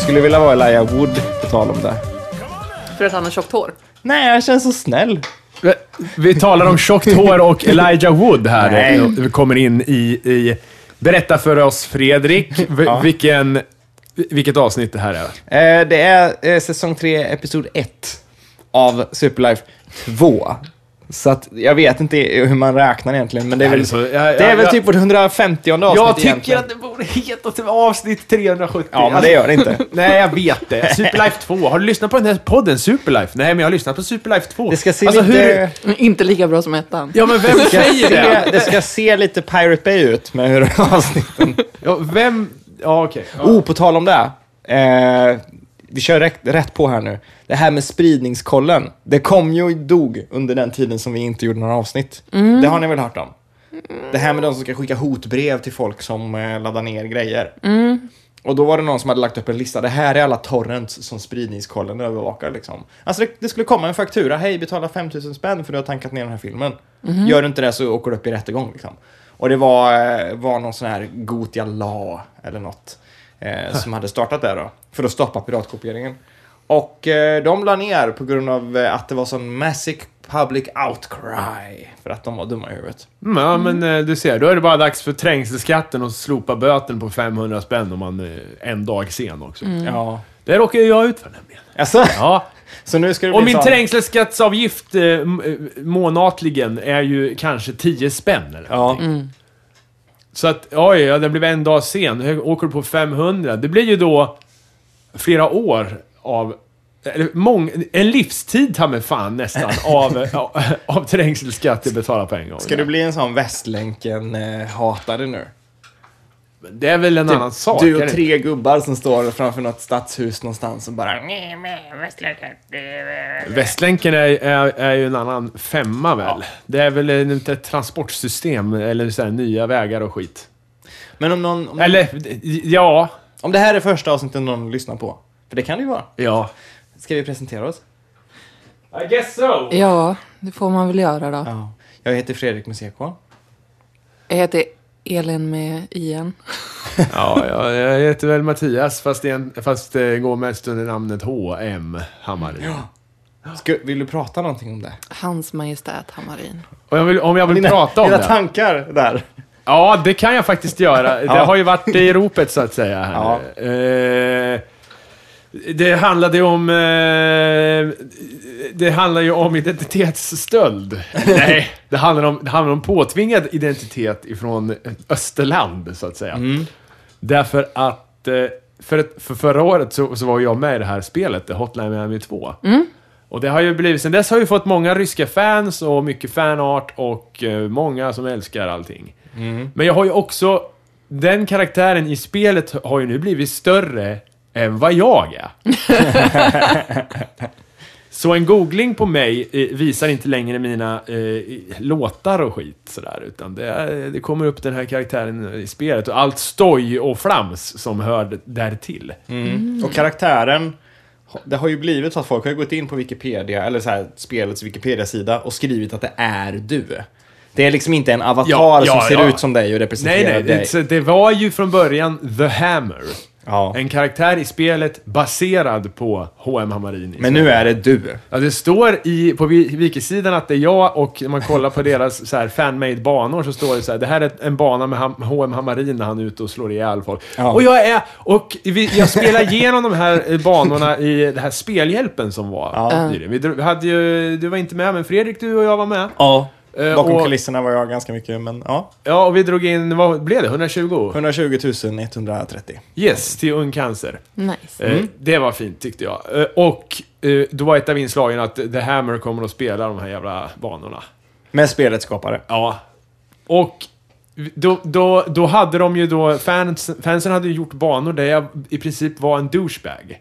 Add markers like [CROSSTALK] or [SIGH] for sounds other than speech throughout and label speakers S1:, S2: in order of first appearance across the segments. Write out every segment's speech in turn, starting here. S1: skulle vilja vara Elijah Wood, på tal om det.
S2: För att han har tjockt hår.
S1: Nej, jag känns så snäll.
S3: Vi talar om tjockt hår
S1: [LAUGHS]
S3: och Elijah Wood här.
S1: Nej.
S3: Vi kommer in i, i... Berätta för oss, Fredrik, v-
S1: Ja.
S3: vilken, vilket avsnitt det här är.
S1: Eh, det är eh, säsong 3, episod 1 av Superlife 2. Så att jag vet inte hur man räknar egentligen, men det är väl,
S3: Nej, så- Alltså, jag-
S1: det är
S3: jag-
S1: väl
S3: jag-
S1: typ vårt 150 avsnitt egentligen.
S3: det borde heta typ avsnitt 370.
S1: Ja, men det gör det inte.
S3: Nej, jag vet det. Superlife 2. Har du lyssnat på den här podden Superlife? Nej, men jag har lyssnat på Superlife 2.
S1: Det ska se
S3: Alltså,
S1: lite...
S3: hur-
S2: Men inte lika bra som ettan.
S3: Ja, men vem
S1: ska
S3: säger det?
S1: se, det ska se lite Pirate Bay ut med hur [LAUGHS] avsnitten...
S3: Ja, vem... Ja, okej. Ja.
S1: Oh, på tal om det. Eh, vi kör rätt, rätt på här nu. Det här med spridningskollen. Det kom ju och dog under den tiden som vi inte gjorde några avsnitt. Det har ni väl hört om? Det här med de som ska skicka hotbrev till folk som eh, laddar ner grejer. Och då var det någon som hade lagt upp en lista. Det här är alla torrents som spridningskollen övervakar. Liksom. Alltså det, det skulle komma en faktura. Hej, betala 5000 spänn för du har tankat ner den här filmen.
S3: Mhm.
S1: Gör du inte det så åker du upp i rättegång. Liksom. Och det var, eh, var någon sån här Gotia La eller något eh, som hade startat det då. För att stoppa piratkopieringen. Och eh, de la ner på grund av eh, att det var sån massive public outcry. För att de var dumma i huvudet.
S3: Mm, ja, men eh, du ser. Då är det bara dags för trängselskatten och slopa böten på 500 spänn om man är en dag sen också.
S1: Ja.
S3: Det råkar ju jag ut för nämligen.
S1: Alltså,
S3: Mm. Ja.
S1: så nu ska det
S3: Och
S1: bli
S3: min
S1: sån-
S3: trängselskattsavgift eh, m- eh, månatligen är ju kanske 10 spänn eller
S1: Ja.
S3: Så att, oj, ja, den blev en dag sen. Hur Åker du på 500? Det blir ju då flera år av... Eller mång, en livstid ta mig
S1: [LAUGHS]
S3: fan nästan av, av, av trängselskatt jag betalar på en gång.
S1: Ska du bli en sån Västlänken-hatare nu?
S3: Det är väl en annan sak.
S1: Typ du
S3: är
S1: och
S3: det
S1: tre gubbar som står framför något stadshus någonstans och bara...
S3: inte? Västlänken är, är, är ju en annan femma väl? Det är väl en- ett transportsystem eller så här, nya vägar och skit.
S1: Men om, någon, om,
S3: Eller, ja.
S1: om det här är första avsnittet någon lyssnar på, för det kan det ju vara.
S3: Ja.
S1: Ska vi presentera oss?
S3: I guess so.
S2: Ja, det får man väl göra då.
S1: Ja. Jag heter Fredrik med CK.
S2: Jag heter Elin med IN.
S3: Ja, ja, jag heter väl Mattias, fast, det är en, fast det går mest under namnet H.M. Hammarin.
S1: Ska, vill du prata någonting om det?
S2: Hans Majestät Hammarin.
S3: Och jag vill, om jag vill prata om
S1: dina
S3: det?
S1: tankar där.
S3: Ja, det kan jag faktiskt göra. Det
S1: Ja.
S3: har ju varit i ropet, så att säga. Här.
S1: Ja.
S3: Eh, det handlade ju om... Eh, det handlar ju om identitetsstöld. Nej, [LAUGHS] det handlar om, det handlar om påtvingad identitet ifrån Österland, så att säga.
S1: Mm.
S3: Därför att... eh, För, ett- för förra året så, så var jag med i det här spelet, Hotline Miami 2. Och det har ju blivit, sen dess har ju fått många ryska fans och mycket fanart och eh, många som älskar allting. Men jag har ju också, den karaktären i spelet har ju nu blivit större än vad jag är. Så en googling på mig eh, visar inte längre mina eh, låtar och skit sådär, utan det, är- det kommer upp den här karaktären i spelet och allt stoj och flams som hör därtill.
S1: Mm. Och karaktären, det har ju blivit så att folk har gått in på Wikipedia, eller så här, spelets Wikipedia-sida och skrivit att det är du. Det är liksom inte en avatar
S3: Ja, ja,
S1: som ser
S3: ja.
S1: ut som dig och
S3: Nej,
S1: representerar
S3: nej,
S1: dig.
S3: det, så det var ju från början The Hammer.
S1: Ja.
S3: En karaktär i spelet baserad på H.M. Hammarin. i
S1: Men nu är det du.
S3: Ja, det står i, på wi- wikisidan att det är jag och när man kollar på deras så här, fanmade banor så står det så här, det här är en bana med Ham- H.M. Hammarin när han är ute och slår ihjäl folk.
S1: Ja.
S3: Och jag är, och vi, jag spelar igenom de här eh, banorna i det här spelhjälpen som var.
S1: Ja.
S3: nyligen. Vi, dro- vi hade ju, du var inte med, men Fredrik du och jag var med.
S1: Ja.
S3: Eh,
S1: Bakom
S3: och-
S1: kulisserna var jag ganska mycket, men ja.
S3: Ja, och vi drog in, vad blev det? 120?
S1: 120 130.
S3: Yes, till Ung Cancer.
S2: Nice.
S3: Eh,
S1: Mm.
S3: Det var fint tyckte jag. Eh, Och eh, då var ett av inslagen att The Hammer kommer att spela de här jävla banorna.
S1: Med spelets skapare.
S3: Ja. Och då, då, då hade de ju då, fans, fansen hade ju gjort banor där jag i princip var en douchebag.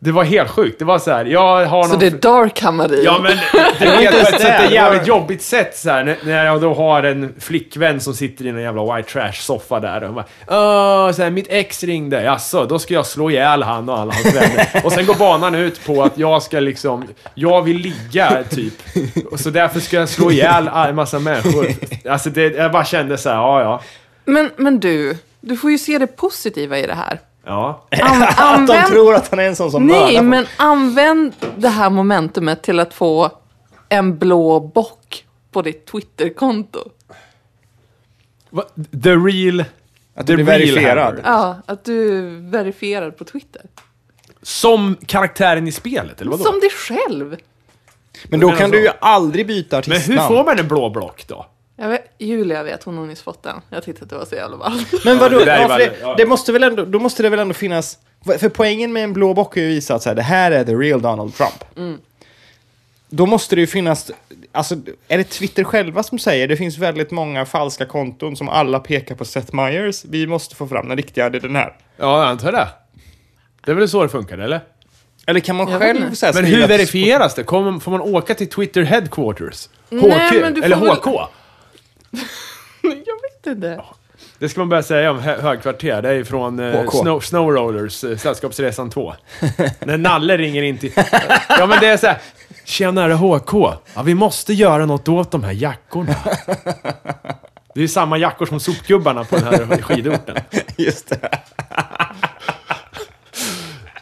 S3: Det var helt sjukt. Det var så här, jag har
S2: Mm. Så
S3: någon...
S2: det är Dark Hammarin.
S3: Ja men det [LAUGHS] är på ett sätt
S1: det.
S3: ett jävligt jobbigt sätt så här, när, när jag då har en flickvän som sitter i någon jävla white trash soffa där och bara Åh, så här, mitt ex ringde, jaså, då ska jag slå ihjäl han och alla hans vänner. Och sen går banan ut på att jag ska liksom, jag vill ligga typ. Och så därför ska jag slå ihjäl en massa människor. Alltså det, jag bara kände så här, ja ja. [LAUGHS]
S2: Men, men du, du får ju se det positiva i det här.
S3: Ja.
S2: An-
S1: Att de
S2: använd-
S1: tror att han är en sån som mördar
S2: Nej,
S1: folk.
S2: men använd det här momentumet till att få en blå bock på ditt Twitterkonto.
S3: Va? The real...
S1: Att
S3: the
S1: du blir
S3: real
S1: verifierad.
S3: Hammer.
S2: Ja, att du är verifierad på Twitter.
S3: Som karaktären i spelet, eller vadå?
S2: Som dig själv.
S1: Men då
S3: Men
S1: kan
S3: alltså-
S1: du ju aldrig byta
S3: Men
S1: artistnamn.
S3: hur får man en blå block då?
S2: Jag vet, Julia vet, hon har nyss fått den. Jag tyckte att det var så jävla ballt. [LAUGHS]
S1: Men vadå?
S3: det där är
S1: Ja, för
S3: bara-
S1: det,
S3: ja.
S1: det måste väl ändå, då måste det väl ändå finnas... För poängen med en blå bock är ju att visa att så här, det här är the real Donald Trump.
S3: Mm.
S1: Då måste det ju finnas... Alltså, är det Twitter själva som säger det finns väldigt många falska konton som alla pekar på Seth Meyers. Vi måste få fram den riktiga, det är den här.
S3: Ja, jag antar det. Det är väl så det funkar, eller?
S1: Eller kan man
S2: Jag vet
S1: själv
S2: inte.
S1: så här,
S3: Men
S1: skriva
S3: hur
S1: till-
S3: [LAUGHS] verifieras det? Kommer, får man åka till Twitter Headquarters? HQ?
S2: Nej, men du får
S3: eller
S2: väl-
S3: HK?
S2: Jag vet inte.
S3: Det ska man börja säga om hö- högkvarter. Det är från eh,
S1: HK.
S3: Snow, Snow Rollers, eh, Sällskapsresan 2. [LAUGHS] När Nalle ringer in till... Ja, men det är så här. Tjenare HK. Ja, vi måste göra något åt de här [LAUGHS] jackorna. Det är ju samma jackor som sopgubbarna på den här skidorten.
S1: Just det.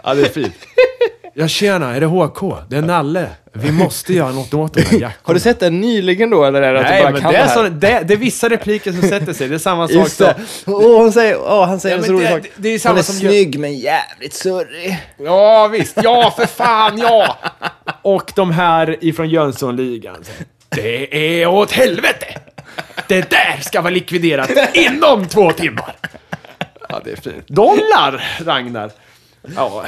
S3: Ja, det är fint. [LAUGHS] Ja, tjena. Är det HK? Det är Nalle. Vi måste göra något åt de [LAUGHS] här jackorna.
S1: Har du sett den nyligen då, eller är det att du
S3: Nej,
S1: bara
S3: men
S1: kan
S3: det
S1: det
S3: är,
S1: här?
S3: så, det, det är vissa repliker som sätter sig. Det är samma sak
S1: [LAUGHS] Just
S3: som...
S1: det. Åh, hon säger, åh, han säger
S3: Ja,
S1: en
S3: men
S1: så rolig
S3: det-
S1: sak.
S3: det- det är ju samma
S1: hon är
S3: som gör-
S1: snygg men jävligt surrig.
S3: Ja, visst. Ja, för fan, ja! Och de här ifrån Jönssonligan. Det är åt helvete! Det där ska vara likviderat inom två timmar! Ja, det är fint. Dollar, Ragnar! Ja,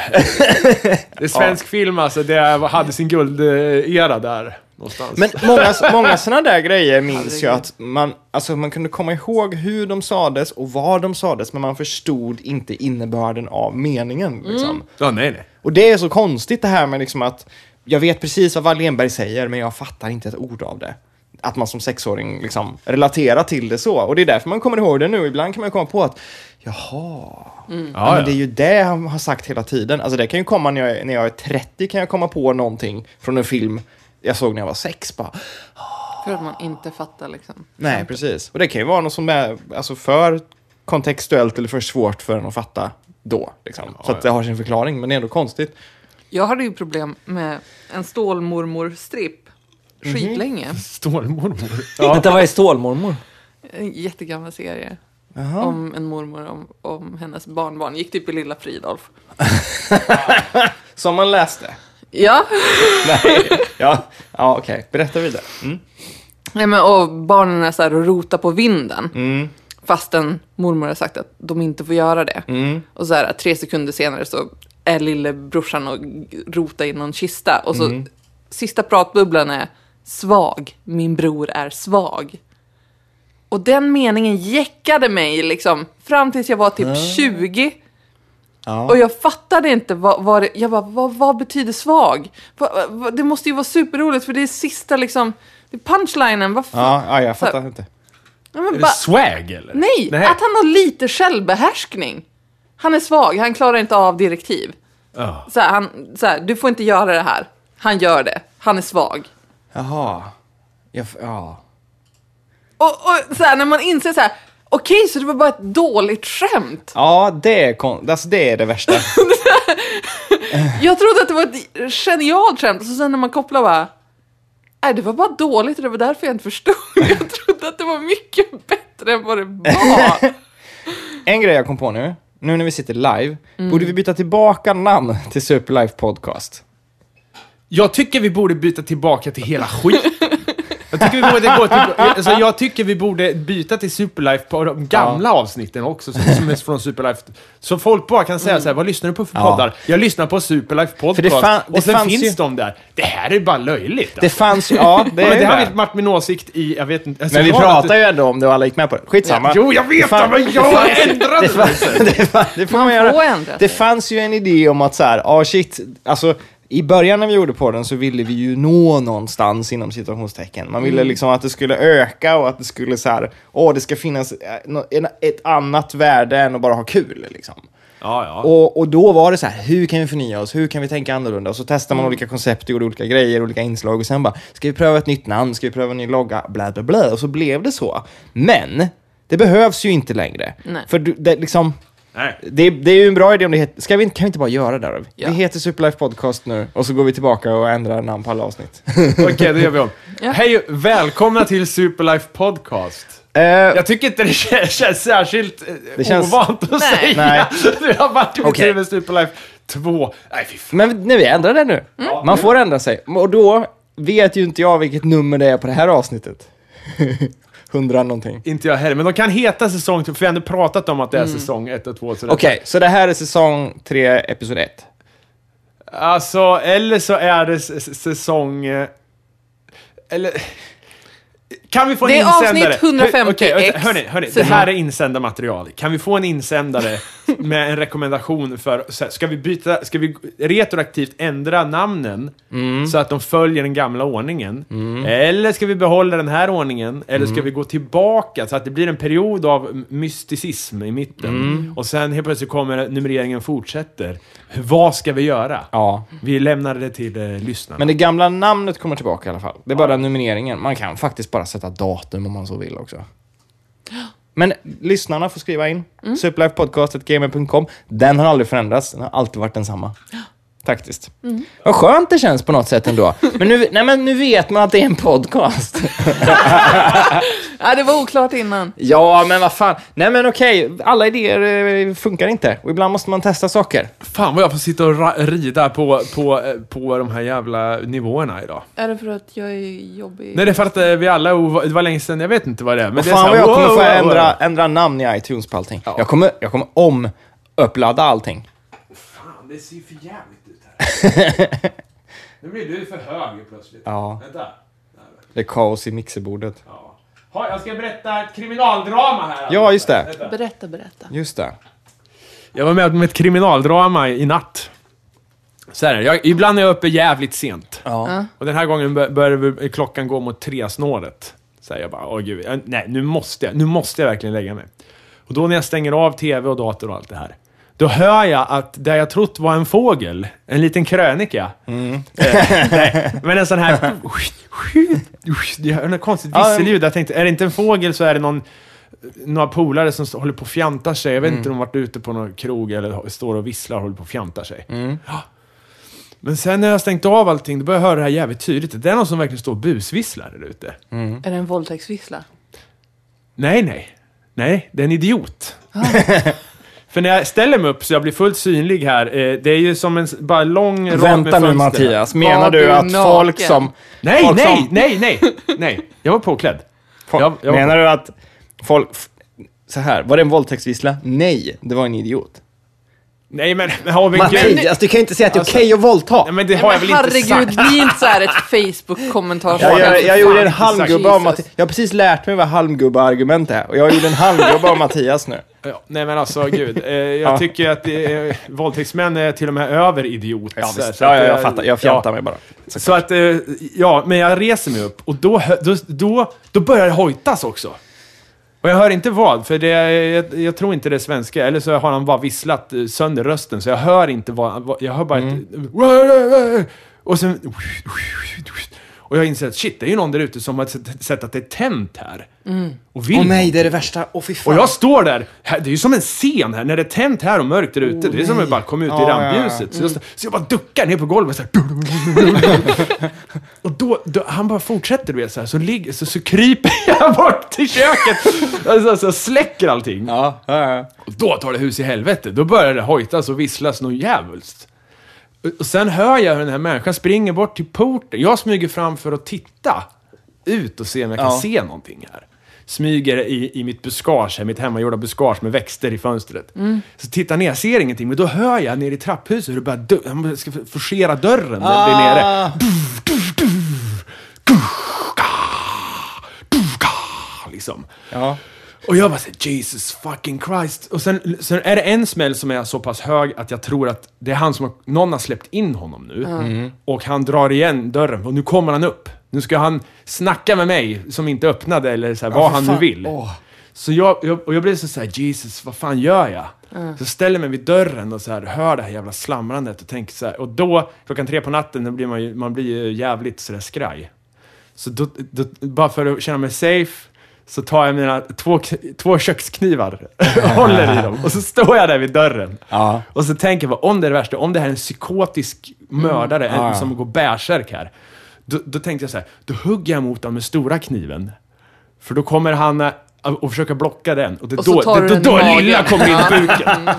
S3: det är svensk film alltså. Det hade sin guldera där någonstans.
S1: Men många, många sådana där grejer minns jag att man, alltså man kunde komma ihåg hur de sades och var de sades, men man förstod inte innebörden av meningen. Liksom.
S3: Ja, nej, nej.
S1: Och det är så konstigt det här med liksom att jag vet precis vad Wallenberg säger, men jag fattar inte ett ord av det. Att man som sexåring liksom relaterar till det så. Och det är därför man kommer ihåg det nu. Ibland kan man komma på att jaha, ja,
S3: Ja,
S1: men det är
S3: ja.
S1: ju det han har sagt hela tiden. Alltså det kan ju komma när jag, är- när jag är 30 kan jag komma på någonting från en film jag såg när jag var sex. Bara,
S2: För att man inte fattar liksom.
S1: Nej, precis. Och det kan ju vara något som är alltså, för kontextuellt eller för svårt för en att fatta då. Liksom. så att det har sin förklaring, men det är ändå konstigt.
S2: Jag hade ju problem med en stålmormor-stripp skitlänge.
S3: Stålmormor.
S1: Vänta, vad är stålmormor?
S2: En jättegammal serie. Om en mormor om, om hennes barnbarn. Gick typ i Lilla Fridolf.
S1: Som man läste.
S2: Ja.
S1: Ja, ja okej. Berätta vidare.
S2: Nej, men, och barnen är så här och rotar på vinden. Fastän mormor har sagt att de inte får göra det. Och så här, tre sekunder senare så är lillebrorsan och g- rotar i någon kista. Och så sista pratbubblan är svag, min bror är svag. Och den meningen jäckade mig liksom fram tills jag var typ 20.
S1: Ja.
S2: Och jag fattade inte vad, vad det, jag bara, vad, vad betyder svag? Va, va, det måste ju vara superroligt för det är sista liksom, det är punchlinen. Vad fan?
S1: Ja, ja, jag fattar inte.
S2: Ja, men
S3: Är det
S2: bara-
S3: swag, eller?
S2: nej, att han har lite självbehärskning. Han är svag, han klarar inte av direktiv.
S3: Ja.
S2: Så här, han, så här, du får inte göra det här. Han gör det, han är svag.
S1: Jaha. Jag, f- ja.
S2: Och, och så här, när man inser så här, okej så det var bara ett dåligt skämt.
S1: Ja, det är, kon- alltså, det är det värsta.
S2: Jag trodde att det var ett genialt skämt och så sen när man kopplar bara Nej, det var bara dåligt och det var därför jag inte förstod. [LAUGHS] Jag trodde att det var mycket bättre än vad det var.
S1: En grej jag kom på nu, nu när vi sitter live, borde vi byta tillbaka namn till Superlife Podcast?
S3: Jag tycker vi borde byta tillbaka till hela skiten. Jag tycker, vi borde gå till, alltså jag tycker vi borde byta till Superlife på de gamla avsnitten också, som, som är från Superlife. Så folk bara kan säga så här, vad lyssnar du på för
S1: Mm. Ja.
S3: poddar? Jag lyssnar på Superlife
S1: För det
S3: podcast,
S1: fan- det
S3: och sen
S1: fanns
S3: finns
S1: ju-
S3: de där. Det här är bara löjligt.
S1: Det
S3: Alltså.
S1: fanns ju, ja, det
S3: Det,
S1: är
S3: men det
S1: det.
S3: har vi varit min åsikt i, jag vet inte. alltså,
S1: Men vi
S3: jag har
S1: pratar
S3: varit-
S1: ju ändå om det och alla gick med på det. Skitsamma.
S3: Jo, jag vet det, men jag ändrade mig!
S1: [LAUGHS] det, fan, det får man,
S2: Man
S1: göra.
S2: får ändra sig.
S1: det fanns ju en idé om att så här, ah shit, alltså i början när vi gjorde på den så ville vi ju nå någonstans inom situationstecken. Man
S2: Mm.
S1: ville liksom att det skulle öka och att det skulle så här, åh det ska finnas eh, nå- en- ett annat värde än att bara ha kul liksom.
S3: Ja, ja.
S1: Och, och då var det så här, hur kan vi förnya oss? Hur kan vi tänka annorlunda? Och så testar
S2: Mm.
S1: man olika koncept, gjorde olika grejer, olika inslag och sen bara, ska vi pröva ett nytt namn? Ska vi pröva en ny logga? Bla, bla, bla. Och så blev det så. Men, det behövs ju inte längre.
S2: Nej.
S1: För du, det, liksom,
S3: Nej.
S1: Det, det är ju en bra idé om det heter... Ska vi, inte- kan vi inte bara göra det där? då?
S2: Ja.
S1: Det heter Superlife Podcast nu och så går vi tillbaka och ändrar namn på alla avsnitt.
S3: Okej, det gör vi om.
S2: Ja.
S3: Hej och välkomna till Superlife Podcast.
S1: Eh,
S3: Jag tycker inte det kän- känns särskilt eh,
S1: Det känns-
S3: ovant att
S2: Nej.
S3: säga.
S1: Nej.
S3: [LAUGHS] Det har varit mitt
S1: Okej.
S3: liv med Superlife 2. Nej, fy fan.
S1: Men nu, vi ändrar det nu. Man får ändra sig. Och då vet ju inte jag vilket nummer det är på det här avsnittet. [LAUGHS] Hundra någonting.
S3: Inte jag heller, men de kan heta säsong 2, för vi har ändå pratat om att det är säsong 1 och 2. Okej.
S1: Mm. Okej, så det här är säsong 3, episod 1.
S3: Alltså, eller så är det s- s- säsong... eh, Eller... Kan vi få en
S2: Det är
S3: insändare?
S2: avsnitt 150
S3: Okej, okej,
S2: X.
S3: hörni, hörni, det här är insändarmaterial. Kan vi få
S2: [LAUGHS]
S3: en insändare med en rekommendation för... så här, Ska vi byta... Ska vi retroaktivt ändra namnen
S2: Mm.
S3: så att de följer den gamla ordningen? Eller ska vi behålla den här ordningen? Eller
S2: Mm.
S3: ska vi gå tillbaka så att det blir en period av mysticism i mitten?
S2: Mm.
S3: Och sen helt plötsligt kommer numreringen fortsätter. Vad ska vi göra?
S1: Ja.
S3: Vi lämnar det till eh, lyssnarna.
S1: Men det gamla namnet kommer tillbaka i alla fall. Det är bara numreringen. Man kan faktiskt bara sätta datum om man så vill också. Men lyssnarna får skriva in.
S3: Mm.
S1: Superlifepodcast.gmail.com. Den har aldrig förändrats. Den har alltid varit densamma. Faktiskt.
S3: Mm.
S1: Vad skönt det känns på något sätt ändå. Men nu, nej men nu vet man att det är en
S3: [LAUGHS]
S1: podcast.
S2: Ja, det var oklart innan.
S1: Ja, men vad fan. Nej, men okej. Alla idéer eh, funkar inte. Och ibland måste man testa saker.
S3: Fan vad jag får sitta och ra- rida på, på, eh, på de här jävla nivåerna idag.
S2: Är det för att jag är jobbig?
S3: Nej, det är för att eh, vi alla är ova- Det var länge sedan, jag vet inte vad det är. Men
S1: Men
S3: det är
S1: fan
S3: så
S1: vad
S3: här,
S1: jag kommer
S3: wow,
S1: få
S3: wow,
S1: ändra,
S3: wow.
S1: ändra namn i iTunes på allting. Jag, kommer, jag kommer om uppladda allting.
S3: Fan, det ser ju för jävligt ut här.
S1: [LAUGHS]
S3: nu blir du för hög plötsligt.
S1: Ja.
S3: Vänta.
S1: Det är kaos i mixerbordet.
S3: Ja. Ha, jag ska berätta ett kriminaldrama här.
S1: Ja, just det.
S2: Berätta, berätta.
S1: Just det.
S3: Jag var med om ett kriminaldrama i natt. Så här är det. jag, ibland är jag uppe jävligt sent.
S1: Ja.
S3: Och den här gången bör- började klockan gå mot tresnåret. Så här, jag bara, åh gud, jag- nej nu måste jag, nu måste jag verkligen lägga mig. Och då när jag stänger av tv och dator och allt det här. Då hör jag att det jag trott var en fågel, en liten krönika. Eh, nej, men en sån här... Jag hör något konstigt
S1: Ja,
S3: visselljud. Jag tänkte, är det inte en fågel så är det någon, några polare som st- håller på och fjantar sig. Jag vet inte om de varit ute på någon krog eller står och visslar och håller på och fjantar sig. Ja. Men sen när jag stängt av allting, då börjar jag höra det här jävligt tydligt. Det är någon som verkligen står och busvisslar där ute.
S2: Är det en våldtäktsvissla?
S3: Nej, nej. Nej, det är en idiot. [LAUGHS] För när jag ställer mig upp så jag blir fullt synlig här, eh, det är ju som en s- bara lång rad med
S1: Vänta nu
S3: fönster.
S1: Mattias, menar
S2: Var
S1: du
S2: du
S1: att
S2: naken?
S1: folk som...
S3: Nej,
S1: folk
S3: nej,
S1: som-
S3: nej, nej, nej. Jag var påklädd.
S1: Fo-
S3: Jag- jag-
S1: menar du att folk... f- Så här, var det en våldtäktsvissla? Nej, det var en idiot.
S3: Nej, men, men, oh, men gud.
S1: Mattias, du kan ju inte säga att det är okej att våldta.
S3: Nej, men det har
S2: Nej,
S3: jag
S2: men
S3: väl inte sagt.
S2: herregud, bli inte så här ett
S1: [LAUGHS]
S2: Facebook-kommentar.
S1: Jag, jag, jag gjorde en halmgubbe om
S2: Jesus.
S1: Mattias. Jag har precis lärt mig vad halmgubbe-argument är. Och jag gjorde en halmgubbe om Mattias nu.
S3: Ja, nej men alltså gud,
S1: [LAUGHS]
S3: eh, jag
S1: Ja.
S3: tycker att eh, våldtäktsmän är till och med över idiot. Så- så
S1: Ja,
S3: att eh,
S1: ja, jag
S3: jag-
S1: fattar. Jag fjantar mig bara.
S3: Så, att, eh, ja, men jag reser mig upp och då, hö- då, då, då börjar det hojtas också. Och jag hör inte vad, för det, jag, jag tror inte det är svenska, eller så har han bara visslat eh, sönder rösten, så jag hör inte vad, vad jag hör bara
S1: Mm.
S3: ett... Och sen... Och jag inser att shit, det är ju någon där ute som har sett- sett att det är tänt här. Och vill
S1: Mm. Åh nej, det är det värsta. Åh fy fan.
S3: och jag står där, här, det är ju som en scen här, när det är tänt här och mörkt där ute. det är som att bara komma ut i
S1: Ja, Mm.
S3: rampljuset.
S1: ja,
S3: Så, jag, så jag bara duckar ner på golvet så här. [LAUGHS] Och då, då, han bara fortsätter du vet så här, så, ligger, så, så kryper jag bort till köket. Alltså, så jag släcker allting.
S1: Ja, ja, ja.
S3: Och då tar det hus i helvete. Då börjar det hojtas och visslas något djävulskt. Och- Och sen hör jag hur den här människan springer bort till porten. Jag smyger fram för att titta ut och se om jag kan
S1: Ja.
S3: se någonting här. Smyger i, i mitt buskage, här, mitt hemmagjorda buskage med växter i fönstret. Så tittar ner, ser ingenting, men då hör jag nere i trapphuset hur det börjar dö- han ska forcera dörren där där
S1: Ah.
S3: nere. Liksom.
S1: Ja.
S3: Och jag bara såhär, Jesus fucking Christ. Och sen, sen är det en smäll som är så pass hög att jag tror att det är han som har, någon har släppt in honom nu. Och han drar igen dörren och nu kommer han upp. Nu ska han snacka med mig som inte öppnade eller så här, vad
S1: för
S3: han
S1: fan.
S3: nu vill.
S1: Åh.
S3: Så jag, jag, och jag blev så såhär, Jesus, vad fan gör jag?
S1: Mm.
S3: Så ställer jag mig vid dörren och så här, hör det här jävla slamrandet och tänker så här. Och då, klockan tre på natten, då blir man ju, man blir ju jävligt sådär skraj. Så då, då, bara för att känna mig safe så tar jag mina två, k- två köksknivar
S1: [LAUGHS]
S3: och håller i dem. Och så står jag där vid dörren.
S1: Ja.
S3: Och så tänker jag, bara, om det är det värsta, om det här är en psykotisk mördare
S1: Mm. Ja, ja.
S3: en, som går bärsärk här. Då, då tänkte jag så här, då hugger jag mot honom med stora kniven. För då kommer han eh, och försöka blocka den. Och, det,
S2: Och så
S3: då,
S2: tar
S3: det,
S2: du den
S3: då,
S2: i
S3: då
S2: magen.
S3: lilla kommer in i buken.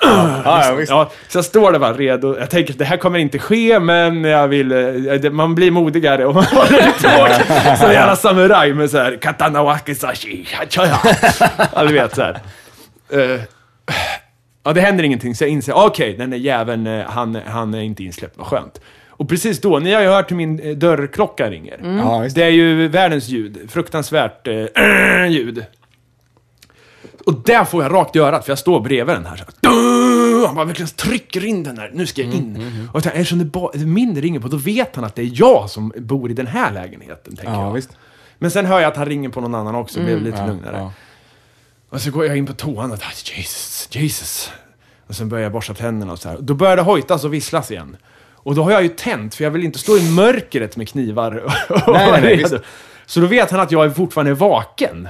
S1: Ja, ja, visst.
S3: Ja, så jag står där bara redo. Jag tänker att det här kommer inte ske, men jag vill... eh, det- Man blir modigare om man håller ett
S2: [LAUGHS]
S3: tåg. Som en jävla samuraj med så här katana wakizashi, hachoya. Ja, du vet så här. Eh, ja, det händer ingenting, så jag inser, okej, den där jäveln, eh, han, han är inte insläppt, vad skönt. Och precis då, ni har ju hört hur min eh, dörrklocka ringer.
S2: Mm.
S1: Ja, visst.
S3: Det är ju världens ljud. Fruktansvärt eh, [CLEARS THROAT] ljud. Och där får jag rakt i örat, för jag står bredvid den här. Så här "Duh!" han bara verkligen trycker in den här. Nu ska
S1: Mm,
S3: jag in. Och jag tänkte, eftersom det bara min det ringer på, då vet han att det är jag som bor i den här lägenheten, tänker
S1: Ja,
S3: jag.
S1: visst. Mm,
S3: Men sen hör jag att han ringer på någon annan också, blev lite
S1: Ja,
S3: lugnare.
S1: ja.
S3: Och så går jag in på toan och tänker, Jesus, Jesus. Och sen börjar jag borsta tänderna och så här. Då börjar det hojtas och visslas igen. Och då har jag ju tänt, för jag vill inte stå i mörkret med knivar och
S1: Nej, nej, nej,
S3: redo.
S1: visst.
S3: Så då vet han att jag är fortfarande är vaken.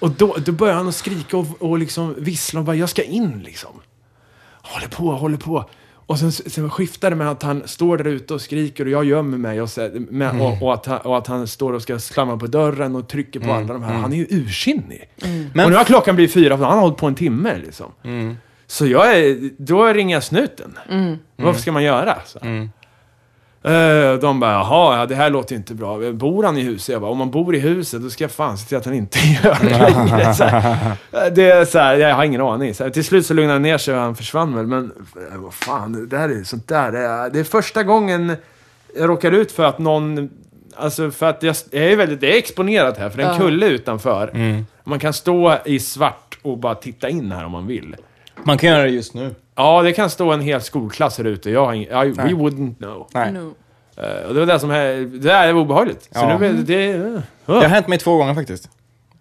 S3: Och då, då börjar han att skrika och, och liksom vissla och bara, jag ska in liksom. Håller på, håller på. Och sen, sen skiftar det med att han står där ute och skriker och jag gömmer mig och, så, med, och, och, att han, och att han står och ska slamra på dörren och trycker på alla de här. Han är ju ursinnig.
S1: Men-
S3: Och nu har klockan blivit fyra, för han har hållit på en timme liksom. Så jag är, då ringer jag snuten. Vad ska man göra? Så. Eh, De bara, jaha, ja, det här låter ju inte bra. Bor han i huset? Jag bara, om han bor i huset, då ska jag fan se till att han inte [LAUGHS] gör det längre. Så här. Eh, Det är så här, jag har ingen aning. Så här, till slut så lugnade han ner sig och han försvann väl. Men eh, vad fan, det där är sånt där. Det är, det är första gången jag råkar ut för att någon... Alltså för att jag jag är väldigt det är exponerat här, för det är en
S2: Ja.
S3: kulle utanför.
S1: Mm.
S3: Man kan stå i svart och bara titta in här om man vill.
S1: Man kan göra det just nu.
S3: Ja, det kan stå en hel skolklass här ute. Jag har ing- I, we wouldn't know.
S1: Nej.
S2: No.
S3: Eh, Och det var det som här, det där var obehagligt. Så
S1: Ja.
S3: nu blev det... Uh,
S1: Det har hänt mig två gånger faktiskt.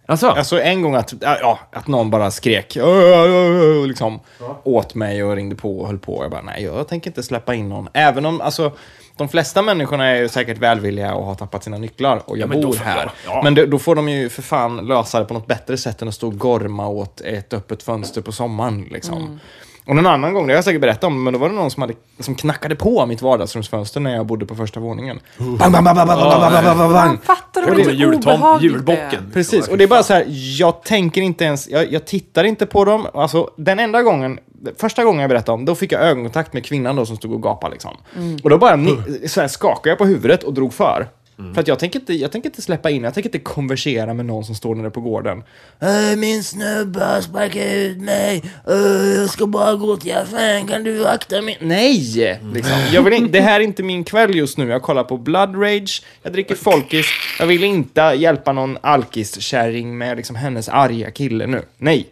S3: Alltså,
S1: Alltså en gång att, ja, ja, att någon bara skrek "Ö, ö, ö", och liksom åt mig och ringde på och höll på. Jag bara, nej, jag tänker inte släppa in någon. Även om, alltså, de flesta människorna är ju säkert välvilliga och har tappat sina nycklar och jag
S3: men då
S1: bor
S3: får-
S1: här.
S3: ja, ja.
S1: Men då, då får de ju för fan lösa det på något bättre sätt än att stå och gorma åt ett öppet fönster på sommaren. Liksom. Och någon annan gång, det har jag säkert berättat om, men då var det någon som, hade, som knackade på mitt vardagsrumsfönster när jag bodde på första våningen. Bang, bang, bang, bang, bang, bang, bang, bang, bang, bang.
S2: Man fattar
S3: jag
S2: du
S3: gjorde
S2: hur
S3: jultom,
S2: obehagligt
S3: julbocken.
S1: Precis, och det är bara så här, jag tänker inte ens, jag, jag tittar inte på dem. Alltså, den enda gången, första gången jag berättade om, då fick jag ögonkontakt med kvinnan då som stod och gapade. Liksom. Och då bara ni, så här, skakade jag på huvudet och drog för. För att jag tänker, inte, jag tänker inte släppa in, jag tänker inte konversera med någon som står nere på gården. "Äh, Min snubbe har sparkat ut mig, Äh, jag ska bara gå till affären, kan du akta mig? Nej! Liksom. Jag vill in, det här är inte min kväll just nu, jag kollar på Blood Rage, jag dricker folkis, jag vill inte hjälpa någon alkiskärring med liksom hennes arga kille nu. Nej!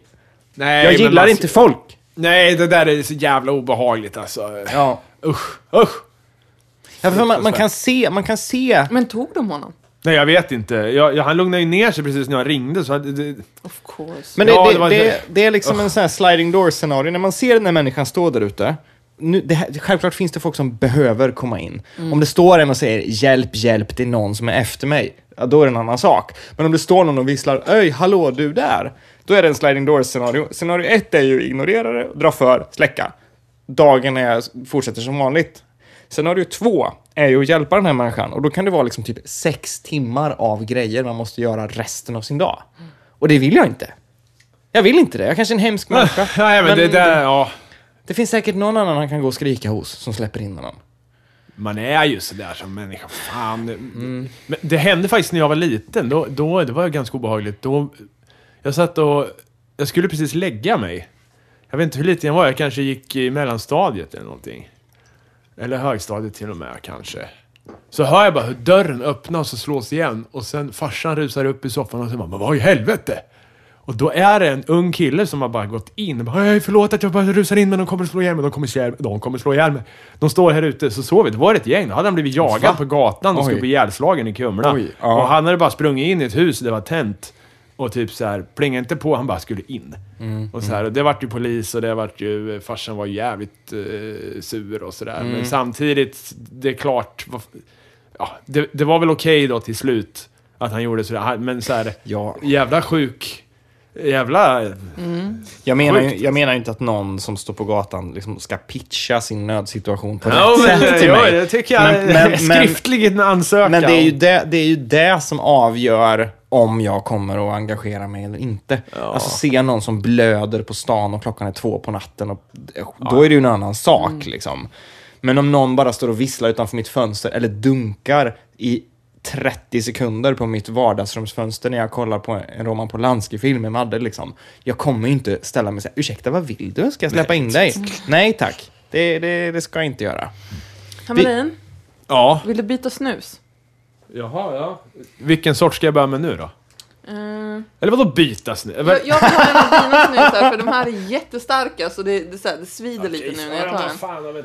S3: nej,
S1: Jag
S3: men
S1: gillar
S3: man-
S1: inte folk!
S3: Nej, det där är så jävla obehagligt alltså.
S1: Ja.
S3: Usch, usch.
S1: Ja, för man, man kan se, man kan se...
S2: Men tog de honom?
S3: Nej, jag vet inte. Jag, jag, han lugnade ju ner sig precis när jag ringde, så... Det, det,
S2: Of course.
S1: Men det,
S3: Ja,
S1: det,
S3: det
S1: det,
S3: var-
S1: det, är liksom en sån här sliding door scenario. När man ser den här människan stå där ute. Nu, det här, självklart finns det folk som behöver komma in.
S3: Mm.
S1: Om det står en och säger “hjälp, hjälp, det är någon som är efter mig”, ja, då är det en annan sak. Men om det står någon och visslar “öj, hallå, du där”, då är det en sliding door scenario. Scenario ett är ju ignorera det, dra för, släcka. Dagen är, fortsätter som vanligt. Scenario två är ju att hjälpa den här människan och då kan det vara liksom typ sex timmar av grejer man måste göra resten av sin dag.
S3: Mm.
S1: Och det vill jag inte. Jag vill inte det. Jag kanske är en hemsk människa.
S3: [LAUGHS] nej, men, det där, ja.
S1: det finns säkert någon annan han kan gå och skrika hos som släpper in honom.
S3: Man är ju sådär som människa. Fan. Mm. Men det hände faktiskt när jag var liten. Då, då, det var ganska obehagligt. Då, jag satt och... Jag skulle precis lägga mig. Jag vet inte hur liten jag var. Jag kanske gick i mellanstadiet eller någonting. Eller högstadiet till och med kanske. Så hör jag bara hur dörren öppnas och slås igen. Och sen farsan rusar upp i soffan och säger Men vad i helvete? Och då är det en ung kille som har bara gått in och bara "Hej, förlåt att jag bara rusar in men de kommer slå ihjäl mig, de kommer slå ihjäl mig, de kommer slå ihjäl mig. De står här ute, så såg vi, det var ett gäng. Då hade han blivit jagad
S1: Va?
S3: på gatan och
S1: Oj.
S3: skulle bli ihjälslagen i Kumla.
S1: Oj, ja.
S3: Och han hade bara sprungit in i ett hus, det var tänt. Och typ så här, plinga inte på, han bara skulle in.
S1: Mm.
S3: och så här, och det vart ju polis och det vart ju, eh, farsan var jävligt eh, sur och sådär.
S1: Mm.
S3: Men samtidigt, det är klart, vad, ja, det, det var väl okej då till slut Att han gjorde sådär. Han- Men såhär,
S1: Ja.
S3: jävla sjuk. Jävla...
S1: Jag menar, ju,
S3: Sjukt.
S1: jag menar ju inte att någon som står på gatan liksom ska pitcha sin nödsituation på
S3: Ja,
S1: rätt
S3: men,
S1: sätt till
S3: ja,
S1: mig.
S3: det tycker jag.
S1: Men-
S3: [LAUGHS]
S1: men- men-
S3: skriftligen ansökan.
S1: Men det är, ju det, det är ju det som avgör om jag kommer att engagera mig eller inte. Alltså se någon som blöder på stan och klockan är två på natten, och, då är det ju en annan sak. Liksom. Men om någon bara står och visslar utanför mitt fönster eller dunkar i 30 sekunder på mitt vardagsrumsfönster när jag kollar på en Roman Polanski-film med Madde. Liksom. Jag kommer ju inte ställa mig och säga ursäkta, vad vill du? Ska jag släppa in dig? Nej tack, det, det, det ska jag inte göra.
S2: Hamelin,
S3: Ja.
S2: vill du byta snus?
S3: Jaha, ja. Vilken sort ska jag börja med nu då?
S2: Eh,
S3: Eller vadå byta snus?
S2: jag, jag vill ha en av dina snusar för de här är jättestarka så det, det, så här, det svider lite nu när jag tar en.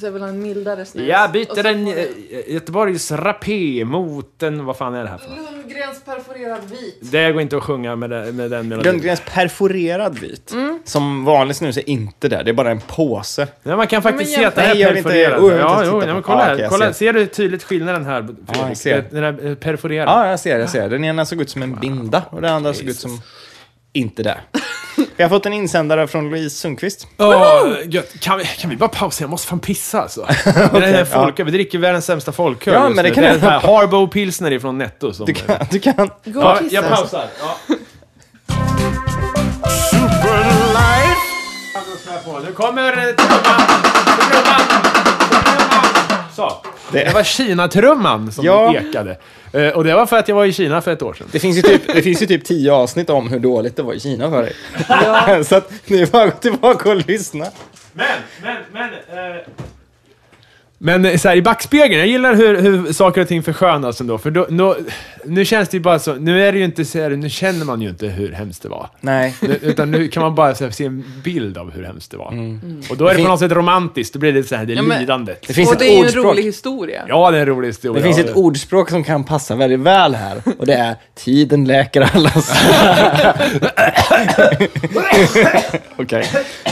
S2: Så jag vill ha en mildare snus.
S3: Jag
S2: Och
S3: byter
S2: så
S3: en
S2: får du
S3: eh, Göteborgs rapé mot en... Vad fan är det här för något?
S2: Lundgrens perforerad Liksom vit.
S3: Det går inte att sjunga med, det, med den melodin.
S1: Lundgrens perforerad vit. Som vanlig snus är inte där, det är bara en påse.
S3: Nej, man kan faktiskt
S2: Men
S3: se
S2: jag-
S3: att det här
S1: Nej,
S3: är
S1: jag vill inte-
S3: perforerat.
S1: oh, jag vill inte titta
S3: ja, jo,
S1: på-
S3: nej, men
S1: Ah,
S3: kolla, här,
S1: okej, jag
S3: kolla.
S1: ser.
S3: Ser. du tydligt skillnaden här, Fredrik?
S1: jag ser. Ah.
S3: Den här eh, perforerade.
S1: Ja, jag ser, jag ser. Den ena såg ut som en binda och den andra såg ut som inte [LAUGHS] där. Vi har fått en insändare från Louise Sundqvist.
S3: Åh, gött. Kan, vi, kan vi bara pausa? Jag måste fan
S1: [LAUGHS]
S3: pissa alltså. det är den här folk, Vi dricker världens sämsta folköl
S1: Ja,
S3: just
S1: men
S3: nu.
S1: det kan
S3: är
S1: jag-
S3: den här Harbo pilsner ifrån Netto. Som,
S1: Du kan... [LAUGHS] Du kan.
S2: Gå och
S3: ja,
S2: kissa.
S3: jag pausar. Ja. Nu kommer eh, trumman! Trumman! Trumman! Så.
S1: Det-
S3: Det, var Kina-trumman som
S1: Ja.
S3: ekade. Eh, och det var för att jag var i Kina för ett år sedan.
S1: Det, finns ju typ, det finns ju typ tio avsnitt om hur dåligt det var i Kina för dig. Ja. [LAUGHS] Så att ni är bara att gå tillbaka och lyssna.
S3: Men, men, eh. men... Men eh, så här, i backspegeln, jag gillar hur, hur saker och ting förskönas ändå. För då, då, nu känns det ju bara så, nu är det ju inte så här, nu känner man ju inte hur hemskt det var.
S1: Nej.
S3: Nu- Utan nu kan man bara så här, se en bild av hur hemskt det var. Och då är det
S1: Mm. fin-
S3: på något sätt romantiskt, då blir det så här, det
S2: Ja, men-
S3: lidandet.
S1: Det finns
S2: och
S1: ett
S2: det är ju en
S1: ordspråk.
S2: rolig historia.
S3: Ja, det är en rolig historia.
S1: Det finns ett ordspråk som kan passa väldigt väl här och det är tiden läker alla sår. [LAUGHS] Okej.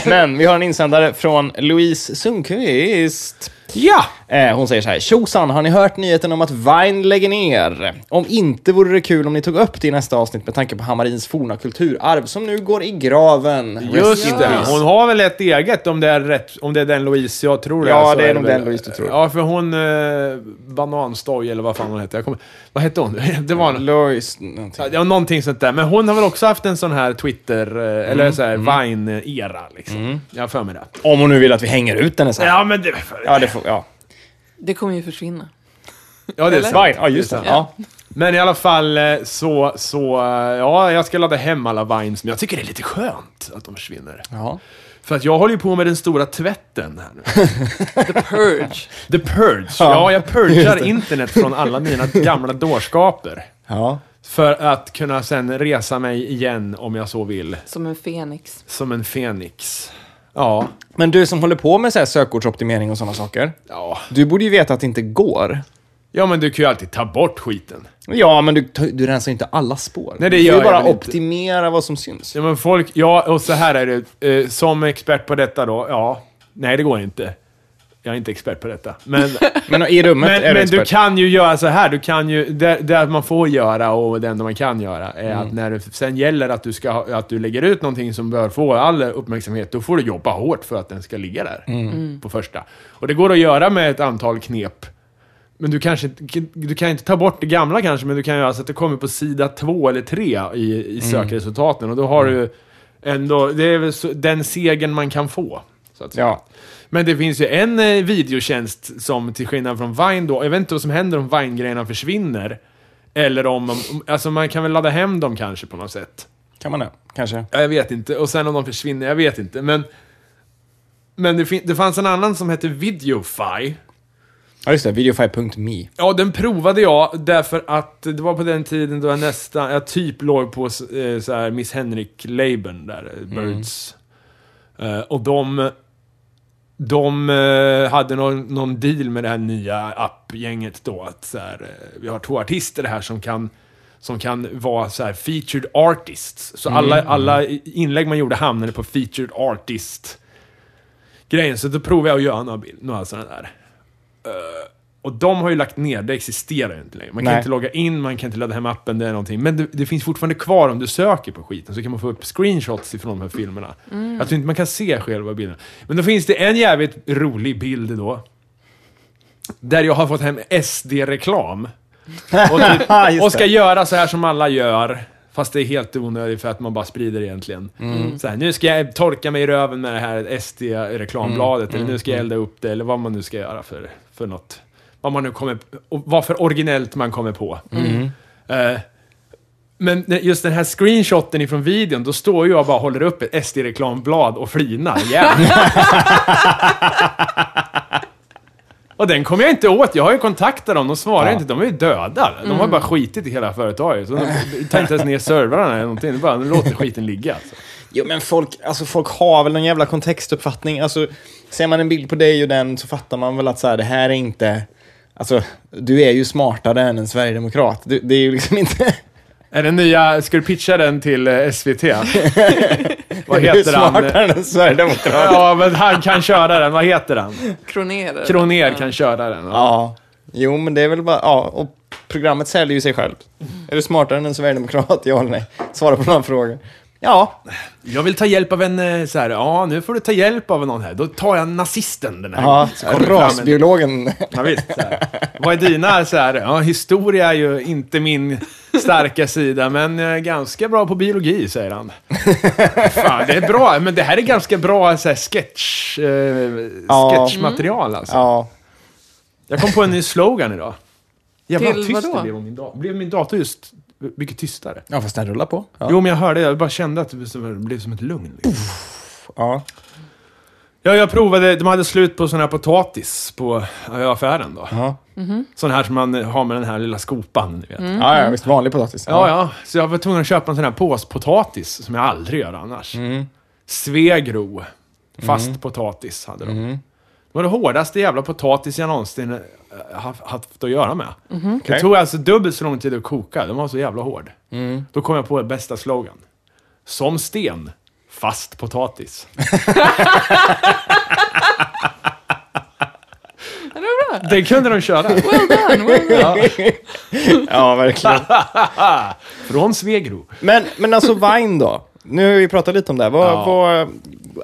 S1: Men vi har en insändare från Louise Sundqvist.
S3: Ja!
S1: Eh, hon säger så här. Tjosan, har ni hört nyheten om att Vine lägger ner? Om inte vore det kul om ni tog upp det i nästa avsnitt med tanke på Hammarins forna kulturarv som nu går i graven. Rest in
S3: Just det.
S1: peace.
S3: Hon har väl ett eget, om det är, rätt, om det är den Louise jag tror
S1: Ja,
S3: så
S1: det är nog
S3: väl-
S1: den Louise du tror.
S3: Ja, för hon... Eh, Bananstoj, eller vad fan hon hette. Jag kommer, vad hette hon? [LAUGHS] Det var en,
S1: Louise, någonting.
S3: Ja, det var någonting sånt där. Men hon har väl också haft en sån här Twitter, eh,
S1: Mm,
S3: eller så här Vine-era liksom. Jag har för mig det.
S1: Om hon nu vill att vi hänger ut henne så här.
S3: Ja, men det...
S1: Ja, det får, ja.
S2: Det kommer ju försvinna.
S3: Ja, det är
S2: Eller?
S3: sant.
S1: Vine, ja just det.
S3: sant.
S1: Ja.
S3: Men i alla fall eh, så, så, eh, ja, jag ska ladda hem alla Vines, men jag tycker det är lite skönt att de försvinner.
S1: Ja.
S3: För att jag håller ju på med den stora tvätten här nu.
S2: The purge.
S3: The purge. Ja, jag [LAUGHS] purgar internet från alla mina gamla dårskaper.
S1: ja.
S3: För att kunna sen resa mig igen om jag så vill.
S2: Som en fenix.
S3: Som en fenix. Ja.
S1: Men du som håller på med så här sökordsoptimering och sådana saker,
S3: Ja.
S1: du borde ju veta att det inte går.
S3: Ja, men du kan ju alltid ta bort skiten.
S1: Ja, men du, du rensar ju inte alla spår.
S3: Nej, det
S1: Du får
S3: gör
S1: ju
S3: jag
S1: bara
S3: väl inte.
S1: optimera vad som syns.
S3: Ja, men folk, ja, och så här är det. Eh, som expert på detta då, ja. Nej, det går inte. Jag är inte expert på detta. Men,
S1: Men i rummet
S3: men,
S1: är du
S3: men du
S1: expert.
S3: kan ju göra så här. Du kan ju, det, det man får göra och det enda man kan göra är att
S1: Mm.
S3: när det sen gäller att du, ska, ha- att du lägger ut någonting som bör få all uppmärksamhet, då får du jobba hårt för att den ska ligga där
S1: Mm.
S3: på första. Och det går att göra med ett antal knep. Men du kanske inte- du kan inte ta bort det gamla kanske, men du kan göra så att det kommer på sida två eller tre
S1: Mm.
S3: i, i sökresultaten. Och då har du ändå, det är väl så, den segern man kan få. Så att säga.
S1: Ja.
S3: Men det finns ju en eh, videotjänst som till skillnad från Vine då, jag vet inte vad som händer om Vine-grejerna försvinner. Eller om, om, alltså man kan väl ladda hem dem kanske på något sätt.
S1: Kan man det? Kanske.
S3: Ja, jag vet inte. Och sen om de försvinner, jag vet inte. Men, men det, fin- det fanns en annan som hette Videofy.
S1: Ja, just det. Videofy.me.
S3: Ja, den provade jag därför att det var på den tiden då jag nästan, jag typ låg på eh, så här Miss Henrik-labeln där, eh, Birds. Eh, och de, de eh, hade någon, någon deal med det här nya appgänget då, att så här, eh, vi har två artister här som kan som kan vara så här featured artists. Så alla, alla inlägg man gjorde hamnade på featured artist-grejen. Så då provade jag att göra några, bild, några sådana där. Eh, Och de har ju lagt ner, det existerar ju inte längre. Man kan
S1: Nej.
S3: inte logga in, man kan inte ladda hem appen, det är någonting. Men det, det finns fortfarande kvar om du söker på skiten, så kan man få upp screenshots ifrån de här filmerna. Jag tror inte man kan se själva bilden. Men då finns det en jävligt rolig bild då. Där jag har fått hem SD-reklam. Och,
S1: [LAUGHS]
S3: typ,
S1: Ah, just
S3: och ska
S1: det.
S3: göra så här som alla gör. Fast det är helt onödigt för att man bara sprider egentligen.
S1: Mm.
S3: Så här, nu ska jag torka mig i röven med det här SD-reklambladet.
S1: Mm.
S3: Eller nu ska jag elda upp det. Eller vad man nu ska göra för, för något. Vad man nu kommer... och Vad för originellt man kommer på.
S1: Mm.
S3: Eh, men när- just den här screenshoten ifrån videon, då står jag och bara håller upp ett SD-reklamblad och flinar igen. och den kommer jag inte åt. Jag har ju kontaktat dem, de svarar
S1: Ja. Mm.
S3: inte. De är ju döda. De har bara skitit i hela företaget. Så de tar inte ens ner servrarna eller någonting. De bara de låter skiten ligga. Alltså.
S1: Jo, men folk, alltså, folk har väl en jävla kontextuppfattning. Alltså, ser man en bild på dig och den så fattar man väl att så här, det här är inte... Alltså, du är ju smartare än en sverigedemokrat. Du, det är ju liksom inte...
S3: Är den nya, ska du pitcha den till eh, SVT?
S1: [LAUGHS]
S3: Vad
S1: du är
S3: heter han?
S1: smartare än en sverigedemokrat.
S3: Ja, men han kan köra den. Vad heter han?
S2: Kroner.
S3: Kroner kan köra den.
S1: Ja. Jo, men det är väl bara... Ja, och programmet säljer ju sig själv. Är du smartare än en sverigedemokrat? Ja eller nej? Svara på några frågor. Ja.
S3: Jag vill ta hjälp av en eh, så här, ja nu får du ta hjälp av någon här. Då tar jag nazisten den här
S1: ja
S3: Så kommer det fram en-
S1: rasbiologen.
S3: Ja, visst, så här. Vad är dina så här, ja historia är ju inte min starka sida, men jag är ganska bra på biologi, säger han. Fan, det är bra, men det här är ganska bra så här, sketch, eh,
S1: Ja.
S3: sketchmaterial alltså.
S1: Ja.
S3: Jag kom på en ny slogan idag. Jävlar
S2: Till
S3: vad tyst
S2: vadå?
S3: det blev om min dator. Blev min dator just mycket tystare?
S1: Ja, fast den rullar på. Ja.
S3: Jo, men jag hörde det. Jag bara kände att det blev som- det blev som ett lugn. Liksom.
S1: Ja.
S3: Ja, jag provade. De hade slut på sån här potatis på i affären då.
S1: Ja.
S3: Sån här som man har med den här lilla skopan, ni vet.
S1: Ja, ja, visst. Vanlig potatis.
S3: Ja, ja. Så jag var tvungen att köpa en sån här påspotatis som jag aldrig gör annars. Svegro. Fast potatis hade de. Det var det hårdaste jävla potatis jag någonsin eh, haft, haft att göra med. Det
S1: Okej.
S3: tog alltså dubbelt så lång tid att koka. Den var så jävla hård. Då kom jag på bästa slogan. Som sten, fast potatis.
S2: Ja, det var bra.
S3: Det kunde de köra. [LAUGHS]
S2: Well done, well done.
S1: ja verkligen.
S3: Från Svegro.
S1: Men, men
S3: [LAUGHS]
S1: alltså Vine då? Nu har vi pratat lite om det. här. Vad,
S3: Ja.
S1: vad,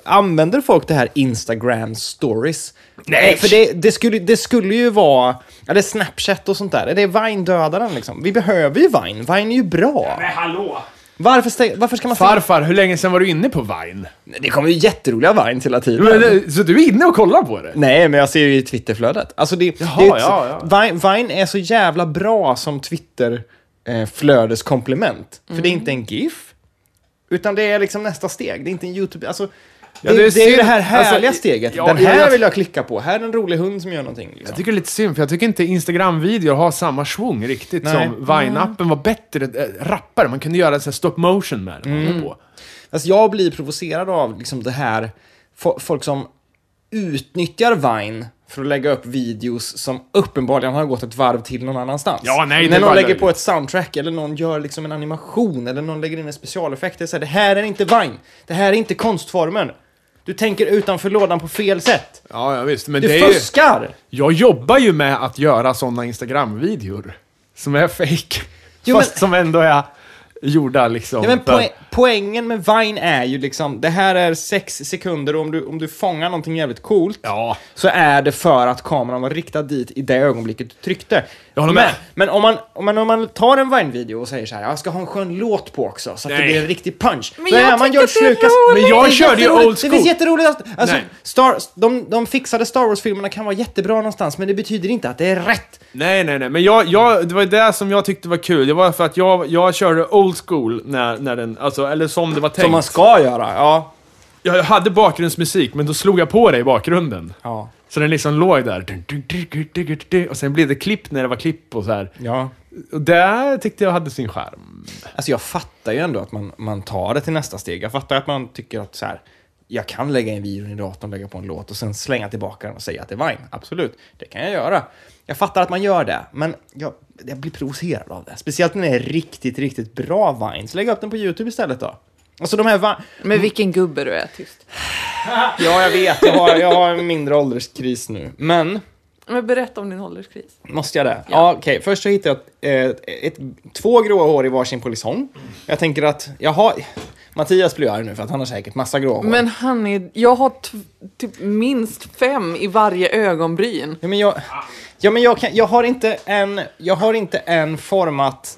S1: använder folk det här Instagram stories?
S3: Nej!
S1: Eh, För det, det, skulle, det skulle ju vara... Eller Snapchat och sånt där. Är Det är Vine-dödaren liksom. Vi behöver ju Vine. Vine är ju bra.
S3: Men hallå!
S1: Varför, stä- varför ska man... ställa-
S3: Farfar, hur länge sedan var du inne på Vine?
S1: det kommer ju jätteroliga Vines hela tiden.
S3: så du är inne och kollar på det?
S1: Nej, men jag ser ju i Twitterflödet. Alltså det,
S3: Jaha,
S1: det är ett-
S3: ja,
S1: Vine, Vine är så jävla bra som Twitter eh, flödeskomplement. För det är inte en GIF, utan det är liksom nästa steg. Det är inte en YouTube... Alltså, det,
S3: det
S1: det,
S3: är
S1: är ju
S3: synd.
S1: det här härliga
S3: Alltså,
S1: steget.
S3: ja,
S1: Den här
S3: jag-
S1: vill jag klicka på. Här är en rolig hund som gör någonting. Liksom.
S3: Jag tycker det är lite synd, för jag tycker inte Instagram-videor har samma svung riktigt
S1: Nej.
S3: som Vine-appen var bättre, äh, rappare. Man kunde göra så här stop motion med den. På.
S1: Alltså, jag blir provocerad av liksom det här, fo- folk som utnyttjar Vine för att lägga upp videos som uppenbarligen har gått ett varv till någon annanstans.
S3: Ja, nej, det är
S1: När
S3: bara
S1: någon lägger
S3: löjligt.
S1: på ett soundtrack eller någon gör liksom en animation eller någon lägger in en specialeffekt. Det, är så här, det här är inte Vine. Det här är inte konstformen. Du tänker utanför lådan på fel sätt.
S3: Ja, ja, visst. Men
S1: Du
S3: det är ju,
S1: fuskar!
S3: jag jobbar ju med att göra sådana Instagram-videor som är fake.
S1: [LAUGHS] Jo,
S3: fast
S1: men-
S3: som ändå är gjorda liksom.
S1: Ja, men
S3: för-
S1: poäng, poängen med Vine är ju liksom, det här är sex sekunder och om du, om du fångar någonting jävligt coolt
S3: Ja.
S1: så är det för att kameran var riktad dit i det ögonblicket du tryckte.
S3: Jag håller
S1: men,
S3: med.
S1: Men om man, om, man, om man tar en Vine-video och säger så här, jag ska ha en skön låt på också så att
S3: Nej.
S1: det blir en riktig punch.
S2: Men
S1: Då
S2: jag
S1: är man
S2: tycker
S1: George
S2: det är
S1: Lucas.
S2: roligt.
S3: Men jag
S1: Det är
S3: körde ju
S1: jätteroligt.
S3: old
S1: Det finns
S3: school.
S1: jätteroliga... Alltså,
S3: Nej.
S1: Star, de, de fixade Star Wars-filmerna kan vara jättebra någonstans men det betyder inte att det är rätt.
S3: Nej, nej, nej. Men jag, jag, det var ju det som jag tyckte var kul. Det var för att jag, jag körde old school när, när den, alltså, eller som det var tänkt.
S1: Som man ska göra, ja.
S3: Jag jag hade bakgrundsmusik, men då slog jag på det i bakgrunden.
S1: Ja.
S3: Så den liksom låg där. Och sen blev det klipp när det var klipp och så här.
S1: ja.
S3: Och där tyckte jag hade sin charm.
S1: Alltså jag fattar ju ändå att man, man tar det till nästa steg. Jag fattar att man tycker att så här, jag kan lägga in videon i datorn, lägga på en låt och sen slänga tillbaka den och säga att det är Vine. Absolut, det kan jag göra. Jag fattar att man gör det, men jag, jag blir provocerad av det. Speciellt när det är riktigt, riktigt bra Vines. Lägg upp den på YouTube istället då. Alltså de här Va-
S2: Men vilken gubbe du är, tyst.
S1: Ja, jag vet. Jag har, jag har en mindre ålderskris nu. Men
S2: Men berätta om din ålderskris.
S1: Måste jag det? Ja, okej. Först så hittade jag ett, eh, ett, två gråa hår i varsin polisong. Jag tänker att, jaha, Mattias blir arg nu för att han har säkert massa gråa hår.
S2: Men han är... Jag har t- typ minst fem i varje ögonbryn.
S1: Ja, men jag, ja, men jag, kan, jag, har inte en, jag har inte en format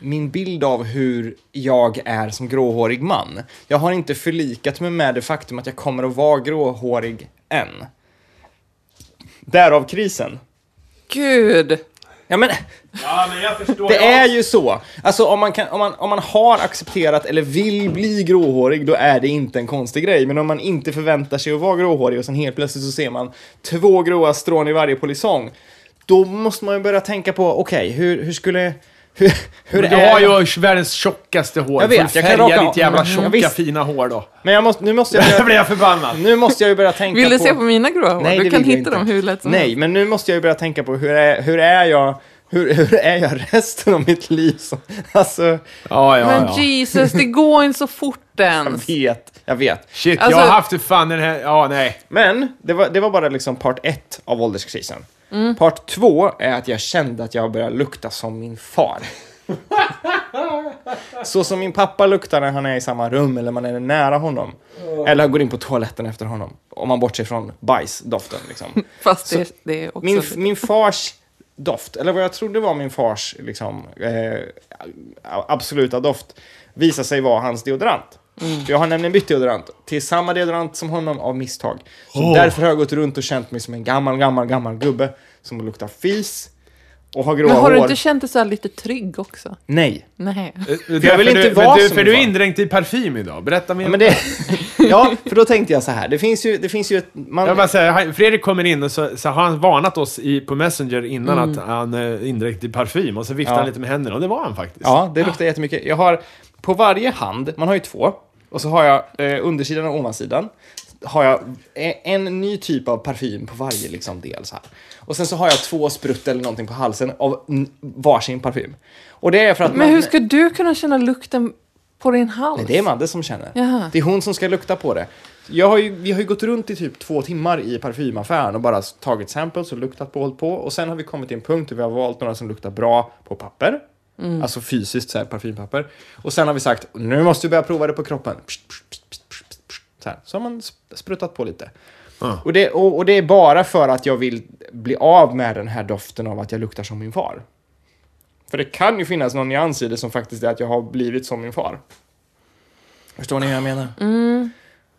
S1: min bild av hur jag är som gråhårig man. Jag har inte förlikat mig med det faktum att jag kommer att vara gråhårig än. Därav krisen.
S2: Gud!
S1: Ja, men
S3: Ja, men jag förstår.
S1: det är ju så. Alltså om man, kan, om, man, om man har accepterat eller vill bli gråhårig, då är det inte en konstig grej. Men om man inte förväntar sig att vara gråhårig och sen helt plötsligt så ser man två gråa strån i varje polisong. Då måste man ju börja tänka på, okej, hur, hur skulle... Hur, hur
S3: Men du
S1: är
S3: har ju världens tjockaste hår.
S1: Jag vet,
S3: Får du
S1: jag kan
S3: färga
S1: raka-
S3: ditt jävla
S1: Mm,
S3: tjocka
S1: visst. Mm.
S3: fina hår då. [LAUGHS]
S1: Men jag måste, nu, måste
S2: [LAUGHS]
S1: jag
S3: Då
S1: börja,
S3: blir jag förbannad.
S1: nu måste jag ju börja tänka
S2: Vill du
S1: på...
S2: se på mina gråa hår?
S1: Nej, det
S2: du kan
S1: vill jag
S2: hitta
S1: inte.
S2: dem hur lätt som
S1: Nej, men nu måste jag ju börja tänka på hur är, hur är jag... Hur, hur är jag resten av mitt liv? som- Alltså,
S3: Ja, ja,
S2: Men
S3: ja.
S2: Jesus, det går inte så
S1: [LAUGHS]
S2: fort ens.
S1: jag vet, jag vet.
S3: Shit,
S2: Alltså-
S3: jag har haft det fan den här... Ja, nej.
S1: Men det var, det var bara liksom part ett av ålderskrisen. Part två är att jag kände att jag började lukta som min far. Så som min pappa luktar när han är i samma rum eller man är nära honom. Eller går in på toaletten efter honom. Om man bortser från bajsdoften liksom.
S2: Fast det, det är också...
S1: min, min fars doft, eller vad jag trodde var min fars liksom, eh, absoluta doft, visade sig vara hans deodorant.
S2: Mm.
S1: För Jag har nämligen bytt deodorant till samma deodorant som honom av misstag. Så Därför har jag gått runt och känt mig som en gammal, gammal, gammal gubbe som luktar fis och har gråa
S2: Men har du
S1: hår. Eh,
S2: inte känt dig så här lite trygg också?
S1: Nej.
S2: Nej.
S3: Jag
S1: vill inte
S3: du,
S1: vara
S3: men du,
S1: som min
S3: För du är
S1: far.
S3: indränkt i parfym idag. Berätta mer.
S1: Ja, men
S2: [LAUGHS]
S1: det, ja, för då tänkte jag så här. Det finns ju, det finns ju ett... Man,
S3: Jag bara säger, han- Fredrik kommer in och så, så har han varnat oss i, på Messenger innan att han är indränkt i parfym och så viftar
S1: Mm. Ja.
S3: han lite med händerna och det var han faktiskt.
S1: Ja, det luktar jättemycket. Jag har på varje hand, man har ju två, och så har jag eh, undersidan och ovansidan. Har jag e- en ny typ av parfym på varje liksom, del så här. Och sen så har jag två sprutt eller någonting på halsen av n- varsin parfym. Och det är för att
S2: Men
S1: man,
S2: hur ska du kunna känna lukten på din hals?
S1: Nej, det är Madde som känner.
S2: Jaha.
S1: Det är hon som ska lukta på det. Jag har ju, vi har ju gått runt i typ två timmar i parfymaffären och bara tagit samples och luktat på och hållit på. Och sen har vi kommit till en punkt där vi har valt några som luktar bra på papper. Alltså fysiskt så här, parfympapper. Och sen har vi sagt, nu måste vi börja prova det på kroppen. Pst, pst, pst, pst, pst, pst, pst. Så, här. så har man sp- spruttat på lite.
S3: Ja.
S1: Och, det, och, och det är bara för att jag vill bli av med den här doften av att jag luktar som min far. För det kan ju finnas någon nyans i det som faktiskt är att jag har blivit som min far. Förstår ni hur jag menar?
S2: Mm.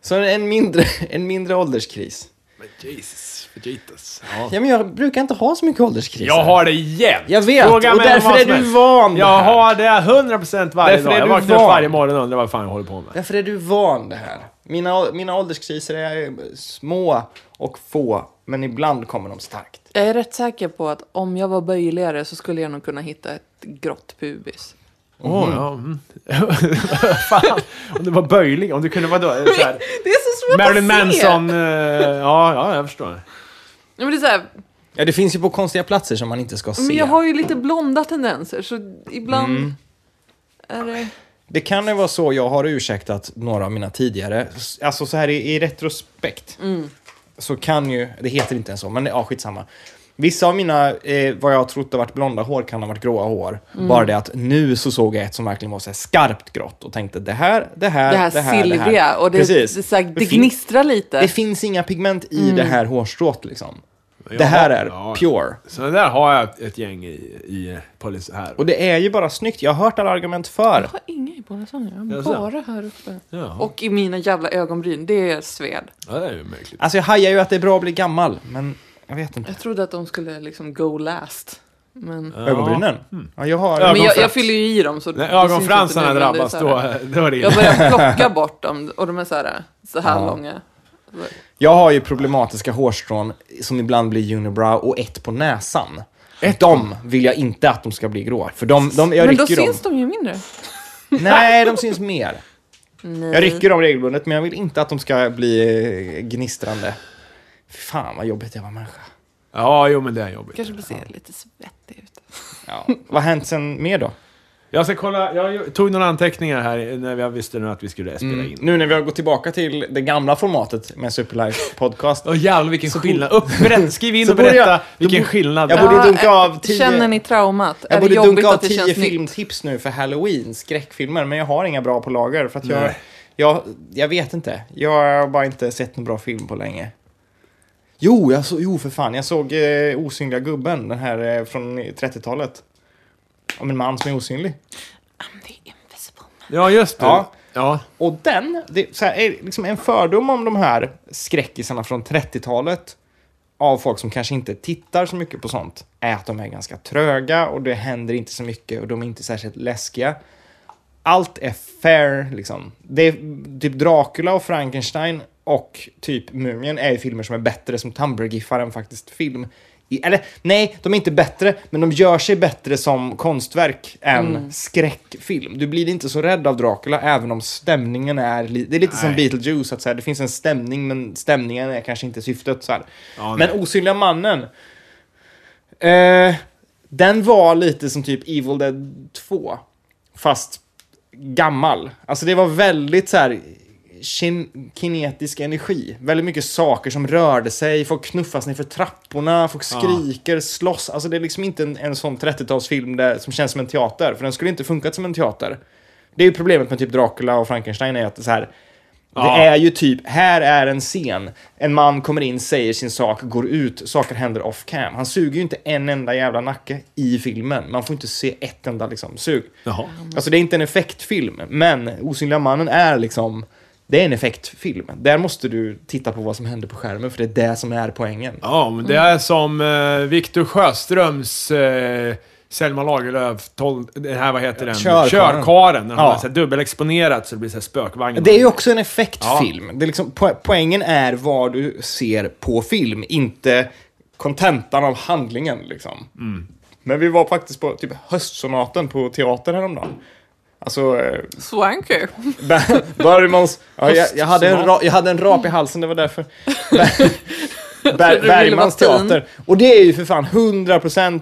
S1: Så en mindre, [LAUGHS] en mindre ålderskris.
S3: Men Jesus, Jesus. Ja.
S1: Ja, men jag brukar inte ha så mycket ålderskriser.
S3: Jag har det igen.
S1: Jag vet,
S3: Fråga
S1: och
S3: mig om
S1: därför
S3: vad
S1: är
S3: som
S1: du
S3: helst.
S1: van det
S3: Jag
S1: här.
S3: har det 100% varje
S1: Därför
S3: dag.
S1: är
S3: Jag
S1: du
S3: vaknar upp
S1: van.
S3: varje morgon och undrar vad fan jag håller på med.
S1: Därför är du van det här. Mina, å- mina ålderskriser är små och få, men ibland kommer de starkt.
S2: Jag är rätt säker på att om jag var böjligare så skulle jag nog kunna hitta ett grått pubis.
S3: Åh, ja, mm. [LAUGHS] fan, om du var böjlig, om du kunde vara då, eh, [LAUGHS]
S1: [LAUGHS]
S3: så här,
S2: Det är så svårt
S3: Marilyn
S2: att se!
S3: Manson. eh, Ja, ja, jag förstår.
S2: Ja, Men det är så här,
S1: Ja, det finns ju på konstiga platser som man inte ska se.
S2: men jag har ju lite blonda tendenser så ibland är det...
S1: Det kan ju vara så jag har ursäktat några av mina tidigare. Alltså så här i, i retrospekt.
S2: Mm.
S1: Så kan ju, det heter inte ens så, men ja, skitsamma. Vissa av mina, eh, vad jag har trott har varit blonda hår kan ha varit gråa hår.
S2: Mm.
S1: Bara det att nu så såg jag ett som verkligen var så här skarpt grått och tänkte det här, det här,
S2: det här silvriga och det, det,
S1: Precis.
S2: är så här, det Mm.
S1: fin-
S2: gnistrar lite.
S1: Det finns inga pigment i det här hårstrået liksom.
S3: Jag
S1: det här
S3: har-
S1: är
S3: ja.
S1: pure.
S3: Så där har jag ett gäng i, i polis här.
S1: Och det är ju bara snyggt, jag har hört alla argument för.
S2: Jag har inga i båda sånger, jag har
S3: Jaså?
S2: bara här uppe.
S3: Jaha.
S2: Och i mina jävla ögonbryn, det är sved.
S3: Ja, det är ju märkligt.
S1: Alltså jag hajar ju att det är bra att bli gammal, men jag vet inte.
S2: Jag trodde att de skulle liksom go last. Men,
S1: Ögonbrynen?
S2: Mm.
S1: Ja, jag har...
S2: men jag, jag
S3: ögonfrans.
S2: fyller ju i dem så det
S3: När
S2: syns inte
S3: ögonfransarna
S2: nu, men det är
S3: drabbas,
S2: så
S3: då,
S2: här-
S3: då är det illa.
S2: Jag börjar plocka bort dem och de är så här, så här långa.
S1: Jag har ju problematiska hårstrån som ibland blir unibrow och ett på näsan. Ett de vill jag inte att de ska bli grå, för de, de, jag
S2: Men då
S1: rycker dem.
S2: syns de ju mindre.
S1: Nej, de syns mer.
S2: Nej.
S1: Jag rycker dem regelbundet, men jag vill inte att de ska bli eh, gnistrande. Fan vad jobbigt jag var människa.
S3: Ja, jo men det är jobbigt.
S2: Kanske ser lite svettig ut.
S1: Ja. Vad har hänt sen mer då?
S3: Jag ska kolla, jag tog några anteckningar här när jag visste nu att vi skulle spela in.
S1: Nu när vi har gått tillbaka till det gamla formatet med Superlife podcast.
S3: Åh jävlar vilken skillnad. Upp, berätt, skriv [LAUGHS] in
S1: Så
S3: och
S1: borde
S3: berätta
S1: jag-
S3: vilken
S1: då bo-
S3: skillnad.
S1: jag borde
S2: Ja,
S1: dunka
S2: eh,
S1: av tio-
S2: Känner ni traumat?
S1: Jag
S2: är det
S1: borde
S2: jobbigt
S1: dunka av
S2: att det
S1: tio
S2: känns nytt?
S1: filmtips nu för halloween, skräckfilmer, men jag har inga bra på lager. För att jag,
S3: Nej.
S1: jag, jag vet inte. Jag har bara inte sett någon bra film på länge. Jo, jag så, jo för fan. Jag såg eh, Osynliga gubben, den här eh, från 30-talet. Om en man som är osynlig.
S2: I'm the invisible man.
S3: Ja, just det.
S1: Ja.
S3: Ja.
S1: Och den, det så här, är liksom en fördom om de här skräckisarna från 30-talet av folk som kanske inte tittar så mycket på sånt är att de är ganska tröga och det händer inte så mycket och de är inte särskilt läskiga. Allt är fair, liksom. Det är, typ Dracula och Frankenstein och typ Mumien är ju filmer som är bättre som Tumblr-giffar än faktiskt film. I, eller nej, de är inte bättre, men de gör sig bättre som konstverk än
S3: Mm.
S1: skräckfilm. Du blir inte så rädd av Dracula, även om stämningen är... Li- det är lite som
S3: Nej.
S1: Beetlejuice, att så här, det finns en stämning, men stämningen är kanske inte syftet. Så här.
S3: Ja,
S1: men
S3: nej.
S1: Osynliga mannen. Eh, den var lite som typ Evil Dead 2, fast gammal. Alltså det var väldigt så här kin- kinetisk energi. Väldigt mycket saker som rörde sig. Folk knuffas ner för trapporna, folk
S3: Ja.
S1: skriker, slåss. Alltså det är liksom inte en, en sån 30-talsfilm där, som känns som en teater, för den skulle inte funkat som en teater. Det är ju problemet med typ Dracula och Frankenstein är att det är så här
S3: Ja.
S1: det är ju typ, här är en scen. En man kommer in, säger sin sak, går ut, saker händer off cam. Han suger ju inte en enda jävla nacke i filmen. Man får inte se ett enda liksom, sug.
S3: Jaha.
S1: Alltså det är inte en effektfilm, men Osynliga mannen är liksom, det är en effektfilm. Där måste du titta på vad som händer på skärmen, för det är det som är poängen.
S3: Ja, men det är som eh, Viktor Sjöströms eh, Selma Lagerlöf, tol- det här vad heter den?
S1: Körkarlen.
S3: Körkaren. Den
S1: Ja.
S3: har så här dubbelexponerat så det blir så här spökvagn.
S1: Det är ju också en effektfilm. Det är liksom, po- poängen är vad du ser på film, inte kontentan av handlingen. Liksom. Men vi var faktiskt på typ höstsonaten på teater häromdagen. Alltså, eh,
S2: Swanky.
S1: Ber- Bergmans... Ja, jag, jag, hade en ra, jag hade en rap i halsen, det var därför. Ber, Ber,
S2: vara
S1: Bergmans
S2: fin.
S1: teater. Och det är ju för fan 100%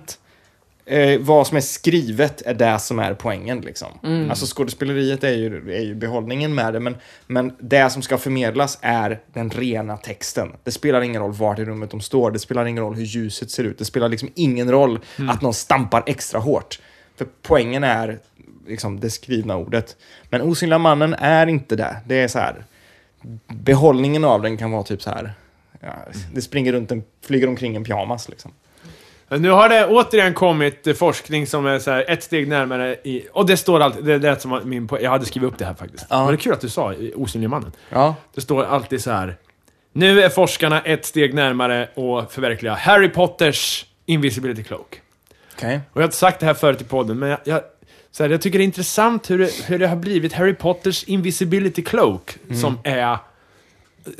S1: eh, vad som är skrivet är det som är poängen. Liksom. Alltså skådespeleriet är ju, är ju behållningen med det, men, men det som ska förmedlas är den rena texten. Det spelar ingen roll vart i rummet de står, det spelar ingen roll hur ljuset ser ut, det spelar liksom ingen roll att någon stampar extra hårt. För poängen är liksom det skrivna ordet. Men Osynliga mannen är inte det. Det är så här, behållningen av den kan vara typ så här, ja, det springer runt en, flyger omkring en pyjamas liksom.
S3: Nu har det återigen kommit eh, forskning som är så här ett steg närmare i... Och det står alltid... Det är det som var min po- Jag hade skrivit upp det här faktiskt.
S1: Ja.
S3: Men det är kul att du sa eh, Osynlige mannen.
S1: Ja.
S3: Det står alltid så här. Nu är forskarna ett steg närmare att förverkliga Harry Potters Invisibility Cloak.
S1: Okej.
S3: Och jag har inte sagt det här förut i podden, men jag, jag, så här, jag tycker det är intressant hur det, hur det har blivit Harry Potters Invisibility Cloak,
S1: Mm.
S3: som är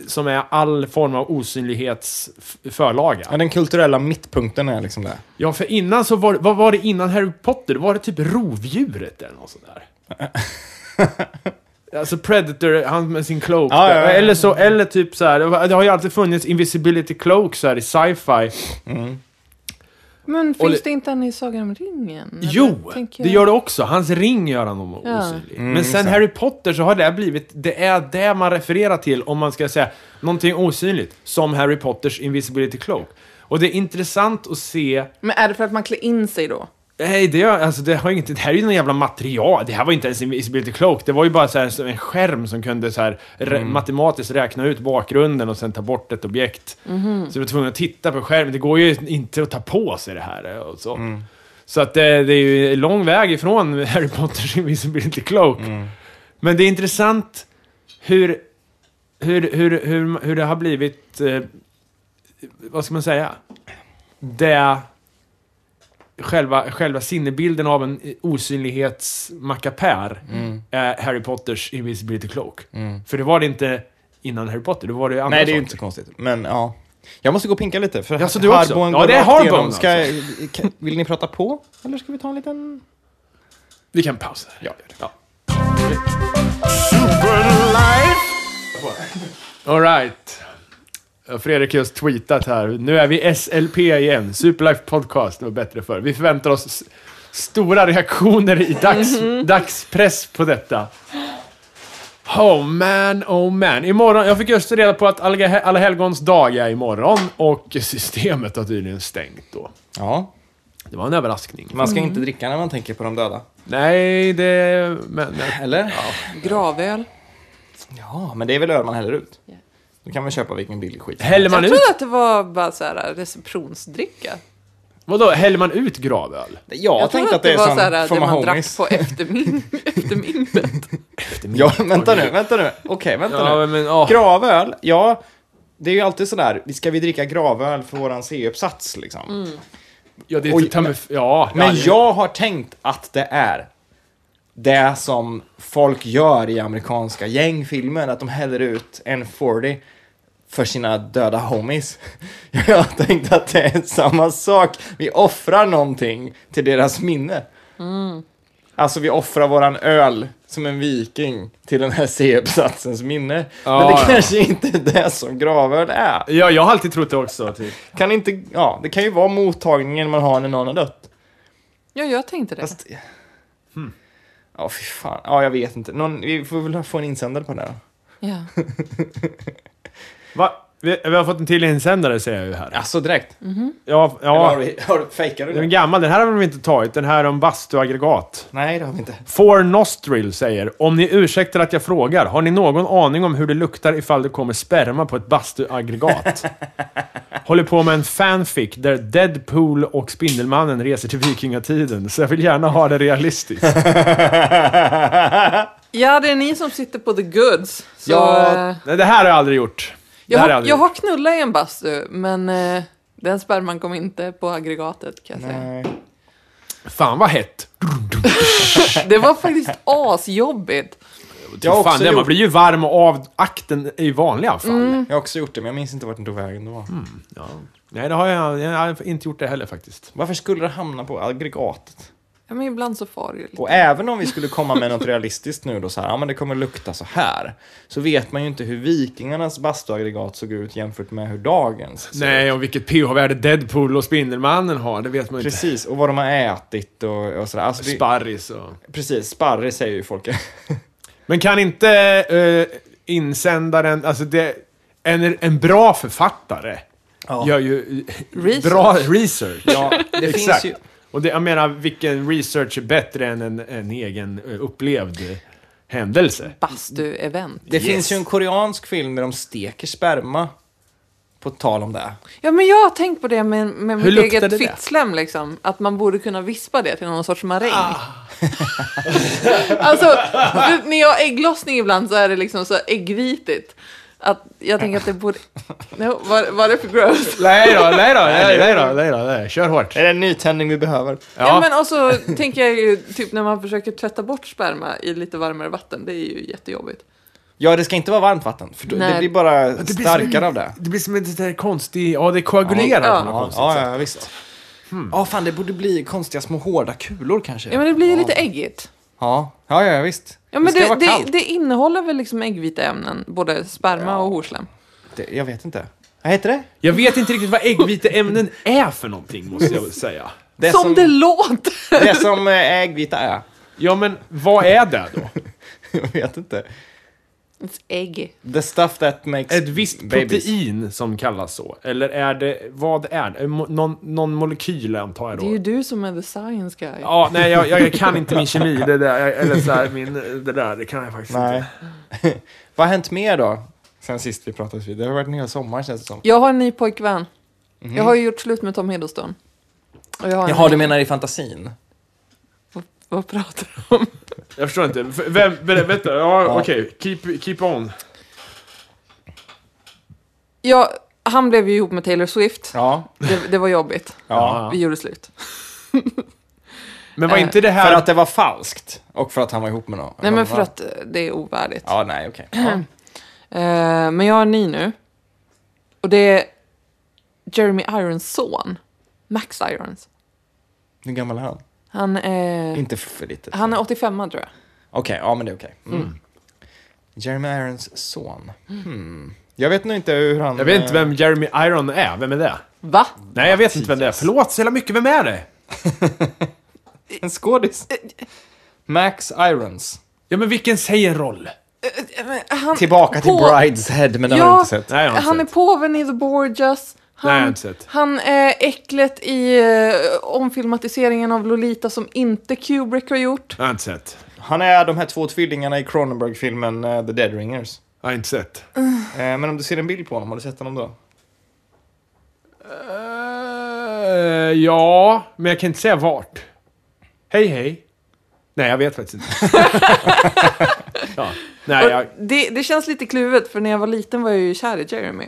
S3: som är all form av osynlighets f- förlaga.
S1: Ja, den kulturella mittpunkten är liksom det.
S3: Ja, för innan så var det- vad var det innan Harry Potter? Var det typ rovdjuret eller
S1: [LAUGHS]
S3: något sånt där? Alltså Predator, han med sin cloak.
S1: Ja,
S3: där.
S1: ja, ja.
S3: Eller så, eller typ så här. det var- Det har ju alltid funnits invisibility cloaks här i sci-fi.
S2: Men
S3: Och
S2: finns
S3: det-
S2: det inte en i Sagan om ringen? Eller
S3: Jo,
S2: tänker
S3: det
S2: jag-
S3: gör det också. Hans ring gör han om
S2: Ja.
S3: osynlig.
S1: Mm,
S3: Men
S1: just
S3: sen
S1: det.
S3: Harry Potter så har det blivit, det är det man refererar till om man ska säga någonting osynligt. Som Harry Potters invisibility cloak. Och det är intressant att se
S2: Men är det för att man klär in sig då?
S3: Nej, det, gör- alltså, det, har inget, det här är ju någon jävla material. Det här var ju inte ens Invisibility Cloak. Det var ju bara så här, som en skärm som kunde så här, rä, matematiskt räkna ut bakgrunden och sen ta bort ett objekt. Så du var tvungen att titta på skärmen. Det går ju inte att ta på sig det här. eh, Och så så att, det, det är ju lång väg ifrån [LAUGHS] Harry Potters Invisibility Cloak.
S1: Mm.
S3: Men det är intressant hur, hur, hur, hur, hur det har blivit... Eh, vad ska man säga? Det själva, själva sinnebilden av en eh, osynlighetsmackapär
S1: Mm.
S3: är Harry Potters Invisibility Cloak. För det var det inte innan Harry Potter, då var det ju andra
S1: Nej, det är ju
S3: saker.
S1: inte så konstigt. Men ja. Jag måste gå och pinka lite. För
S3: Jaså, du också?
S1: Harbon
S3: Ja,
S1: går
S3: det är
S1: rakt
S3: Harbon
S1: igenom.
S3: alltså.
S1: Ska, kan- vill ni prata på? Eller ska vi ta en liten...
S3: Vi kan pausa.
S1: Ja.
S3: ja. All right. Fredrik har just tweetat här. Nu är vi SLP igen. Superlife Podcast. Det var bättre förr. Vi förväntar oss s- stora reaktioner i dags,
S1: Mhm.
S3: dagspress på detta. Oh man, oh man. Imorgon, jag fick just reda på att Allga- Alla helgons dag är imorgon och systemet har tydligen stängt då.
S1: Ja,
S3: Det var en överraskning.
S1: man ska inte dricka när man tänker på de döda.
S3: Nej, det... Men,
S1: Eller?
S2: Gravöl.
S1: Ja, men det är väl öl man häller ut. Då kan man köpa vilken billig skit.
S3: häller
S2: Jag
S3: man ut...
S2: trodde att det var bara så här receptionsdricka.
S3: Vadå, häller man ut gravöl?
S1: Jag,
S2: Jag
S1: tänkte
S2: trodde
S1: att det är
S2: var så
S1: sån
S2: här
S1: for
S2: det
S1: my
S2: man drack
S1: homies.
S2: på eftermin- eftermiddag.
S1: [LAUGHS] Ja, vänta nu, vänta nu. Okej, vänta nu.
S3: Ja, men åh.
S1: Gravöl, ja. Det är ju alltid sådär, ska vi dricka gravöl för våran C-uppsats liksom?
S3: Ja, det är
S1: Oj,
S3: ta med... Ja.
S1: Men
S3: ja,
S1: jag har tänkt att det är det som folk gör i amerikanska gängfilmer, att de häller ut en 40 för sina döda homies. [LAUGHS] Jag har tänkt att det är samma sak. Vi offrar någonting till deras minne.
S3: Mm.
S1: Alltså vi offrar våran öl som en viking till den här C-uppsatsens minne. Men
S3: Ja,
S1: det
S3: ja.
S1: kanske inte är det som gravöl är.
S3: Ja, jag har alltid trott det också. Typ.
S1: Kan inte, ja, det kan ju vara mottagningen man har när någon har dött.
S2: Ja, jag tänkte det.
S1: Fast... Hmm. Ja, fy fan. Ja, jag vet inte. Någon, vi får väl få en insändare på det här.
S2: Ja.
S3: Va? Vi, vi har fått en till insändare ser jag ju här.
S1: Alltså direkt?
S3: Ja,
S1: Eller har
S3: ja.
S1: vi, har, fejkar du
S3: Den är
S1: det?
S3: gammal, den här har de inte tagit. Den här om bastuaggregat.
S1: Nej, det har vi inte.
S3: Four Nostril säger, om ni ursäktar att jag frågar, har ni någon aning om hur det luktar ifall det kommer sperma på
S1: [LAUGHS]
S3: ett bastuaggregat? Håller på med en fanfic där Deadpool och Spindelmannen reser till vikingatiden, så jag vill gärna ha
S1: [LAUGHS]
S3: det realistiskt.
S2: ja, det är ni som sitter på the goods. Så,
S1: Ja,
S2: eh,
S3: Nej, det här har jag aldrig gjort. Det
S2: jag,
S3: här har
S2: har,
S3: jag
S2: jag
S3: aldrig gjort.
S2: har knullat i en bastu, men eh, den sperman kom inte på aggregatet kan jag säga.
S1: Nej.
S3: Fan vad hett.
S2: Det var faktiskt asjobbigt.
S1: Jag har,
S3: Fan,
S1: också
S3: det, man
S1: gjort,
S3: blir ju varm och av akten i vanliga fall.
S2: Mm.
S1: jag har också gjort det, men jag minns inte vart den tog vägen. Det var.
S3: Ja. Nej, det har jag, jag har inte gjort det heller faktiskt.
S1: Varför skulle det hamna på aggregatet?
S2: Ja, men ibland så far det ju lite.
S1: Och även om vi skulle komma med något realistiskt nu då så här, ja men det kommer lukta så här. Så vet man ju inte hur vikingarnas bastuaggregat såg ut jämfört med hur dagens ser
S3: Nej, och vilket pH-värde Deadpool och Spindelmannen har, det vet man ju inte.
S1: Precis, och vad de har ätit och, och sådär. Alltså, det,
S3: Sparris och...
S1: precis, sparre säger ju folk.
S3: Men kan inte eh, insändaren, alltså det... En, en bra författare
S1: Ja.
S3: gör ju
S2: Research.
S3: bra research.
S1: Ja,
S3: [LAUGHS]
S1: det finns
S3: Exakt.
S1: ju-
S3: Och det, jag menar, vilken research är bättre än en, en egen eh, upplevd eh, händelse?
S2: Bastu-event.
S1: Det
S3: Yes.
S1: finns ju en koreansk film där de steker sperma. På tal om det.
S2: Ja, men jag har tänkt på det med, med mitt
S3: luktar det
S2: eget
S3: där?
S2: fittsläm, liksom. Att man borde kunna vispa det till någon sorts maräng. [LAUGHS] alltså, du, när jag har ägglossning ibland så är det liksom så äggvitigt. Att jag tänker att det borde... No, vad, vad är det för gross?
S3: Nej då, nej då, nej, nej då, nej då, nej. Kör hårt.
S1: Är det en nytändning vi behöver?
S2: Ja. men och så tänker jag ju typ när man försöker tvätta bort sperma i lite varmare vatten. Det är ju jättejobbigt.
S1: Ja, det ska inte vara varmt vatten. För då, det
S2: Nej.
S1: blir bara
S3: blir som
S1: starkare
S3: en-
S1: av det.
S3: Det blir som ett där konstigt... Ja, det koagulerar
S2: Ja.
S3: på något
S1: Ja, ja,
S3: konstigt Hmm. sätt.
S1: ja visst. Ja, fan det borde bli konstiga små hårda kulor kanske.
S2: Ja, men det blir ju lite äggigt.
S1: Ja, ja, ja visst.
S2: Ja, men
S1: det ska
S2: det,
S1: vara
S2: det,
S1: kallt.
S2: det innehåller väl liksom äggvita ämnen, både sperma och horslem.
S1: Det, jag vet inte. Vad heter det?
S3: Jag vet inte riktigt vad äggviteämnen är för någonting, måste jag väl säga.
S1: Det
S2: som, det låter!
S1: det som eh, äggvita är.
S3: Ja, men vad är det då?
S1: [LAUGHS] Jag vet inte.
S2: [LAUGHS] It's egg.
S1: The stuff that makes
S3: Ett visst protein som kallas så? Eller är det... Vad är det? Mo- Någon, någon molekyl, antar jag
S2: Det är ju
S3: då.
S2: du som är the science guy.
S3: Ja, nej, jag, jag kan inte min kemi. Det där, jag- eller så här, min, det där, det kan jag faktiskt
S1: Nej. [LAUGHS]
S3: inte.
S1: Vad har hänt mer då? Sen sist vi pratades vid. Det har varit en hel sommar känns det som.
S2: Jag har en ny pojkvän. Jag har ju gjort slut med Tom Hiddleston. Och jag har
S1: Mhm.
S2: en
S1: Jaha,
S2: ny-
S1: du menar i fantasin?
S2: Vad, vad pratar du om?
S3: Jag förstår inte. F- Vem, vä- vänta, ja, okej. Keep, keep on.
S2: Ja, han blev ju ihop med Taylor Swift.
S1: Ja.
S2: Det, det var jobbigt.
S1: Ja.
S2: Vi gjorde slut.
S3: Men var
S2: Eh,
S3: inte det här...
S1: För att det var falskt? Och för att han var ihop med någon?
S2: Nej, men för
S1: va?
S2: att eh, det är ovärdigt.
S1: Ja, nej, okej. Ja.
S2: Eh, men jag har en ny nu. Och det är Jeremy Irons son. Max Irons.
S1: Hur gammal är han?
S2: Han är,
S1: Inte för litet.
S2: han är 85 tror jag.
S1: Okej, ja men det är okej. Mm. Jeremy Irons son. Hmm. Jag vet nog inte hur han...
S3: Jag vet inte
S1: eh,
S3: vem Jeremy Iron är. Vem är det?
S2: Va?
S3: Nej, jag vet inte vem det är. Förlåt så jävla mycket. Vem är det?
S1: En skådis. Max Irons.
S3: Ja, men vilken säger en roll?
S2: Eh, men Han,
S1: Tillbaka till
S2: på-
S1: Brideshead, men den
S2: Ja.
S1: har du inte sett.
S3: Nej, jag har inte
S2: Han är
S3: sett.
S2: påven i The Borgias. Han,
S3: Nej, jag har inte sett.
S2: han är äcklet i eh, omfilmatiseringen av Lolita som inte Kubrick har gjort.
S3: Jag har inte sett.
S1: Han är de här två tvillingarna i Cronenberg-filmen eh, The Dead Ringers.
S3: Jag har inte sett.
S1: Eh, Men om du ser en bild på honom, har du sett honom då?
S3: Eh, ja, men jag kan inte säga vart. Hej, hej. Nej, jag vet faktiskt [LAUGHS] inte. ja. Nej, jag...
S2: Och det, det känns lite kluvet, för när jag var liten var jag ju kär i Jeremy.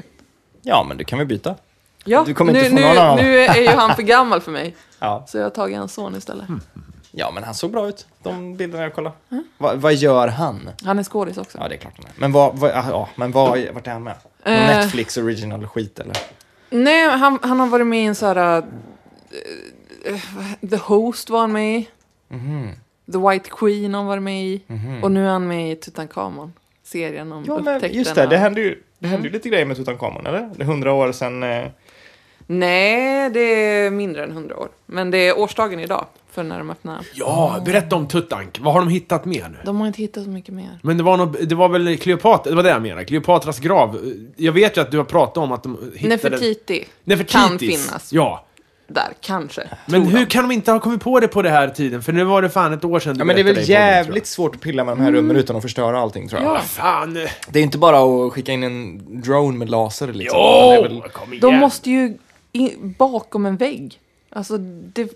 S1: Ja, men du kan väl byta?
S2: Ja,
S1: Du kommer
S2: nu,
S1: inte få
S2: nu,
S1: någon annan.
S2: nu är ju han för gammal för mig,
S1: [LAUGHS] Ja. Mm.
S2: så jag har tagit hans son istället.
S1: ja, men han såg bra ut, de bilderna jag kollade. Va, vad gör han?
S2: Han är skådis också.
S1: Ja, det är klart han är. Men, vad, vad, ah, ja, men vad, vart är han med? Någon
S2: Eh.
S1: Netflix original skit eller?
S2: Nej, han, han har varit med i en sån här... eh, eh, The Host var han med i.
S1: Mhm.
S2: The White Queen har han varit med i. Och nu är han med i Tutankhamon. Serien om
S1: Ja, men
S2: upptäckten.
S1: just det,
S2: av-
S1: det hände ju, det hände ju lite grejer med Tutankhamon, eller? Det är hundra år sedan... Eh,
S2: Nej, det är mindre än hundra år. Men det är årsdagen idag för när de öppnade.
S3: ja, berätta om Tuttank. Vad har de hittat mer nu?
S2: De har inte hittat så mycket mer.
S3: Men det var, nog, det var väl Kleopatra, det var det jag menade. Kleopatras grav. Jag vet ju att du har pratat om att de hittade...
S2: Nefertiti kan
S3: Nefertitis.
S2: finnas
S3: Ja.
S2: där, kanske.
S3: Men hur kan de inte ha kommit på det på det här tiden? För nu var det fan ett år sedan du
S1: ja, men det är
S3: berättade
S1: väl
S3: i podden, tror jag.
S1: jävligt svårt att pilla med de här rummen utan att förstöra allting, tror jag.
S2: Ja.
S3: Fan! eh,
S1: Det är inte bara att skicka in en drone med laser, liksom. Det är väl-
S3: Åh! kom igen!
S2: De måste ju in, bakom en vägg. Alltså, det,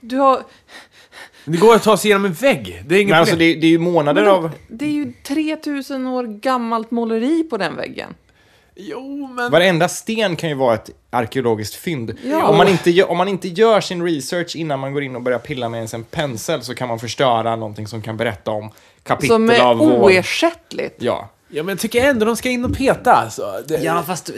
S2: du har...
S3: Det går att ta sig igenom en vägg. Det är inget
S1: Men alltså,
S3: problem.
S1: det, det är ju månader
S2: Men
S1: av...
S2: Det är ju 3000 år gammalt måleri på den väggen.
S3: Jo, men...
S1: Varenda sten kan ju vara ett arkeologiskt fynd.
S2: Ja.
S1: Om, man inte gör, om man inte gör sin research innan man går in och börjar pilla med ens en pensel så kan man förstöra någonting som kan berätta om kapitel
S2: Som är
S1: av vår...
S2: oersättligt.
S1: Ja.
S3: Ja, men jag tycker ändå de ska in och peta alltså. Det...
S1: fast eh,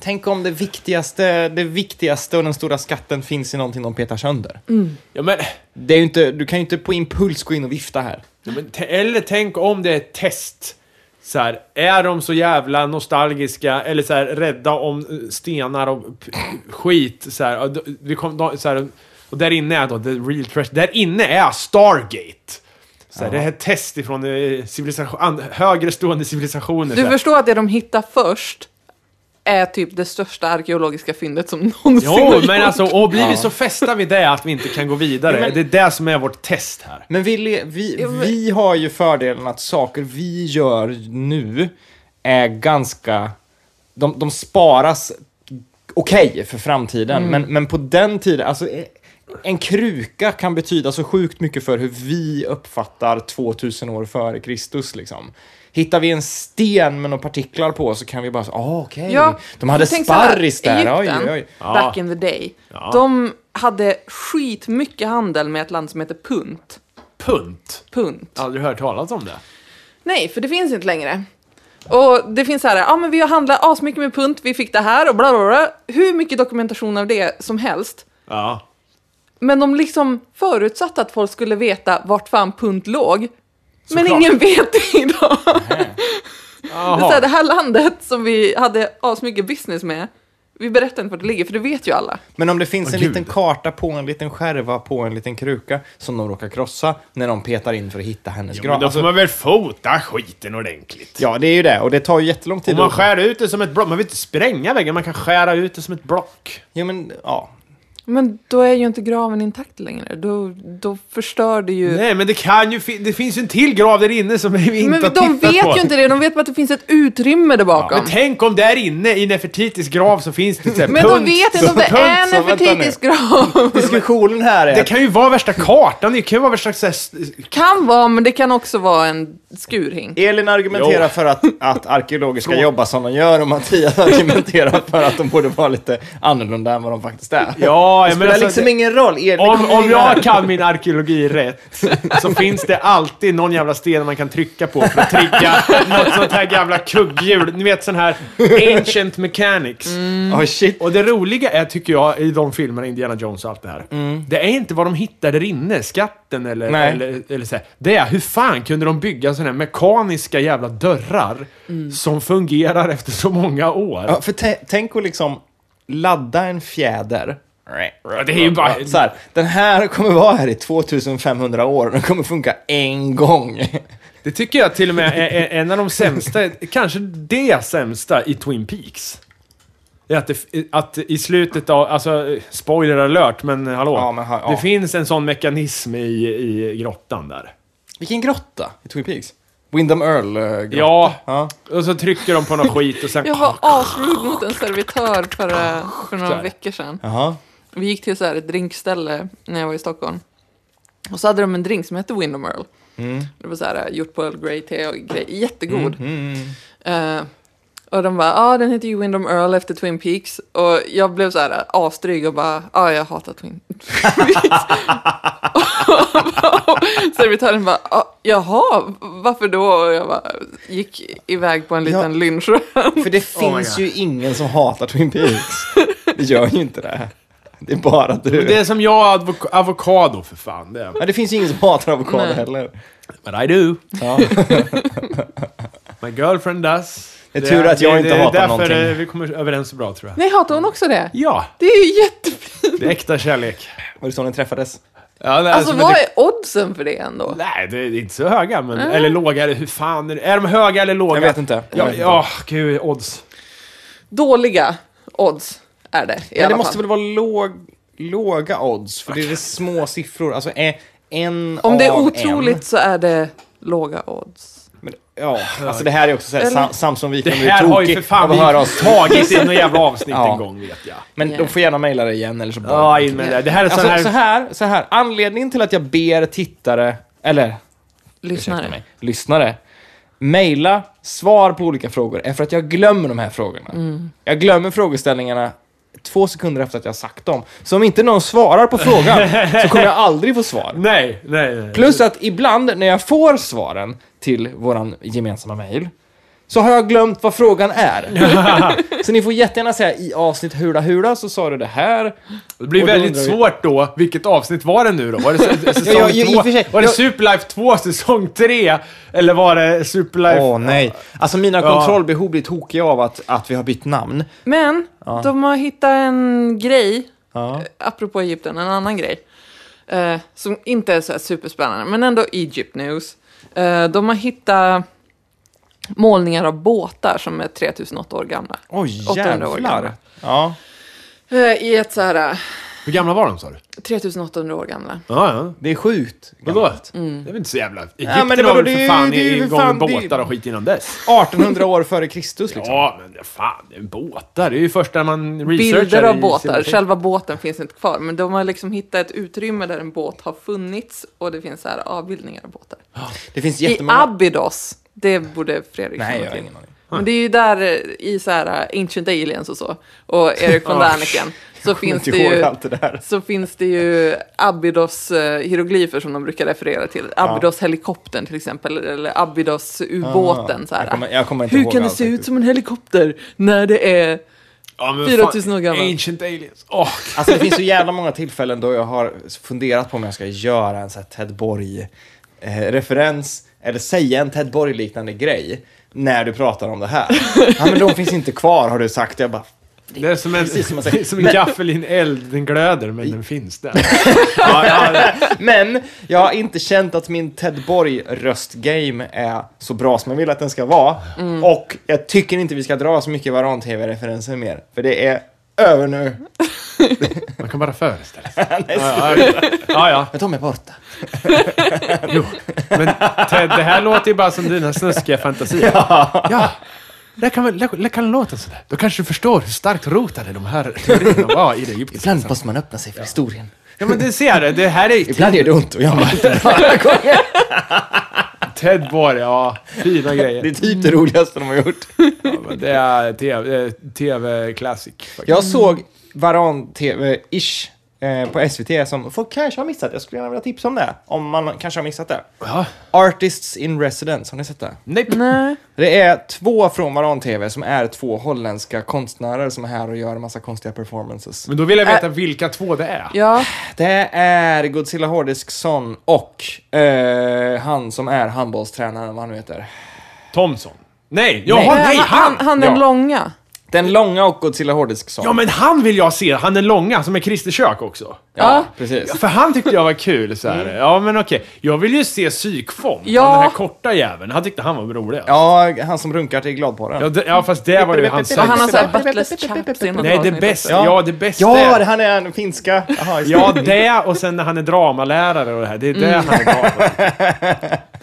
S1: tänk om det viktigaste, det viktigaste och den stora skatten finns i någonting de petar sönder.
S2: Mm.
S3: Ja, men...
S1: Det är ju inte, du kan ju inte på impuls gå in och vifta här.
S3: Ja, men t- eller tänk om det är ett test. Så här, är de så jävla nostalgiska eller så här, rädda om eh, stenar och p- skit? Så här, och, d- vi kom, då, så här, och där inne är då the real trash. Där inne är Stargate. Så här, det här är ett test ifrån eh, civilisation, an, högre stående civilisationer. så
S2: Du
S3: här.
S2: förstår att det de hittar först är typ det största arkeologiska fyndet som [LAUGHS] någonsin har
S3: Jo,
S2: gjorts.
S3: men alltså, och blir vi
S1: Ja.
S3: så fästa vid det att vi inte kan gå vidare.
S1: Ja, men-
S3: Det är det som är vårt test här.
S1: Men vi, le- vi,
S2: Ja, men-
S1: vi har ju fördelen att saker vi gör nu är ganska... De, de sparas okej för framtiden,
S2: Mm.
S1: men, men på den tiden... Alltså, eh, en kruka kan betyda så sjukt mycket för hur vi uppfattar 2000 år före Kristus. Liksom. Hittar vi en sten med några partiklar på så kan vi bara säga, ah, okej,
S2: Ja,
S1: de hade
S2: så tänk så här,
S1: sparris där. Oj,
S2: Egypten,
S1: oj, oj.
S3: Ja.
S2: Back in the day.
S3: Ja.
S2: De hade skitmycket handel med ett land som heter Punt.
S3: Punt.
S2: Punt.
S3: Aldrig hört talas om det.
S2: Nej, för det finns inte längre. Och det finns så här, ja men vi har handlat asmycket med Punt, vi fick det här och bla bla bla. Hur mycket dokumentation av det som helst.
S3: Ja.
S2: Men de liksom förutsatte att folk skulle veta vart fan Punt låg. men
S3: Såklart.
S2: ingen vet det idag. [LAUGHS] Det, är så här, det
S3: Jaha.
S2: här landet som vi hade asmycket business med, vi berättar inte var det ligger för det vet ju alla.
S1: Men om det finns
S3: Åh,
S1: en
S3: gud.
S1: liten karta på en liten skärva på en liten kruka som de råkar krossa när de petar in för att hitta hennes
S3: Men
S1: grav.
S3: då får
S1: Alltså,
S3: man väl fota skiten ordentligt.
S1: ja, det är ju det. Och det tar ju jättelång tid.
S3: Om man
S1: att-
S3: skär ut det som ett block. Man vill inte spränga väggen, man kan skära ut det som ett block.
S1: Ja, men ja.
S2: Men då är ju inte graven intakt längre. Då, då förstör det ju...
S3: Nej, men det kan ju fin- Det finns ju en till grav där inne som vi inte
S2: men
S3: har
S2: de
S3: tittat
S2: vet
S3: på.
S2: ju inte det. De vet bara att det finns ett utrymme där bakom.
S3: Men tänk om där inne i Nefertitis grav så finns det typ så här
S2: men
S3: punkt.
S2: de vet inte om
S3: [LAUGHS]
S2: det
S1: punkt,
S2: är en
S1: så vänta
S2: Nefertitis grav.
S1: Diskussionen här är...
S3: Det kan ju vara värsta kartan, det kan ju vara värsta så här, s-
S2: kan vara, men det kan också vara en skurhink.
S1: Elin argumenterar
S3: Jo.
S1: för att, att arkeologer
S3: [LAUGHS]
S1: ska jobba som de gör och Mattias argumenterar för att de borde vara lite annorlunda än vad de faktiskt är.
S3: Ja, Ja,
S1: Det
S3: jag
S1: spelar
S3: menar alltså,
S1: liksom
S3: det-
S1: ingen roll. Er, det
S3: om,
S1: kommer
S3: om
S1: in
S3: jag
S1: här.
S3: kan min arkeologi rätt så finns det alltid någon jävla sten man kan trycka på för att trigga något sånt här jävla kugghjul. Ni vet sån här ancient mechanics.
S2: Mm.
S1: Ja, shit.
S3: Och det roliga är, tycker jag, i de filmerna, Indiana Jones och allt det här. Det är inte vad de hittar där inne, skatten eller,
S1: Mm. Nej.
S3: eller, eller så här. Det är, hur fan kunde de bygga sådana här mekaniska jävla dörrar som fungerar efter så många år?
S1: Mm. Ja, för tä- tänk att liksom ladda en fjäder.
S3: Ja, det är ju bara-
S1: Så här, den här kommer vara här i 2500 år. Den kommer funka en gång.
S3: Det tycker jag till och med är- är en av de sämsta, kanske det sämsta i Twin Peaks. Det är Att, det, att i slutet av, alltså spoiler alert, men hallå.
S1: Ja, men ha- ja.
S3: Det finns en sån mekanism i, i grottan där.
S1: Vilken grotta i Twin Peaks? Windham Earl. eh, grotta.
S3: Ja,
S1: Ja.
S3: och så trycker de på någon skit och sen...
S2: Jag var asrud mot en servitör förra, för några veckor sedan.
S1: Jaha.
S2: Vi gick till så här ett drinkställe när jag var i Stockholm. Och så hade de en drink som hette Windom Earl. Det var så här eh, gjort på Earl Grey te och grej. Jättegod. Eh, och de bara, ja ah, den heter ju Windom Earl efter Twin Peaks. Och jag blev så här eh, asdryg och bara, ja ah, jag hatar Twin [LAUGHS] Peaks. Och [LAUGHS] Servitören bara, ah, jaha, varför då? Och jag bara, gick iväg på en liten
S1: Ja.
S2: lunchrun.
S1: För det
S3: Oh my
S1: finns
S3: God.
S1: ju ingen som hatar Twin Peaks. det gör ju inte det. Det är bara du.
S3: Det är som jag och advok- avokado för fan. Det är.
S1: Ja, det finns ju ingen som hatar avokado
S2: Nej.
S1: heller.
S3: But I do.
S1: Ja.
S3: [LAUGHS] My girlfriend does.
S1: Det är tur att jag
S3: det,
S1: inte
S3: det,
S1: hatar
S3: därför
S1: någonting.
S3: eh, vi kommer överens så bra tror jag.
S2: Nej, hatar hon också
S1: Mm.
S2: det?
S3: Ja,
S2: Det är ju jättefint.
S3: det är äkta kärlek.
S1: Var det så ni träffades?
S3: Ja, det är
S2: Alltså
S3: som
S2: vad
S3: ett-
S2: är oddsen för det ändå?
S3: Nej, det är inte så höga. Men, Eller låga, eller hur fan är det? Är de höga eller låga?
S1: Jag vet inte. Jag
S3: Ja,
S1: vet inte.
S3: ja gud, odds.
S2: Dåliga odds är det i
S1: Men
S2: alla
S1: det måste
S2: fall.
S1: väl vara låg, låga odds? För det är det små siffror. Alltså eh, en
S2: Om det är
S1: av
S2: otroligt så är det låga odds.
S1: En. Men, ja, alltså det här är också så här,
S2: Eller-
S1: Sam, Samson
S3: Det
S1: Wiklund är
S3: här har ju för
S1: tokig
S3: fan
S1: av att höra
S3: vi
S1: oss.
S3: tagit i något
S1: [LAUGHS]
S3: jävla avsnitt
S1: Ja.
S3: en gång, vet jag.
S1: Men
S2: Ja.
S1: de får gärna mejla det igen eller så bara...
S3: Ja, in med det. Det här är
S1: alltså,
S3: sån här...
S1: så, här, så här, anledningen till att jag ber tittare, eller ursäkta
S2: Lyssnare.
S1: mig, lyssnare, mejla svar på olika frågor är för att jag glömmer de här frågorna.
S2: Mm.
S1: Jag glömmer frågeställningarna två sekunder efter att jag har sagt dem. Så om inte någon svarar på
S3: [LAUGHS]
S1: frågan så kommer jag aldrig få svar.
S3: Nej, nej, nej.
S1: Plus att ibland när jag får svaren till våran gemensamma mail så har jag glömt vad frågan
S3: [LAUGHS]
S1: är. så ni får jättegärna säga i avsnitt hula hula så sa du det här.
S3: Det blir
S1: Och då
S3: väldigt
S1: undrar vi-
S3: svårt då. Vilket avsnitt var det nu då? Var
S1: [LAUGHS]
S3: det sä- säsong
S1: Ja, ja, i- i och
S3: två?
S1: för sig.
S3: Var det
S1: Jag-
S3: Superlife 2, säsong 3? Eller var det Superlife...
S1: Åh nej. Alltså mina
S3: Ja.
S1: kontrollbehov blir tokiga av att, att vi har bytt namn.
S2: Men de har hittat en grej, eh,
S1: Ja.
S2: apropå Egypten, en annan grej. Eh, som inte är så här superspännande, men ändå Egypt News. Eh, de har hittat målningar av båtar som är 3008 år gamla.
S1: Oj
S2: 800 år
S1: jävlar.
S2: gamla.
S1: Ja.
S2: Eh, I ett så här eh,
S3: Hur gamla var de sa du?
S2: 3800 år gamla.
S3: Ja, ja.
S1: Det är sjukt. [LAUGHS]
S3: Vadå?
S2: Mm.
S3: Det är väl inte så jävla... Egypten
S1: men det
S3: var
S1: var- det
S3: väl
S1: är
S3: för
S1: ju-
S3: fan
S1: det är ju för
S3: igång
S1: fan-
S3: med
S1: det är-
S3: båtar och skit innan dess.
S1: 1800 år före Kristus liksom.
S3: Ja, men det- fan, det är båtar. Det är ju första man researchar
S2: Bilder av
S3: i
S2: båtar.
S3: sin-
S2: Själva båten finns inte kvar, men de har liksom hittat ett utrymme där en båt har funnits och det finns så här avbildningar av båtar.
S1: Det finns
S2: I
S1: jättemånga...
S2: Abydos, det borde Fredrik
S1: Nej, jag
S2: känna
S1: har
S2: till.
S1: ingen aning.
S2: Men det är ju där eh, i så här eh, Ancient Aliens och så, och Erik von
S3: Ja.
S1: [LAUGHS]
S2: Däniken, så finns det
S1: Kommer inte ihåg
S2: ju...
S1: allt det där.
S2: Så finns det ju Abydos eh, hieroglyfer som de brukar referera till. Abydos helikoptern till exempel, eller Abydos ubåten.
S1: Ah,
S2: så här.
S1: jag kommer- jag kommer inte
S2: Hur
S1: ihåg
S2: kan det
S1: allt
S2: se ut
S1: faktiskt.
S2: som en helikopter när det är
S3: Ja, men
S2: 4000
S3: fan,
S2: år gammal.
S3: Ancient aliens. Åh,
S1: Alltså det finns så jävla många tillfällen då jag har funderat på om jag ska göra en sån här Ted Borg-referens eller säga en Ted Borg-liknande grej när du pratar om det [LAUGHS] här. Ja, men de finns inte kvar har du sagt. Jag bara,
S3: det är som en,
S1: Precis som
S3: [LAUGHS]
S1: man säger.
S3: som en
S1: Men-
S3: gaffel i en eld. Den glöder, men den finns
S1: [LAUGHS]
S3: där. ja, ja, det-
S1: men jag har inte känt att min Ted Borg-röstgame är så bra som jag vill att den ska vara. Och jag tycker inte vi ska dra så mycket Varan-TV-referenser mer, för det är över nu.
S3: man kan bara föreställa sig.
S1: [LAUGHS]
S3: ja, ja, ja, ja.
S1: Men de är borta.
S3: Jo. Men Ted, det här låter ju bara som dina snuskiga fantasier. Ja. Det kan, väl- det kan låta sådär. Då kanske du förstår hur starkt rotade de här teorierna var i det egyptiska.
S1: Ibland måste man öppna sig för historien.
S3: Ja, men du ser det. Det här är ju typ
S1: Ibland gör det ont och jag mår inte några [LAUGHS] gånger.
S3: Ted Borg. Ja, fina grejer.
S1: Det är typ det roligaste de har gjort.
S3: Ja, men det är tv, eh, TV classic. faktiskt.
S1: Jag såg Varan-TV-ish eh, på SVT som folk kanske har missat. Jag skulle gärna vilja tipsa om det, om man kanske har missat det.
S3: Ja.
S1: Artists in Residence, har ni sett det?
S3: Nej.
S2: Nej.
S1: Det är två från Varan TV som är två holländska konstnärer som är här och gör en massa konstiga performances.
S3: Men då vill jag veta vilka två det är.
S2: Ja.
S1: Det är Godzilla Hårdisksson och eh, han som är handbollstränaren, vad han nu heter.
S3: Thomson. Nej, jaha, nej,
S2: Eh,
S3: han!
S2: han den
S1: Ja.
S2: långa.
S1: Den långa och Godzilla Hårdisksson.
S3: Ja, men han vill jag se. Han är långa, som är Christer Kök också.
S1: Ja, precis.
S3: För han tyckte jag var kul så här. Ja, men okej. Jag vill ju se Psykfond.
S2: Ja.
S3: Han, den här korta jäveln. Han tyckte han var rolig. Ja.
S1: Ja, han som runkar till Gladporren.
S3: Ja, det, ja, fast det var ju hans...
S1: Ja,
S2: Och han har
S1: så här-
S2: såhär butless chaps i något
S3: Nej, det
S2: avsnitt
S3: bästa.
S2: också.
S3: Ja, det bästa.
S1: Ja,
S3: är-
S1: det- han är en finska. Jaha, just
S3: Ja, det och sen när han är dramalärare och det här. Det är det han är bra på.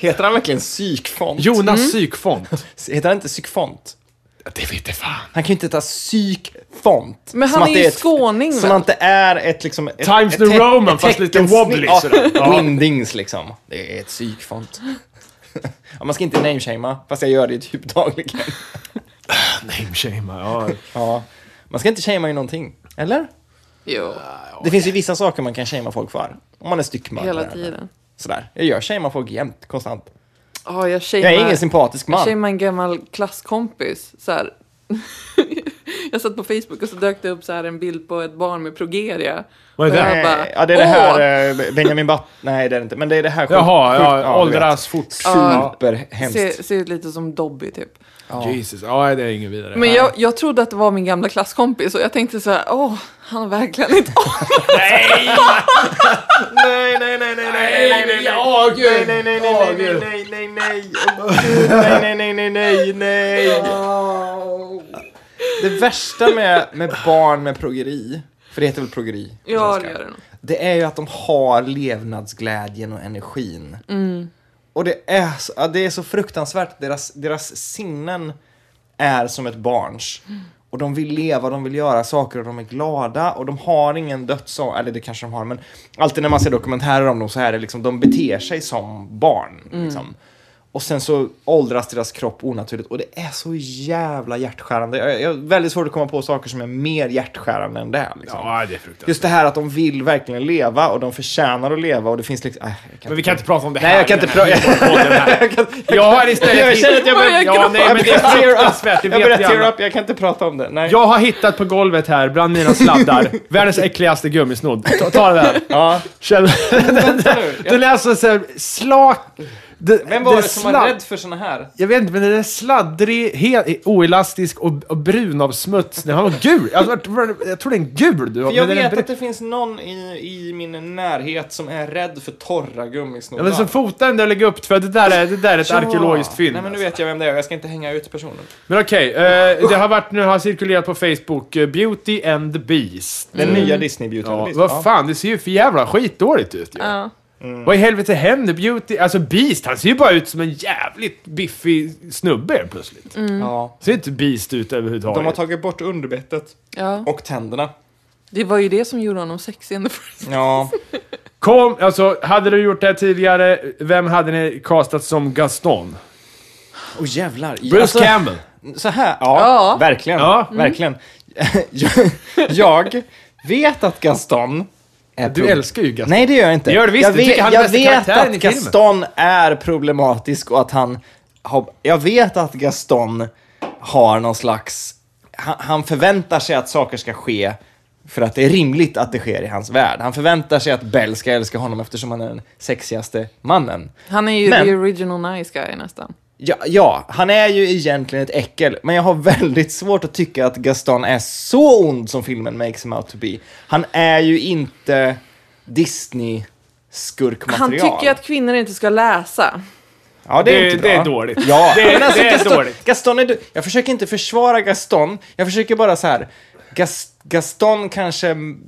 S1: Heter han verkligen psykfont?
S3: Jonas Psykfont.
S1: Heter han inte psykfont?
S3: Mm. Det vet jag fan.
S1: Han kan ju inte heta psykfont.
S2: Men han
S1: Som att
S2: är
S1: det
S2: ju
S1: ett-
S2: skåning,
S1: Som
S2: väl?
S1: att det är ett liksom... Ett,
S3: Times
S1: ett
S3: New
S1: te-
S3: Roman,
S1: ett
S3: fast lite
S1: teckensnitt.
S3: wobbly,
S1: Ja,
S3: sådär. Ja.
S1: Windings liksom. Det är ett psykfont. Ja, man ska inte nameshamea, fast jag gör det typ [LAUGHS] dagligen.
S3: Nameshama, ja.
S1: Ja. Man ska inte shamea i någonting, eller?
S2: Jo,
S1: Det finns ju vissa saker man kan shamea folk för. Om man är styckmördare.
S2: hela
S1: eller
S2: tiden.
S1: Sådär. Jag gör shamear folk jämt, konstant.
S2: Ja, jag
S1: Jag är
S2: shamear-
S1: ingen sympatisk
S2: jag
S1: man.
S2: shamear en gammal klasskompis. Så här. [LAUGHS] jag satt på Facebook och så dök det upp så här en bild på ett barn med progeria.
S3: Vad är
S2: Och jag
S3: det?
S2: bara,
S1: Eh, Ja, det är det
S2: "Åh!"
S1: här eh, Benjamin Batt... Nej, det är det inte. Men det är det här sjukt-
S3: Jaha,
S1: sjukt-
S3: ja,
S1: du vet.
S3: åldras fort.
S1: Superhemskt.
S2: Ser, ser ut lite som Dobby typ.
S3: Jesus, ja det är ingen vidare.
S2: Men jag, jag trodde att det var min gamla klasskompis och jag tänkte så här, åh, han har verkligen inte [LAUGHS]
S3: Nej!
S1: Nej, nej, nej, nej, nej, nej, nej.
S3: Åh gud!
S1: Nej, nej, nej, nej,
S3: Åh,
S1: nej, nej,
S3: gud.
S1: nej, nej, nej. Åh, gud. Nej, nej, nej, nej, nej, nej. Det värsta med, med barn med progeri, för det heter väl progeri? på
S2: Ja,
S1: svenska,
S2: det gör det nog.
S1: Det är ju att de har levnadsglädjen och energin. Och det är, så- ja, det är så fruktansvärt. Deras, deras sinnen är som ett barns. Och de vill leva, de vill göra saker och de är glada och de har ingen dödsångest. Eller det kanske de har, men alltid när man ser dokumentärer om dem så är det liksom, de beter sig som barn. Liksom. Och sen så åldras deras kropp onaturligt och det är så jävla hjärtskärande. Jag, jag, väldigt svårt att komma på saker som är mer hjärtskärande än det. här, Liksom.
S3: Ja, det är fruktansvärt.
S1: Just det här att de vill verkligen leva och de förtjänar att leva och det finns liksom... Äh, jag kan
S3: Men
S1: inte-
S3: vi kan inte prata om det här.
S1: Nej, jag kan inte prata... [LAUGHS]
S3: prata
S1: kan-
S3: Jag har istället...
S1: Jag känner att jag börjar
S3: Ja, nej, men det är fruktansvärt, det
S1: Jag börjar
S3: vet vi
S1: tear
S3: alla.
S1: up, jag kan inte prata om det. Nej.
S3: Jag har hittat på golvet här, bland
S1: [LAUGHS]
S3: mina sladdar, världens äckligaste gummisnodd. Ta, ta det där.
S1: Ja.
S3: Känn,
S1: [LAUGHS]
S3: den,
S1: nu.
S3: den är alltså så såhär slak... Den,
S1: Vem var
S3: den
S1: det som var
S3: sladd-
S1: rädd för såna här?
S3: Jag vet inte, men den är sladdrig, helt oelastisk och, och brun av smuts. Den var gul. Jag, tror- jag tror det är en gul du har.
S1: För jag
S3: men den är
S1: vet
S3: brun.
S1: att det finns någon i, i min närhet som är rädd för torra gummisnoddar.
S3: Ja, men så fota den där och lägg upp för det där är, det där är ett
S1: Ja.
S3: arkeologiskt fynd.
S1: Nej, men nu
S3: alltså.
S1: vet jag vem det är och jag ska inte hänga ut personen.
S3: Men okej, eh, det har varit nu har cirkulerat på Facebook, eh, Beauty and the Beast.
S1: Den nya Disney Beauty and the
S3: Mm. Ja,
S1: Beast.
S3: vad fan, det ser ju för jävla skitdåligt ut ju.
S2: Ja.
S1: Mm.
S3: Vad i helvete händer? Beauty, alltså Beast, han ser ju bara ut som en jävligt biffig snubbe helt plötsligt.
S1: Ja.
S3: Ser inte Beast ut
S1: De har
S3: överhuvudtaget.
S1: tagit bort underbettet
S2: Ja,
S1: och tänderna.
S2: det var ju det som gjorde honom sexig in the first.
S1: Ja.
S3: Kom, alltså hade du gjort det här tidigare, vem hade ni castat som Gaston?
S1: Åh jävlar.
S3: Bruce
S1: Alltså-
S3: Campbell.
S1: Så här, ja,
S2: Ja. Mm.
S1: verkligen.
S3: Ja.
S1: verkligen. [LAUGHS] jag, jag vet att Gaston är
S3: Du
S1: prob-
S3: älskar ju Gaston.
S1: Nej, det gör jag inte.
S3: Det gör du visst.
S1: jag
S3: Du tycker han är
S1: jag
S3: bästa
S1: vet
S3: karaktären
S1: att
S3: i filmen.
S1: Gaston är problematisk och att han har, Jag vet att Gaston har någon slags... Han, han förväntar sig att saker ska ske för att det är rimligt att det sker i hans värld. Han förväntar sig att Bell ska älska honom eftersom han är den sexigaste mannen.
S2: Han är ju
S1: Men-
S2: the original nice guy nästan.
S1: Ja, ja, han är ju egentligen ett äckel, men jag har väldigt svårt att tycka att Gaston är så ond som filmen makes him out to be. Han är ju inte
S2: Han
S1: Disney-skurkmaterial.
S2: tycker att kvinnor inte ska läsa.
S1: Ja, det, är
S3: Det-
S1: inte bra.
S3: det är dåligt.
S1: Ja,
S3: Det-
S1: men alltså
S3: det är
S1: Gaston,
S3: dåligt.
S1: Gaston är... du- Jag försöker inte försvara Gaston, jag försöker bara så här... Gas, Gaston kanske mm,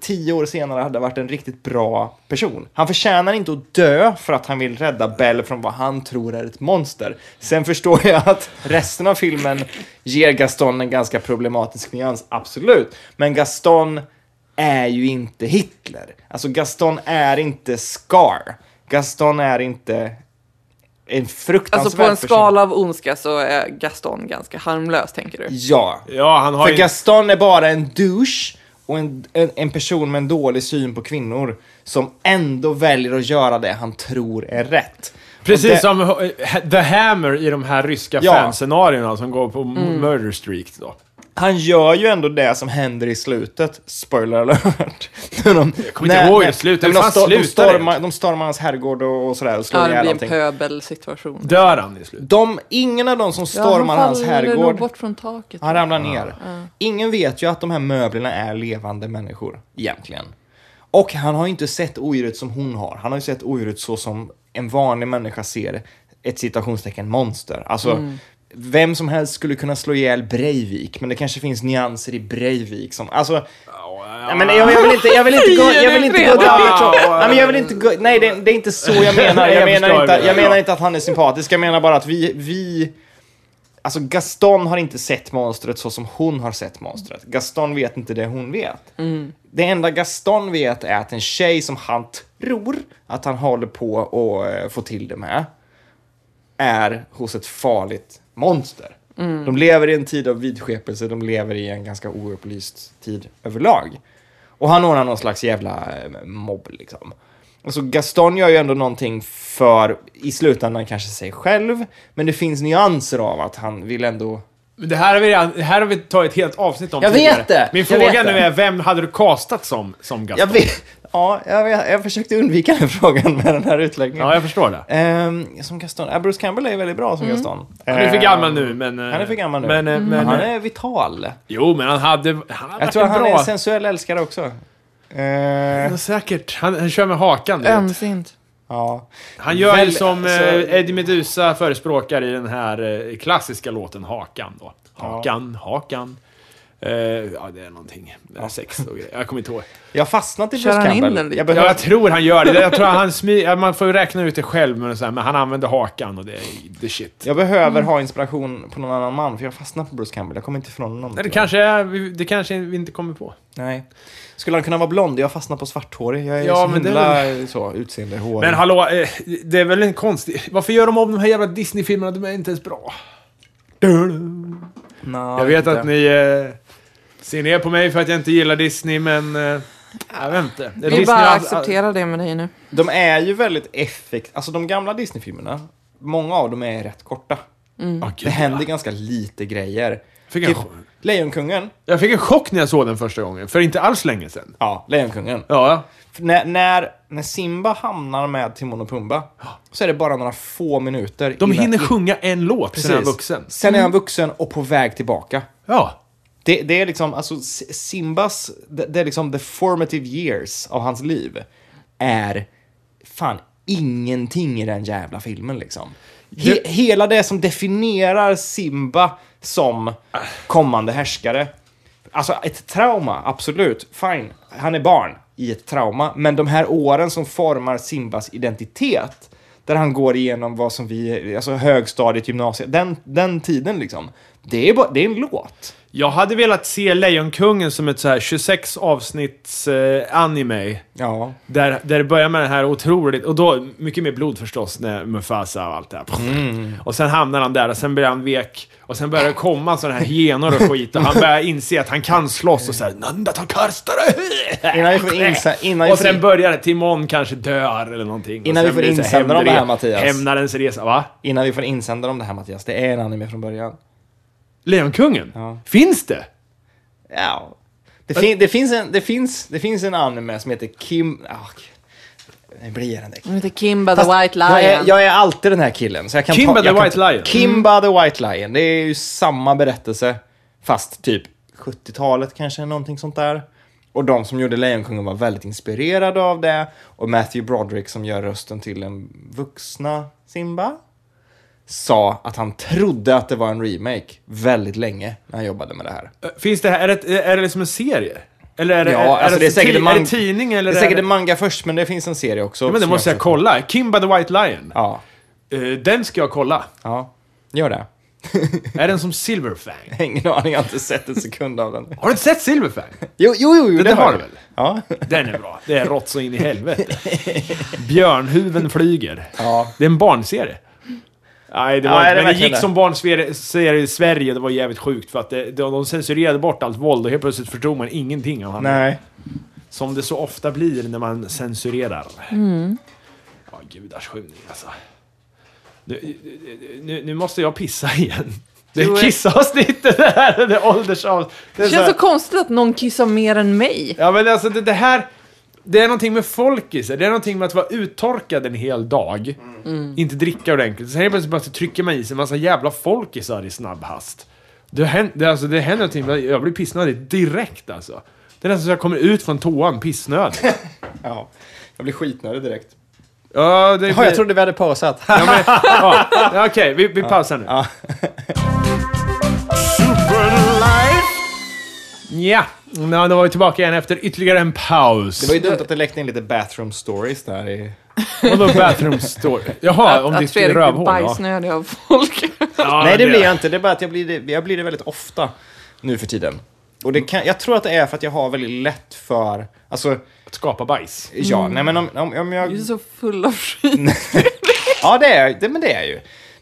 S1: tio år senare hade varit en riktigt bra person. Han förtjänar inte att dö för att han vill rädda Bell från vad han tror är ett monster. Sen förstår jag att resten av filmen ger Gaston en ganska problematisk nyans, absolut. Men Gaston är ju inte Hitler. Alltså Gaston är inte Scar. Gaston är inte en fruktansvärd
S2: Alltså på en
S1: person.
S2: skala av ondska så är Gaston ganska harmlös tänker du.
S1: Ja.
S3: Ja, han har
S1: För
S3: ju...
S1: Gaston är bara en douche och en, en, en person med en dålig syn på kvinnor som ändå väljer att göra det han tror är rätt.
S3: Precis
S1: Och det-
S3: som eh, The Hammer i de här ryska
S1: Ja.
S3: fanscenarierna som går på murder streak då.
S1: Han gör ju ändå det som händer i slutet. Spoiler alert. [LAUGHS] När de, jag
S3: kommer inte ihåg hur det slutar. Hur fan
S1: de,
S3: slutar det?
S1: stormar, de stormar hans herrgård och, och sådär och slår
S2: Ja, det
S1: ihjäl
S2: blir en
S1: allting.
S2: pöbelsituation.
S3: Dör han i slutet?
S1: De, ingen av de som stormar hans
S2: Han faller nog
S1: herrgård
S2: bort från taket.
S1: Han ramlar ner. Ingen vet ju att de här möblerna är levande människor, egentligen. Och han har ju inte sett odjuret som hon har. Han har ju sett odjuret så som en vanlig människa ser ett citationstecken monster. Alltså, vem som helst skulle kunna slå ihjäl Breivik, men det kanske finns nyanser i Breivik som... Alltså, Nej, men jag, jag vill inte, jag vill inte gå, jag vill inte gå
S2: Wow.
S1: down the track. Nej, men jag vill inte gå, nej det, det är inte så jag menar. Jag
S3: Jag
S1: menar
S3: förstår
S1: inte,
S3: det.
S1: jag menar
S3: Ja.
S1: inte att han är sympatisk. Jag menar bara att vi, vi, alltså Gaston har inte sett monstret så som hon har sett monstret. Gaston vet inte det hon vet. Det enda Gaston vet är att en tjej som han tror att han håller på och eh, få till det med är hos ett farligt monster. De lever i en tid av vidskepelse, de lever i en ganska oupplyst tid överlag. Och han ordnar någon slags jävla eh, mobb liksom. Och så Gaston gör ju ändå någonting för, i slutändan kanske sig själv, men det finns nyanser av att han vill ändå...
S3: Men det här har vi, redan, det här har vi tagit ett helt avsnitt om
S1: Jag
S3: tidigare.
S1: vet det!
S3: Min
S1: Jag vet
S3: fråga nu
S1: det.
S3: är, vem hade du castat som, som Gaston?
S1: Jag vet, ja, jag, vet, jag försökte undvika den [LAUGHS] frågan med den här utläggningen.
S3: Ja, jag förstår det.
S1: Ehm, som Gaston, eh, Bruce Campbell är väldigt bra som Gaston.
S3: Mm. Han är för gammal nu, men... eh,
S1: Ehm, Han är för gammal nu.
S3: Men, eh, men,
S1: Han är vital.
S3: Jo, men han hade... Han hade
S1: Jag tror att han
S3: [LAUGHS] bra.
S1: är en sensuell älskare också. Eh,
S3: Ja, Säkert. Han, han kör med hakan, du vet.
S2: Ömsint.
S1: ja.
S3: Han gör
S1: Väl,
S3: ju som
S1: alltså-
S3: eh, Eddie Meduza förespråkar i den här eh, klassiska låten Hakan då. Hakan, hakan. Eh, ja, det är någonting. Det är sex och grejer. Jag kommer inte ihåg.
S1: Jag har fastnat i
S2: Kör
S1: Bruce
S2: han in
S1: Campbell.
S2: den lite?
S1: jag
S3: Ja,
S1: behöver...
S3: jag tror han gör det. Jag tror han smy, ja, man får ju räkna ut det själv, men, så här, men han använder hakan och det är the shit.
S1: Jag behöver ha inspiration på någon annan man, för jag fastnar på Bruce Campbell. Jag kommer inte ifrån honom.
S3: Nej, det,
S1: tror jag.
S3: kanske är, vi- det kanske vi inte kommer på.
S1: Nej. Skulle han kunna vara blond? Jag fastnar på svarthårig. Jag är
S3: Ja,
S1: så
S3: men det
S1: himla
S3: är
S1: så, utseende, hår.
S3: Men hallå, eh, det är väl en konstig... Varför gör de om de här jävla Disney-filmerna? De är inte ens bra.
S1: Nå,
S3: Jag vet
S1: inte.
S3: att ni eh, ser ner på mig för att jag inte gillar Disney, men... Eh, jag vet inte. Det är
S2: Vi
S3: Disney
S2: bara
S3: har-
S2: accepterar det med dig nu.
S1: De är ju väldigt effektiva. Alltså de gamla Disney-filmerna, många av dem är rätt korta.
S3: Ah, gud,
S1: Det händer
S3: ja.
S1: ganska lite grejer.
S3: Fick en
S1: Typ,
S3: chock.
S1: Lejonkungen.
S3: Jag fick en chock när jag såg den första gången, för inte alls länge sedan.
S1: Ja, Lejonkungen.
S3: Ja,
S1: För när, när, när Simba hamnar med Timon och Pumba så är det bara några få minuter.
S3: de
S1: innan-
S3: hinner sjunga en låt, sen är han
S1: Precis.
S3: vuxen. Mm.
S1: Sen är han vuxen och på väg tillbaka.
S3: Ja.
S1: Det, det är liksom, alltså S- Simbas, det, det är liksom the formative years av hans liv är fan ingenting i den jävla filmen liksom. He,
S3: Det-
S1: Hela det som definierar Simba som kommande härskare. Alltså ett trauma, absolut, fine. Han är barn i ett trauma, men de här åren som formar Simbas identitet där han går igenom vad som vi, alltså högstadiet, gymnasiet, den, den tiden liksom. Det är, bara, det är en låt.
S3: Jag hade velat se Lejonkungen som ett så här 26 avsnitts eh, anime.
S1: Ja.
S3: Där, där det börjar med den här otroligt, och då mycket mer blod förstås, när Mufasa och allt det här.
S1: Mm.
S3: Och sen hamnar han där och sen blir han vek. Och sen börjar det komma sådana här hyenor och
S1: [LAUGHS]
S3: skit och han börjar inse att han kan slåss och såhär Nanda
S1: Innan vi får inse- innan vi
S3: Och
S1: får
S3: sen
S1: in-
S3: börjar det, Timon kanske dör eller någonting. Och
S1: Innan vi
S3: sen
S1: får
S3: blir så här
S1: insändare om det här,
S3: hämndre-
S1: Mattias.
S3: Hämnarens resa, va?
S1: Innan vi får insändare om det här Mattias, det är en anime från början.
S3: Lejonkungen?
S1: Ja.
S3: Finns det?
S1: Ja. Det, fin- det, finns en, det, finns, det finns en anime som heter Kim... Ah, det blir den där.
S2: Hon heter Kimba
S1: Fast
S2: the White Lion.
S1: Jag är, jag är alltid den här killen. Så jag kan
S3: Kimba
S1: ta,
S3: the
S1: jag kan
S3: White
S1: ta-
S3: Lion.
S1: Kimba
S2: Mm.
S1: the White Lion. Det är ju samma berättelse, fast typ 70-talet kanske, någonting sånt där. Och de som gjorde Lejonkungen var väldigt inspirerade av det. Och Matthew Broderick som gör rösten till den vuxna Simba sa att han trodde att det var en remake väldigt länge när han jobbade med det här.
S3: Ö, Eh, Finns det här? Är det, är det liksom en serie? Eller är det,
S1: Ja,
S3: är,
S1: alltså det är säkert en
S3: ti- är det
S1: mang-
S3: tidning eller?
S1: Det är säkert
S3: det-
S1: en manga först, men det finns en serie också.
S3: Ja, men det
S1: som
S3: måste jag
S1: också-
S3: kolla. Kimba the White Lion.
S1: Ja,
S3: Eh, den ska jag kolla.
S1: ja, gör det.
S3: Är den som Silverfang?
S1: [LAUGHS] Ingen aning, jag har inte sett en sekund av den.
S3: Har du inte
S1: [LAUGHS]
S3: sett Silverfang?
S1: Jo, jo, jo, jo
S3: Det, har
S1: var
S3: du väl?
S1: Ja.
S3: Den är bra. Det är rått så in i helvete. Björnhuven flyger.
S1: ja.
S3: Det är en barnserie. Nej, det
S1: Ja,
S3: var
S1: är det
S3: inte, men det
S1: verkligen
S3: gick
S1: det?
S3: som barnserie i Sverige, det var jävligt sjukt. För att det, de, de censurerade bort allt våld och helt plötsligt förstod man ingenting av handlingen.
S1: Nej.
S3: Som det så ofta blir när man censurerar.
S2: Mm.
S3: Ja, gudars skymning alltså. Nu, nu, nu måste jag pissa igen. Det
S2: Jo,
S3: är
S2: jag-
S3: kissavsnittet det här! Det är åldersavsnitt. Det är
S2: Det
S3: så
S2: känns
S3: här-
S2: så konstigt att någon kissar mer än mig.
S3: Ja men alltså det, det här, det är någonting med folkisar, det är någonting med att vara uttorkad en hel dag,
S2: Mm.
S3: inte dricka ordentligt. Sen helt plötsligt bara så trycker man i sig en massa jävla folkisar i snabb hast. Det händer, det, alltså, det händer någonting, med- jag blir pissnödig direkt alltså. Det är nästan så jag kommer ut från toan pissnödig.
S1: Ja. Jag blir skitnödig direkt.
S3: ja, det
S1: Jaha, jag trodde vi hade pausat.
S3: Ja, men- ja, ja, Okej, vi, vi pausar nu.
S1: Ja.
S3: Ja, ja då var vi tillbaka igen efter ytterligare en paus.
S1: Det [LAUGHS] var ju dumt att det läckte in lite bathroom stories där i...
S3: Och då bathroom story. Jaha, om
S2: att
S3: ditt
S2: Fredrik blir
S3: rövhål. ja.
S2: bajsnödig av folk. [LAUGHS]
S3: Ja,
S1: Nej, det blir jag inte. Det är bara att jag blir det, jag blir det väldigt ofta nu för tiden. Och det kan, jag tror att det är för att jag har väldigt lätt för... Alltså,
S3: Att skapa bajs.
S1: ja, nej men om, om, om jag...
S2: Du är så full av skit.
S1: [LAUGHS] Ja, Mm. det är det, men det är ju.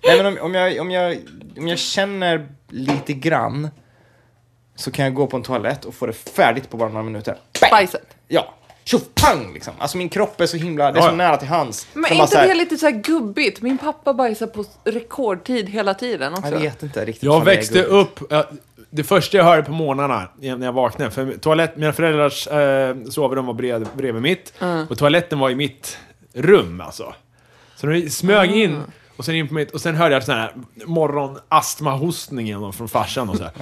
S1: Nej, men om, om, jag, om, jag, om jag känner lite grann så kan jag gå på en toalett och få det färdigt på bara några minuter. Bang!
S2: Bajset.
S1: Ja. Tjoff, pang liksom. Alltså min kropp är så himla, det är så
S3: Ja, ja.
S1: nära till hans.
S2: Men är inte det lite så här gubbigt? Min pappa bajsar på rekordtid hela tiden också.
S1: Jag vet inte riktigt.
S3: Jag
S1: vad det är,
S3: växte
S1: gubben.
S3: upp... eh, det första jag hörde på morgnarna när jag vaknade, för toalett, mina föräldrars eh, sovrum var bred, bredvid mitt och toaletten var i mitt rum alltså. Så de smög in och sen in på mitt och sen hörde jag sån här morgonastmahostning genom från farsan och så här.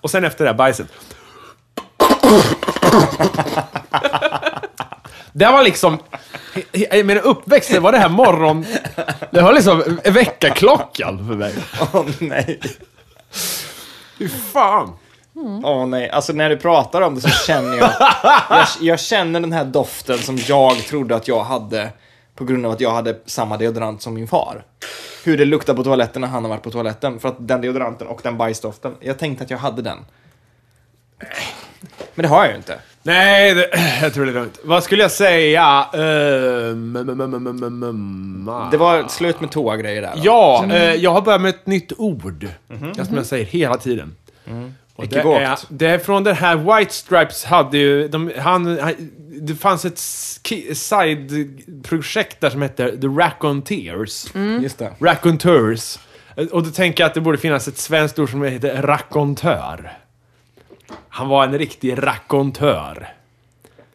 S3: Och sen efter det här bajset. Det var liksom... I min uppväxt det var det här morgon... Det var liksom väckarklockan för mig.
S1: Åh nej.
S3: Fy fan!
S1: Åh nej. Alltså när du pratar om det så känner jag, jag... Jag känner den här doften som jag trodde att jag hade på grund av att jag hade samma deodorant som min far. Hur det luktar på toaletten när han har varit på toaletten. För att den deodoranten och den bajsdoften. Jag tänkte att jag hade den. Men det har jag ju inte.
S3: Nej, det, jag tror det är lugnt. Vad skulle jag säga? Ehm, mm, mm, mm, mm, mm, mm.
S1: Det var slut med toa-grejer där. va?
S3: Ja, eh, jag har börjat med ett nytt ord. Ja, Som jag säger hela tiden. Och det,
S1: Ekivokt.
S3: är, det är från den här White Stripes hade ju... De, han, han, det fanns ett ski- side-projekt där som hette The Raconteers.
S1: Just det.
S3: Raconteurs. Och då tänker jag att det borde finnas ett svenskt ord som heter rakontör. Han var en riktig rakontör.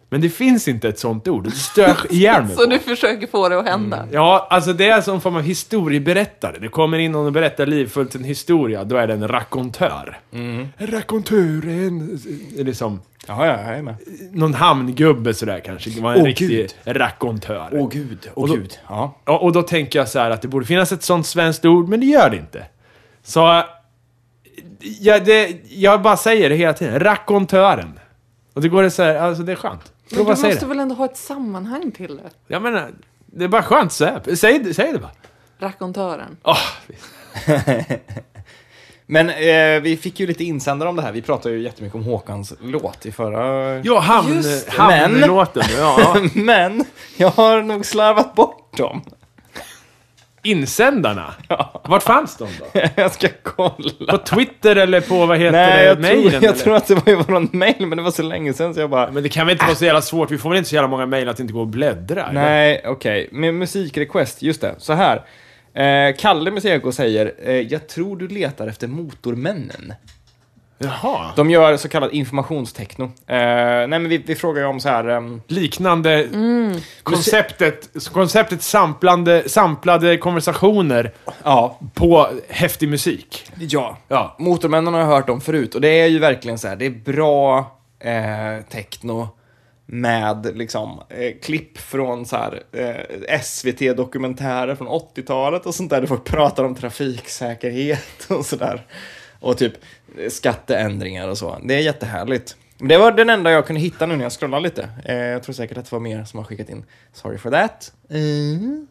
S3: Men det finns inte ett sånt ord.
S1: [LAUGHS]
S3: Det stör ihjäl mig
S2: Så
S3: på.
S2: du försöker få det att hända.
S3: Ja, alltså det är som en form av historieberättare. Det kommer in någon och berättar livfullt en historia, då är det en rakontör.
S1: Mm.
S3: En rakontör är en... är Liksom,
S1: Jaha, ja, jag är med.
S3: någon hamngubbe sådär kanske. Det var en
S1: Åh,
S3: riktig
S1: Gud.
S3: rakontör.
S1: Åh gud, åh
S3: Och då-
S1: gud. Ja.
S3: Ja, och då tänker jag så här att det borde finnas ett sånt svenskt ord, men det gör det inte. Så... Ja, det, jag bara säger det hela tiden. Rakontören. Och det går det så här, alltså det är skönt.
S2: Men
S3: Prova
S2: du
S3: att säga
S2: måste
S3: det.
S2: väl ändå ha ett sammanhang till det?
S3: Jag menar, det är bara skönt så här. Säg, säg det bara.
S2: Rakontören.
S3: Åh,
S1: Men eh, vi fick ju lite insändare om det här. Vi pratade ju jättemycket om Håkans låt i förra...
S3: ja, hamn,
S2: Just det.
S3: hamnlåten. Ja,
S1: [LAUGHS] Men jag har nog slarvat bort dem. [LAUGHS]
S3: insändarna. Vart fanns de då?
S1: Jag ska kolla.
S3: På Twitter eller på, vad heter
S1: Nej, jag,
S3: det, mejlen?
S1: tror, jag
S3: eller?
S1: tror att det var i våran mail, men det var så länge sedan så jag bara...
S3: Men det kan väl inte vara så jävla svårt? Vi får väl inte så jävla många mejl att det inte går att bläddra? eller?
S1: Nej, okej. Med musikrequest, just det. Så här. Eh, Kalle Museko säger, eh, jag tror du letar efter Motormännen.
S3: Jaha.
S1: De gör så kallad informationstechno. Eh, nej, men vi, vi frågar ju om så här... ehm,
S3: liknande
S2: Mm.
S3: konceptet, konceptet samplande, samplade konversationer
S1: ja,
S3: på häftig musik.
S1: ja.
S3: Ja.
S1: Motormännen har jag hört om förut och det är ju verkligen så här, det är bra eh, techno med liksom eh, klipp från så här eh, SVT-dokumentärer från 80-talet och sånt där, där folk pratar om trafiksäkerhet och sådär. Och typ eh, skatteändringar och så. Det är jättehärligt. Men det var den enda jag kunde hitta nu när jag scrollade lite. Eh, jag tror säkert att det var mer som har skickat in. Sorry for that. Mm.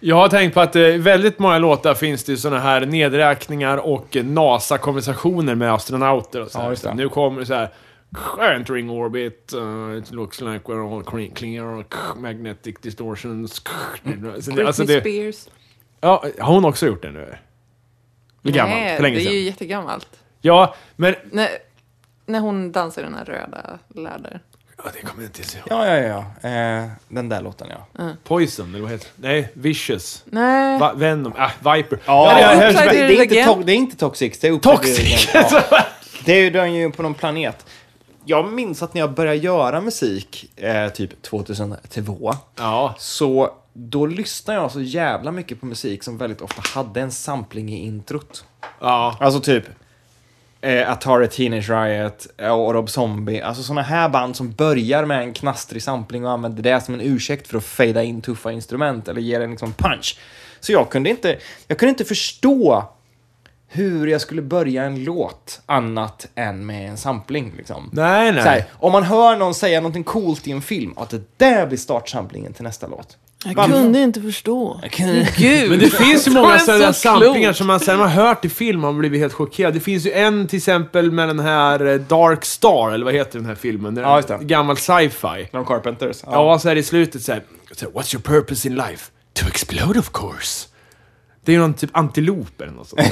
S3: Jag har tänkt på att eh, i väldigt många låtar finns det ju såna här nedräkningar och eh, NASA-konversationer med astronauter och så
S1: Ja, just
S3: här.
S1: det.
S3: nu kommer det så här Entering orbit, uh, it looks like we're all clean- clear, magnetic distortions. Så det- Alltså det,
S2: Spears.
S3: ja, har hon också gjort det nu? Det är gammalt,
S2: Nej,
S3: för länge
S2: det är ju
S3: sedan.
S2: jättegammalt.
S3: Ja, men...
S2: När, när hon dansar i den här röda läder.
S3: Ja, det kommer jag inte ihåg.
S1: Ja, ja, ja. Eh, den där låten, ja.
S3: Poison, eller vad heter det? Nej, Vicious.
S2: Nej.
S3: Va- Venom. Ah, Viper.
S1: Ja,
S2: det är
S1: det,
S2: Upside
S1: det,
S2: Down
S1: är inte
S2: Again.
S1: to- det är inte Toxic, det är Upside
S3: [LAUGHS] Toxic!
S1: Down Again. Ja. Det är ju den ju på någon planet. Jag minns att när jag började göra musik, eh, typ 2002,
S3: Ja.
S1: så då lyssnade jag så jävla mycket på musik som väldigt ofta hade en sampling i introt.
S3: Ja.
S1: Alltså typ eh, Atari Teenage Riot eh, och Rob Zombie. Alltså såna här band som börjar med en knastrig sampling och använder det som en ursäkt för att fejda in tuffa instrument eller ge den liksom punch. Så jag kunde inte, jag kunde inte förstå hur jag skulle börja en låt annat än med en sampling. Liksom.
S3: Nej, nej.
S1: Så här, om man hör någon säga någonting coolt i en film, att det där blir startsamplingen till nästa låt.
S2: Jag kunde inte förstå.
S1: [LAUGHS]
S2: Gud.
S3: Men det finns ju
S2: Det var
S3: många
S2: en
S3: sådana
S2: så klok.
S3: samplingar som man sen har hört i film och man blivit helt chockerad. Det finns ju en till exempel med den här eh, Dark Star, eller vad heter den här filmen? Den
S1: Ja, just det.
S3: Gammal sci-fi.
S1: Från Carpenters.
S3: Ja, så här i slutet så här, så här, What's your purpose in life? To explode of course. Det är ju någon typ antilop eller något sånt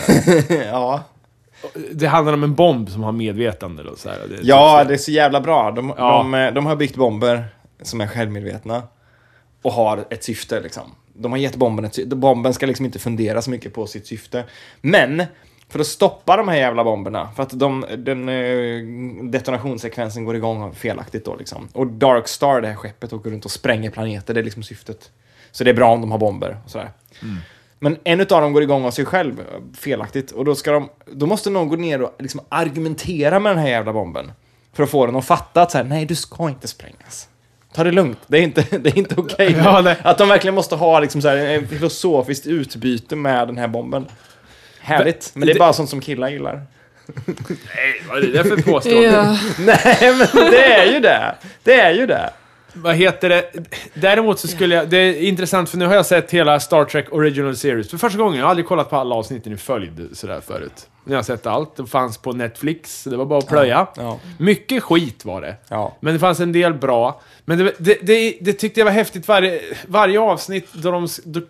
S1: [LAUGHS]
S3: där.
S1: ja.
S3: Det handlar om en bomb som har medvetande eller så här. Det är typ så
S1: Ja,
S3: här.
S1: det är så jävla bra. De,
S3: Ja.
S1: de, eh, de har byggt bomber som är självmedvetna och har ett syfte. Liksom. De har gett bomben ett syfte. Bomben ska liksom inte fundera så mycket på sitt syfte. Men för att stoppa de här jävla bomberna, för att de, den eh, detonationssekvensen går igång felaktigt då liksom. Och Dark Star, det här skeppet, åker runt och spränger planeter. Det är liksom syftet. Så det är bra om de har bomber och sådär.
S3: Mm.
S1: Men en av dem går igång av sig själv eh, felaktigt och då, ska de, då måste någon gå ner och liksom argumentera med den här jävla bomben. För att få den att fatta att så här, nej, du ska inte sprängas. Ta det lugnt, det är inte, [LAUGHS] det är inte okej.
S3: Ja, nej.
S1: att de verkligen måste ha liksom så här, en filosofiskt utbyte med den här bomben. Härligt, men det är
S3: det-
S1: bara sånt som killar gillar. [LAUGHS]
S3: Nej, vad är det där för påstående?
S2: Ja.
S1: nej, men det är ju det! Det är ju det!
S3: Vad heter det? Däremot så skulle jag... Det är intressant för nu har jag sett hela Star Trek Original Series för första gången. Jag har aldrig kollat på alla avsnitten i följd sådär förut. Nu har jag sett allt. Det fanns på Netflix. så Det var bara att plöja.
S1: Ja.
S3: Mycket skit var det.
S1: Ja.
S3: Men det fanns en del bra. Men det, det, det, det tyckte jag var häftigt. Varje, varje avsnitt då, de, s- då,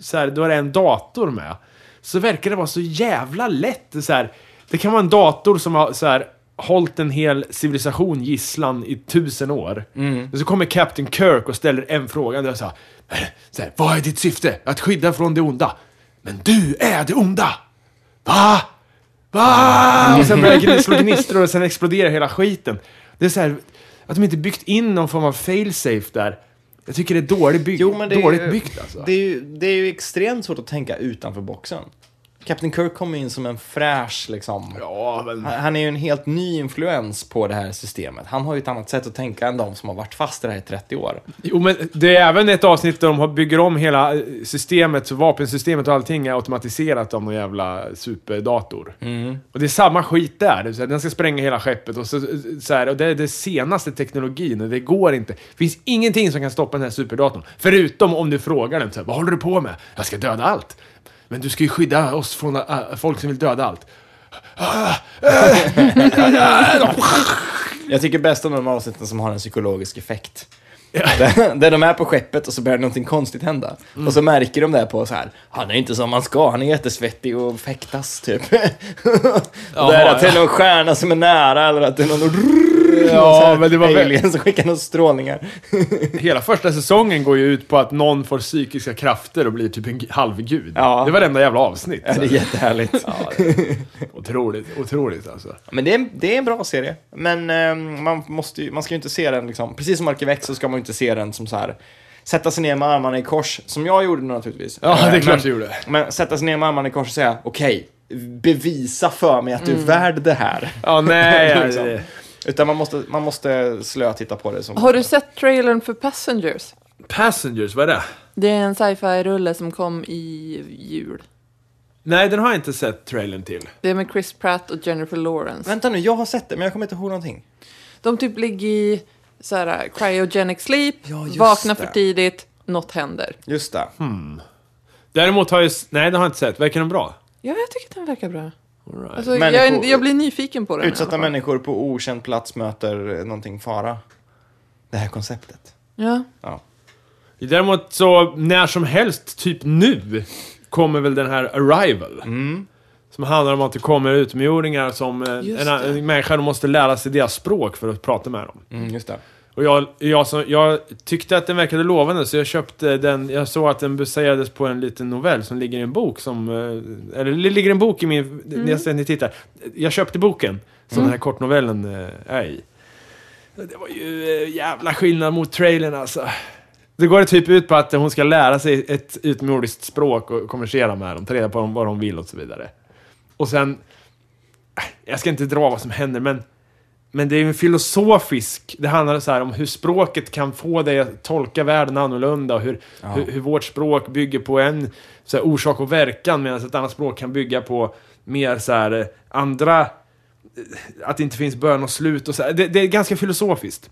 S3: så här, då är det en dator med. Så verkar det vara så jävla lätt. Det, så här, det kan vara en dator som har så här, hållit en hel civilisation gisslan i tusen år. Och så kommer Captain Kirk och ställer en fråga. Där så här, så här, Vad är ditt syfte? Att skydda från det onda. Men du är det onda! Va? Va? Och sen börjar det slå gnistor och sen exploderar hela skiten. Det är så här, att de inte byggt in någon form av failsafe där. Jag tycker det är dåligt byggt.
S1: Jo, men det är
S3: dåligt
S1: ju-
S3: byggt alltså.
S1: Det är, ju, det är ju extremt svårt att tänka utanför boxen. Captain Kirk kommer in som en fräsch liksom.
S3: Ja, men...
S1: Han- Han är ju en helt ny influens på det här systemet. Han har ju ett annat sätt att tänka än de som har varit fast i det här i 30 år.
S3: Jo, men det är även ett avsnitt där de har- bygger om hela eh, systemet, så vapensystemet och allting är automatiserat av någon jävla superdator. Och det är samma skit där. Det är så här, Den ska spränga hela skeppet och, så, eh, så här, och det är den senaste teknologin och det går inte. Det finns ingenting som kan stoppa den här superdatorn. Förutom om du frågar den så här, vad håller du på med? Jag ska döda allt. Men du ska ju skydda oss från äh, folk som vill döda allt. Ah,
S1: Jag tycker bäst om de avsnitten som har en psykologisk effekt. [LAUGHS] Där, där de är på skeppet och så börjar någonting konstigt hända.
S3: Mm.
S1: Och så märker de det på så här, han är inte som man ska, han är jättesvettig och fäktas typ. [LAUGHS] och där
S3: Jaha,
S1: att det är någon stjärna som är nära eller att det är någon
S3: Ja,
S1: så här
S3: men det var väl-
S1: alien som skickar några strålningar. [LAUGHS]
S3: Hela första säsongen går ju ut på att någon får psykiska krafter och blir typ en g- halvgud.
S1: Ja.
S3: Det var det enda jävla avsnitt.
S1: Ja, det är jättehärligt.
S3: Ja, det är otroligt, otroligt alltså.
S1: Men det är, det är en bra serie. Men eh, man, måste ju, man ska ju inte se den liksom. Precis som Arkiv X så ska man ju inte se den som så här. Sätta sig ner med armarna i kors, som jag gjorde naturligtvis.
S3: Ja, det är
S1: Eh,
S3: klart
S1: men,
S3: du gjorde.
S1: Men sätta sig ner med armarna i kors och säga okej, bevisa för mig att
S2: Mm.
S1: du är värd det här.
S3: [LAUGHS] Ja, nej.
S1: Liksom. Utan man måste, man måste slöa titta på det. Som
S2: Har du sett trailern för Passengers?
S3: Passengers, vad är det?
S2: Det är en sci-fi-rulle som kom i jul.
S3: Nej, den har jag inte sett trailern till.
S2: Det är med Chris Pratt och Jennifer Lawrence.
S1: Vänta nu, jag har sett det men jag kommer inte ihåg någonting.
S2: De typ ligger i så här, äh, cryogenic sleep,
S1: Ja, just
S2: vaknar
S1: det.
S2: för tidigt, något händer.
S1: Just det.
S3: Hmm. Däremot har jag... s- Nej, den har jag inte sett. Verkar den bra?
S2: Ja, jag tycker den verkar bra.
S3: All right.
S2: Alltså, jag,
S1: Människor-
S2: jag blir nyfiken på den. i alla
S1: Utsatta
S2: fall.
S1: människor på okänd plats möter eh, någonting fara. Det här konceptet.
S2: Ja.
S1: Ja.
S3: Däremot så, när som helst, typ nu, kommer väl den här Arrival. Som handlar om att det kommer utomjordingar som... eh,
S2: Just
S3: En,
S2: det.
S3: en människa de måste lära sig deras språk för att prata med dem.
S1: Mm, just det.
S3: Och jag, jag, som, jag tyckte att den verkade lovande så jag köpte den. Jag såg att den baserades på en liten novell som ligger i en bok som... eh, Eller det ligger en bok i min... När jag ser- ni tittar. Jag köpte boken som den här kortnovellen eh, är i. Det var ju eh, jävla skillnad mot trailern alltså. Det går typ ut på att hon ska lära sig ett utomjordiskt språk och konversera med dem, ta reda på vad de vill och så vidare. Och sen... eh, Jag ska inte dra vad som händer, men... Men det är ju en filosofisk... Det handlar så här om hur språket kan få dig att tolka världen annorlunda och hur,
S1: Ja.
S3: hur, hur vårt språk bygger på en så här, orsak och verkan medan ett annat språk kan bygga på mer så här eh, andra... eh, Att det inte finns början och slut och så här. Det, det är ganska filosofiskt.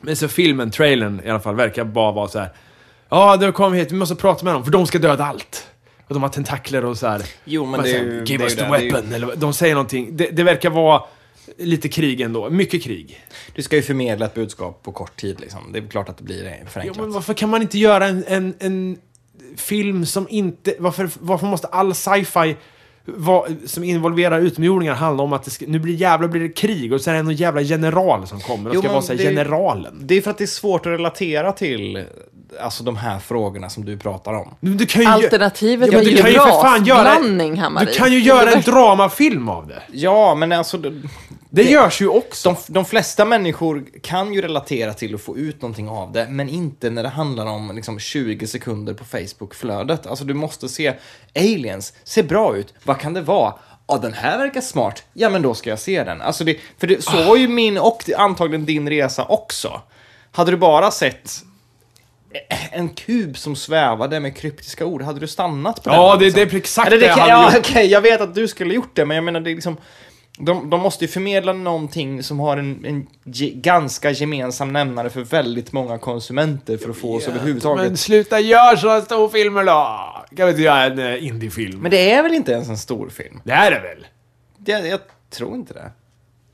S3: Men så filmen, trailern i alla fall, verkar bara vara så här. Ja, de kom hit, vi måste prata med dem, för de ska döda allt. Och de har tentakler och så här.
S1: Jo, men
S3: Bara
S1: det är
S3: så här,
S1: ju-
S3: Give
S1: det är
S3: us
S1: ju
S3: the
S1: det, det är ju-
S3: weapon, eller vad- de säger någonting. Det, det verkar vara lite krig ändå, mycket krig.
S1: Du ska ju förmedla ett budskap på kort tid. Liksom. Det är klart att det blir eh,
S3: Ja,
S1: förenklat.
S3: men varför kan man inte göra en, en, en film som inte... Varför, varför måste all sci-fi va, som involverar utomjordingar handla om att det ska, nu blir jävla blir det krig och sen är det någon jävla general som kommer och
S1: Jo,
S3: ska
S1: men
S3: vara såhär
S1: det-
S3: generalen.
S1: Det är för att det är svårt att relatera till alltså, de här frågorna som du pratar om.
S3: Men Du kan ju,
S2: Alternativet
S3: Ja,
S2: var
S3: men
S2: ju
S3: du kan ju för fan göra-
S2: rasblandning, Hammar.
S3: du kan ju göra en dramafilm av det.
S1: Ja, men alltså... de-
S3: Det görs ju också.
S1: De, de flesta människor kan ju relatera till och få ut någonting av det, men inte när det handlar om liksom, 20 sekunder på Facebook-flödet. Alltså, du måste se aliens, ser bra ut, vad kan det vara? Ja, den här verkar smart. Ja, men då ska jag se den. Alltså, det, för det, så var
S3: Ah.
S1: ju min och antagligen din resa också. Hade du bara sett en kub som svävade med kryptiska ord, hade du stannat på den?
S3: Ja, det,
S1: liksom?
S3: det är exakt
S1: Eller
S3: det
S1: det
S3: jag
S1: kan,
S3: hade
S1: ja,
S3: gjort.
S1: okej, jag vet att du skulle gjort det, men jag menar det är liksom... De, de måste ju förmedla någonting som har en, en ge, ganska gemensam nämnare för väldigt många konsumenter för att få oss överhuvudtaget. Men...
S3: Men sluta gör sådana storfilmer då! Kan vi inte göra en eh, indiefilm?
S1: det är väl inte ens en stor film?
S3: Det är det väl?
S1: Det, jag tror inte det.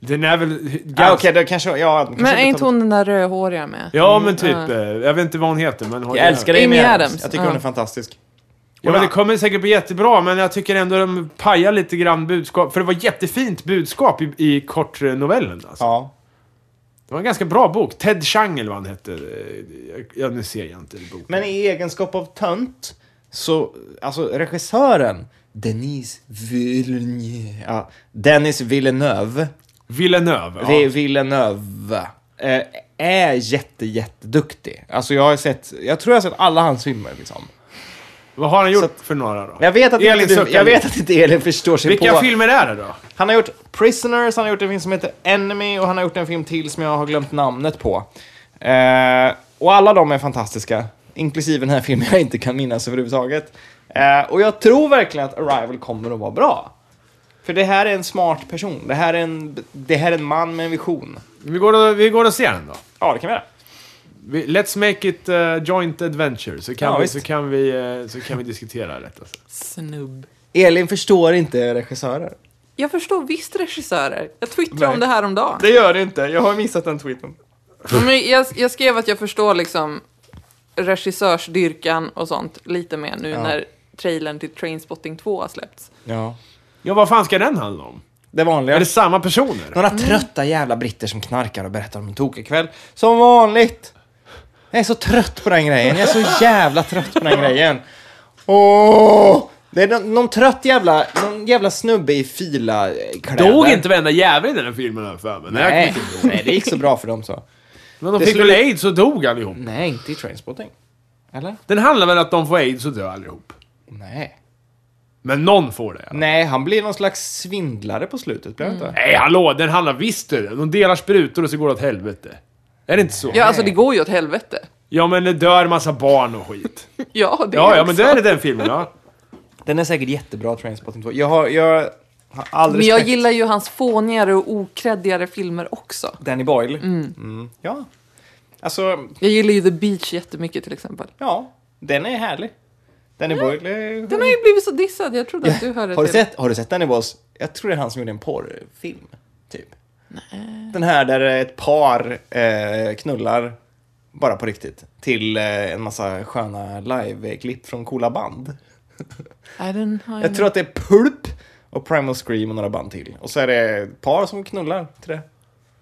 S3: Den är väl...
S1: Ja,
S3: ganska-
S1: Ah, okej, då kanske... Ja, kanske
S2: Men är
S1: inte
S2: inte
S1: tar-
S2: hon den där rödhåriga med?
S3: Ja, men typ.
S2: Mm.
S3: eh, Jag vet inte vad hon heter, men... hon-
S1: Ah. Jag älskar dig
S2: Amy
S1: med
S2: Adams,
S1: Adams. Jag tycker
S2: ja.
S1: hon är fantastisk.
S3: Ja, men det kommer säkert bli jättebra, men jag tycker ändå de pajar lite grann budskap. För det var jättefint budskap i, i kortnovellen. Alltså.
S1: Ja.
S3: Det var en ganska bra bok. Ted Chang, eller vad han hette. Eh, jag- Ja, nu ser jag inte boken.
S1: Men i egenskap av tönt, så, alltså regissören, Denise Villeneuve, ja, Dennis Villeneuve,
S3: Villeneuve. Ja.
S1: Vi- Villeneuve eh, är jätte, jätteduktig. Alltså jag har sett, jag tror jag har sett alla hans filmer liksom.
S3: Vad har han gjort
S1: Så att-
S3: för några då?
S1: Jag vet att,
S3: Elin
S1: inte, du,
S3: suckar
S1: jag vet
S3: lite.
S1: att inte Elin förstår sig
S3: Vilka
S1: på.
S3: filmer är det då?
S1: Han har gjort Prisoners, han har gjort en film som heter Enemy och han har gjort en film till som jag har glömt namnet på. Eh, och alla de är fantastiska, inklusive den här filmen jag inte kan minnas överhuvudtaget. Eh, och jag tror verkligen att Arrival kommer att vara bra. För det här är en smart person. Det här är en, det här är en man med en vision.
S3: Vi går och, vi går och ser den då.
S1: Ja, det kan vi göra.
S3: Vi, let's make it eh, joint adventure, så kan,
S1: Ja,
S3: vi,
S1: visst.
S3: så, kan vi, eh, så kan vi diskutera det. Alltså.
S2: Snubb.
S1: Elin förstår inte regissörer.
S2: Jag förstår visst regissörer. Jag twittrade om
S1: Nej.
S2: det här om dagen.
S1: Det gör det inte. Jag har missat den tweeten.
S2: Men jag, jag skrev att jag förstår liksom regissörsdyrkan och sånt lite mer nu
S1: Ja.
S2: när trailern till Trainspotting 2 har släppts.
S1: Ja.
S3: Ja, vad fan ska den handla om?
S1: Det vanliga.
S3: Är det samma personer?
S1: Några trötta jävla britter som knarkar och berättar om en tokig kväll. Som vanligt. Jag är så trött på den grejen. Jag är så jävla trött på den grejen. Åh! Det är någon, någon trött jävla, någon jävla snubbe i fila eh, kläder.
S3: Dog inte varenda jävel i den här filmen här för mig. Nej. jag
S1: Nej.
S3: kommer inte ihåg.
S1: Nej, det gick så bra för dem så.
S3: Men de
S1: Det
S3: fick väl
S1: skulle-
S3: aids och dog allihop?
S1: Nej, inte i Trainspotting. Eller?
S3: Den handlar väl om att de får aids och dör allihop?
S1: Nej.
S3: Men någon får det.
S1: Nej, han blir någon slags svindlare på slutet, blir han inte?
S3: Nej, hallå! Den handlar visst det. De delar sprutor och så går det åt helvete. Är det inte så?
S2: Ja, alltså det går ju åt helvete.
S3: Ja, men det dör massa barn och skit.
S2: Ja, det
S3: Ja, ja,
S2: också.
S3: men då är det den filmen, ja.
S1: Den är säkert jättebra, Trainspotting 2. Jag har, jag har all
S2: Men jag
S1: respekt.
S2: gillar ju hans fånigare och okreddigare filmer också.
S1: Danny Boyle. Mm. Ja. Alltså,
S2: Jag gillar ju The Beach jättemycket till exempel.
S1: ja. Den är härlig. Danny Boyle.
S2: Den har ju blivit så dissad, jag trodde att du hörde
S1: har, du
S2: till.
S1: sett, har du sett Danny Boyles? Jag tror det är han som gjorde en porrfilm. Typ. Den här där ett par eh, knullar, bara på riktigt, till eh, en massa sköna live-klipp från coola band.
S2: Nej, den har jag
S1: Jag tror att det är Pulp och Primal Scream och några band till. Och så är det ett par som knullar till det.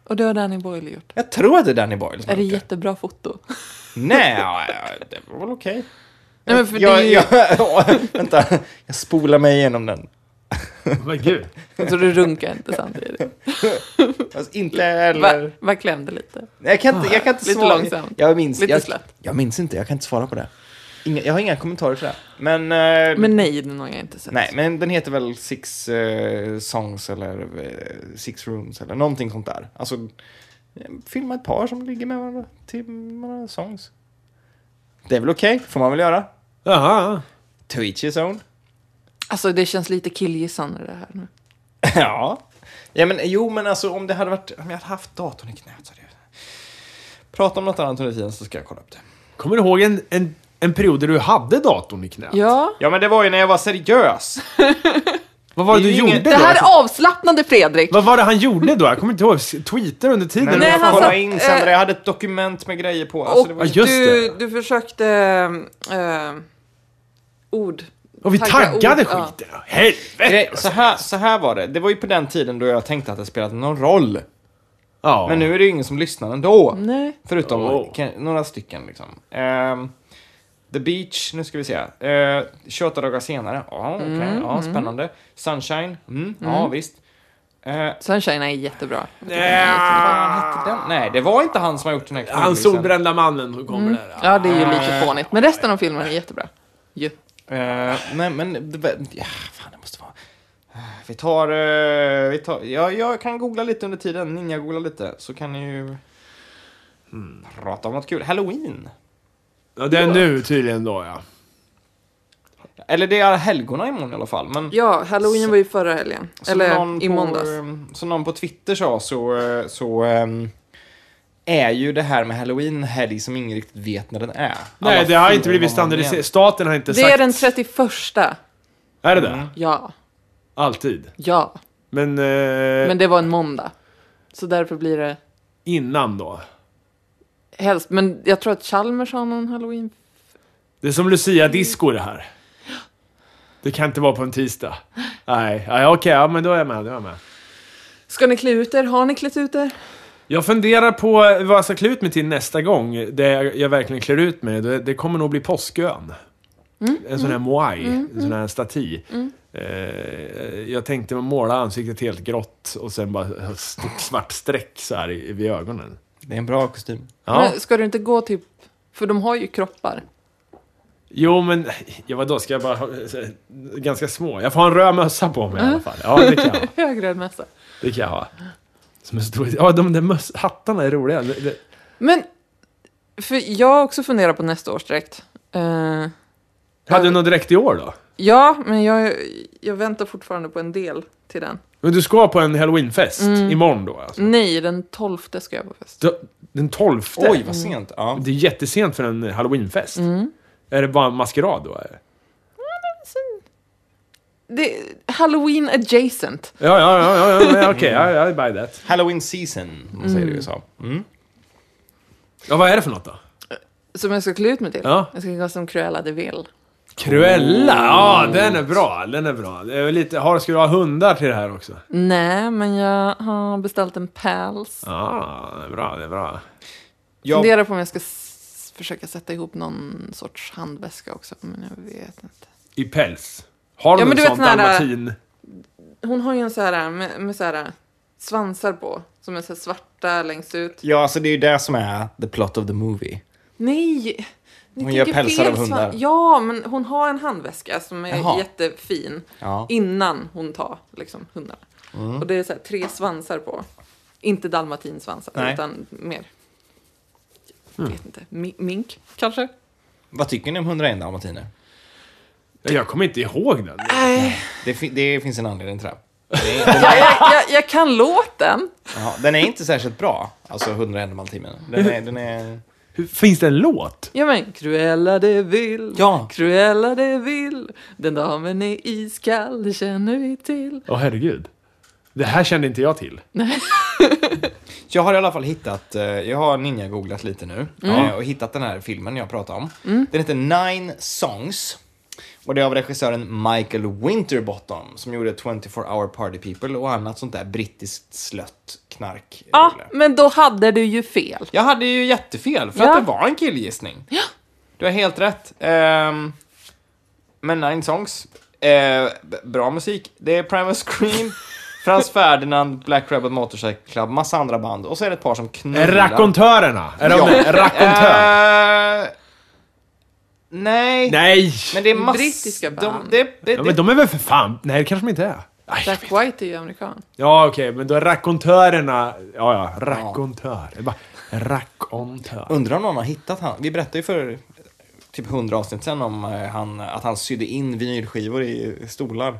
S2: Och det har Danny Boyle gjort.
S1: Jag tror att det är Danny Boyle som
S2: Är det
S1: har gjort
S2: jättebra
S3: [LAUGHS]
S2: foto?
S1: Nej, ja, ja, det var väl okej.
S2: Nej, men [LAUGHS] för det är
S1: Jag,
S2: ju...
S1: jag, [LAUGHS] vänta, jag spolar mig igenom den.
S3: Men gud.
S2: Så du runkar inte samtidigt.
S1: Alltså, inte eller...
S2: Va, va klämde lite.
S1: Jag kan inte, jag kan inte
S2: Lite
S1: svara.
S2: långsamt.
S1: Jag minns,
S2: Lite
S1: jag,
S2: slött.
S1: jag minns inte, jag kan inte svara på det. Inga, jag har inga kommentarer till det. Men, eh,
S2: Men nej, den har jag inte sett.
S1: nej, men den heter väl Six eh, Songs eller eh, Six Rooms eller någonting sånt där. Alltså, eh, filma ett par som ligger med varandra till några songs. Det är väl okej, får man väl göra.
S3: Jaha.
S1: To each his own.
S2: Alltså det känns lite killgissande det här nu.
S1: Ja. ja men, jo, men alltså om det hade varit... Om jag hade haft datorn i knät så hade jag... Prata om något annat under tiden så ska jag kolla upp det.
S3: Kommer du ihåg en, en, en period där du hade datorn i knät?
S2: Ja.
S1: Ja, men det var ju när jag var seriös.
S3: Vad var det
S1: Det är
S3: du
S1: ju
S3: gjorde
S1: inget-
S3: då? Alltså,
S2: Det här är avslappnande Fredrik.
S3: Vad var det han gjorde då? Jag kommer inte ihåg. Tweeter under
S1: [LAUGHS] Nej,
S3: tiden?
S1: men alltså,
S2: Nej,
S1: jag
S2: han
S1: kollade
S2: satt,
S1: in sen
S2: eh,
S1: där jag hade ett dokument med grejer på. Alltså, det var
S2: och
S1: ju...
S3: Ja, just
S2: du,
S3: det.
S2: du försökte eh, ord.
S3: Och vi
S2: Tagga
S3: taggade
S2: ord, ja.
S3: skiten. Helvete!
S1: Grej- så, här, så här var det. Det var ju på den tiden då jag tänkte att det spelade någon roll.
S3: Ja.
S1: Men nu är det ju ingen som lyssnar ändå.
S2: Nej.
S1: Förutom
S3: Oh.
S1: kan- några stycken liksom. Ehm, The Beach, nu ska vi se. Uh, 28 dagar senare. Ja, okej. Ja, spännande. Sunshine. Mm, Ja, visst. Eh,
S2: Sunshine är jättebra.
S1: Fan, hette den? Nej, det var inte han som har gjort den här
S3: Han
S1: knullisen.
S3: solbrända mannen som kommer där.
S2: Ja, det är ju lite fånigt. Men resten av filmen är jättebra. Ju.
S1: Eh, nej, men... det var- Ja, fan, det måste vara... Eh, Vi tar... eh, vi tar ja, jag kan googla lite under tiden. Ninja-googla lite. Så kan ni ju... Prata om något kul. Halloween.
S3: Ja, det är nu tydligen då ja.
S1: Eller det är helgona imorgon i alla fall. Men
S2: Ja, halloween var ju förra helgen.
S1: som någon
S2: Eller i
S1: på,
S2: måndags.
S1: eh, Som någon på Twitter sa så... eh, så ehm, är ju det här med halloween en helg som ingen riktigt vet när den är.
S3: Nej,
S1: Alla
S3: det har inte
S1: filmer
S3: blivit
S1: man har med.
S3: standardiserat. Staten har inte
S2: Det
S3: sagt...
S2: är den 31.
S3: Är det det?
S1: Mm.
S2: Ja,
S3: Alltid.
S2: ja.
S3: Men, eh,
S2: Men det var en måndag. Så därför blir det
S3: innan då?
S2: helst. Men jag tror att Chalmers har någon halloween.
S3: Det är som Lucia-disco det här. Det kan inte vara på en tisdag. Nej, ja, okej, ja, men då är jag med. Då är jag med.
S2: Ska ni klä ut er? Har ni klätt ut er?
S3: Jag funderar på vad jag ska klä ut mig till nästa gång. Det jag, jag verkligen klär ut mig. Det, det kommer nog bli påskön. En sån här moai, en sån här staty. Eh, jag tänkte måla ansiktet helt grått och sen bara ha ett stort svart streck så här i- vid ögonen.
S1: Det är en bra kostym.
S3: Ja.
S2: Men ska du inte gå typ... För de har ju kroppar. [LAUGHS]
S3: Jo, men ja, vadå, ska jag bara ha eh, ganska små? Jag får ha en röd mössa på mig i alla fall. Ja, det kan jag ha.
S2: Högröd mössa.
S3: Det kan jag ha. Som en stor... Ja, de där möss... hattarna är roliga. Det, det...
S2: Men... För jag har också funderat på nästa års dräkt. Eh,
S3: Hade du någon direkt i år då?
S2: ja, men jag, jag väntar fortfarande på en del till den.
S3: Men du ska på en halloweenfest
S2: Mm.
S3: imorgon då? Alltså.
S2: Nej, den 12 ska jag på fest.
S3: Du- Den 12?
S1: Oj, vad sent. Ja.
S3: Det är jättesent för en halloweenfest.
S2: Mm.
S3: Är det bara en maskerad då? eller?
S2: Det, Halloween adjacent.
S3: Ja, ja, ja, ja, ja,
S2: [LAUGHS]
S3: ja okej. ja, I buy that.
S1: Halloween season, man säger det i USA. Mm.
S3: Ja, vad är det för något då?
S2: Som jag ska klä ut mig till.
S3: Ja.
S2: Jag ska gå som Cruella de Vil.
S3: Cruella! Oh. Ja, den är bra. Den är bra. Det är väl lite, har, ska du ha hundar till det här också?
S2: Nej, men jag har beställt en päls.
S3: Ja, det är bra, det är bra.
S1: Jag
S2: Funderar på om jag ska s- försöka sätta ihop någon sorts handväska också, men jag vet inte.
S3: I päls. Har du
S2: Ja, men
S3: någon
S2: du vet den
S3: sån
S2: här-
S3: dalmatin?
S2: Hon har ju en så här med, med så här svansar på, som är så här svarta längst ut.
S1: Ja, alltså det är ju det som är the plot of the movie.
S2: Nej! ni
S1: Hon gör
S2: tänker
S1: pälsar
S2: fel
S1: av hundar.
S2: svans- Ja, men hon har en handväska som är
S1: Jaha.
S2: jättefin
S1: Ja. Mm.
S2: innan hon tar liksom, hundarna. Och det är så här, tre svansar på. Inte dalmatinsvansar,
S1: Nej.
S2: utan mer... Jag vet inte. mi- Mink, kanske?
S1: Vad tycker ni om 101 dalmatiner?
S3: Ja, Jag kommer inte ihåg den.
S2: Nej.
S1: Det, fi- det finns en anledning till det.
S2: Jag, jag, jag, jag kan låten.
S1: Ja, den är inte särskilt bra, alltså 101 dalmatiner. Den är, den är...
S3: Hur, finns det en låt?
S2: Ja men, Cruella de vill,
S1: Ja.
S2: Cruella de vill, den damen är iskall, det känner vi till.
S3: Åh herregud. Det här kände inte jag till.
S1: Jag har i alla fall hittat, eh, jag har ninja-googlat lite nu
S2: Mm.
S1: eh, och hittat den här filmen jag pratade om. Den heter Nine Songs och det är av regissören Michael Winterbottom som gjorde 24 hour party people och annat sånt där brittiskt slött knark.
S2: Ja, men då hade du ju fel.
S1: Jag hade ju jättefel för
S2: Ja.
S1: att det var en killgissning. Du har helt rätt. Ehm, men Nine Songs, eh, b- bra musik. Det är Primus
S3: [LAUGHS]
S1: Scream, Franz Ferdinand, Black Rebel Motorcycle Club, massa andra band och så är det ett par som knullar.
S3: Rakontörerna! Är de
S1: Ja.
S2: [LAUGHS]
S3: med? Rakontör?
S1: Eh, nej.
S3: Nej!
S1: Men det är mass...
S2: Brittiska band.
S1: De, det, det,
S3: Ja, men de är väl för fan... Nej, det kanske de inte är. Aj, jag vet.
S2: Jack White är ju amerikan.
S3: Ja, okej, men då är rakontörerna... Ja, ja, rakontör. Det är bara rakontör.
S1: Undrar om någon har hittat han. Vi berättade ju för typ 100 avsnitt sen om eh, han, att han sydde in vinylskivor i stolar.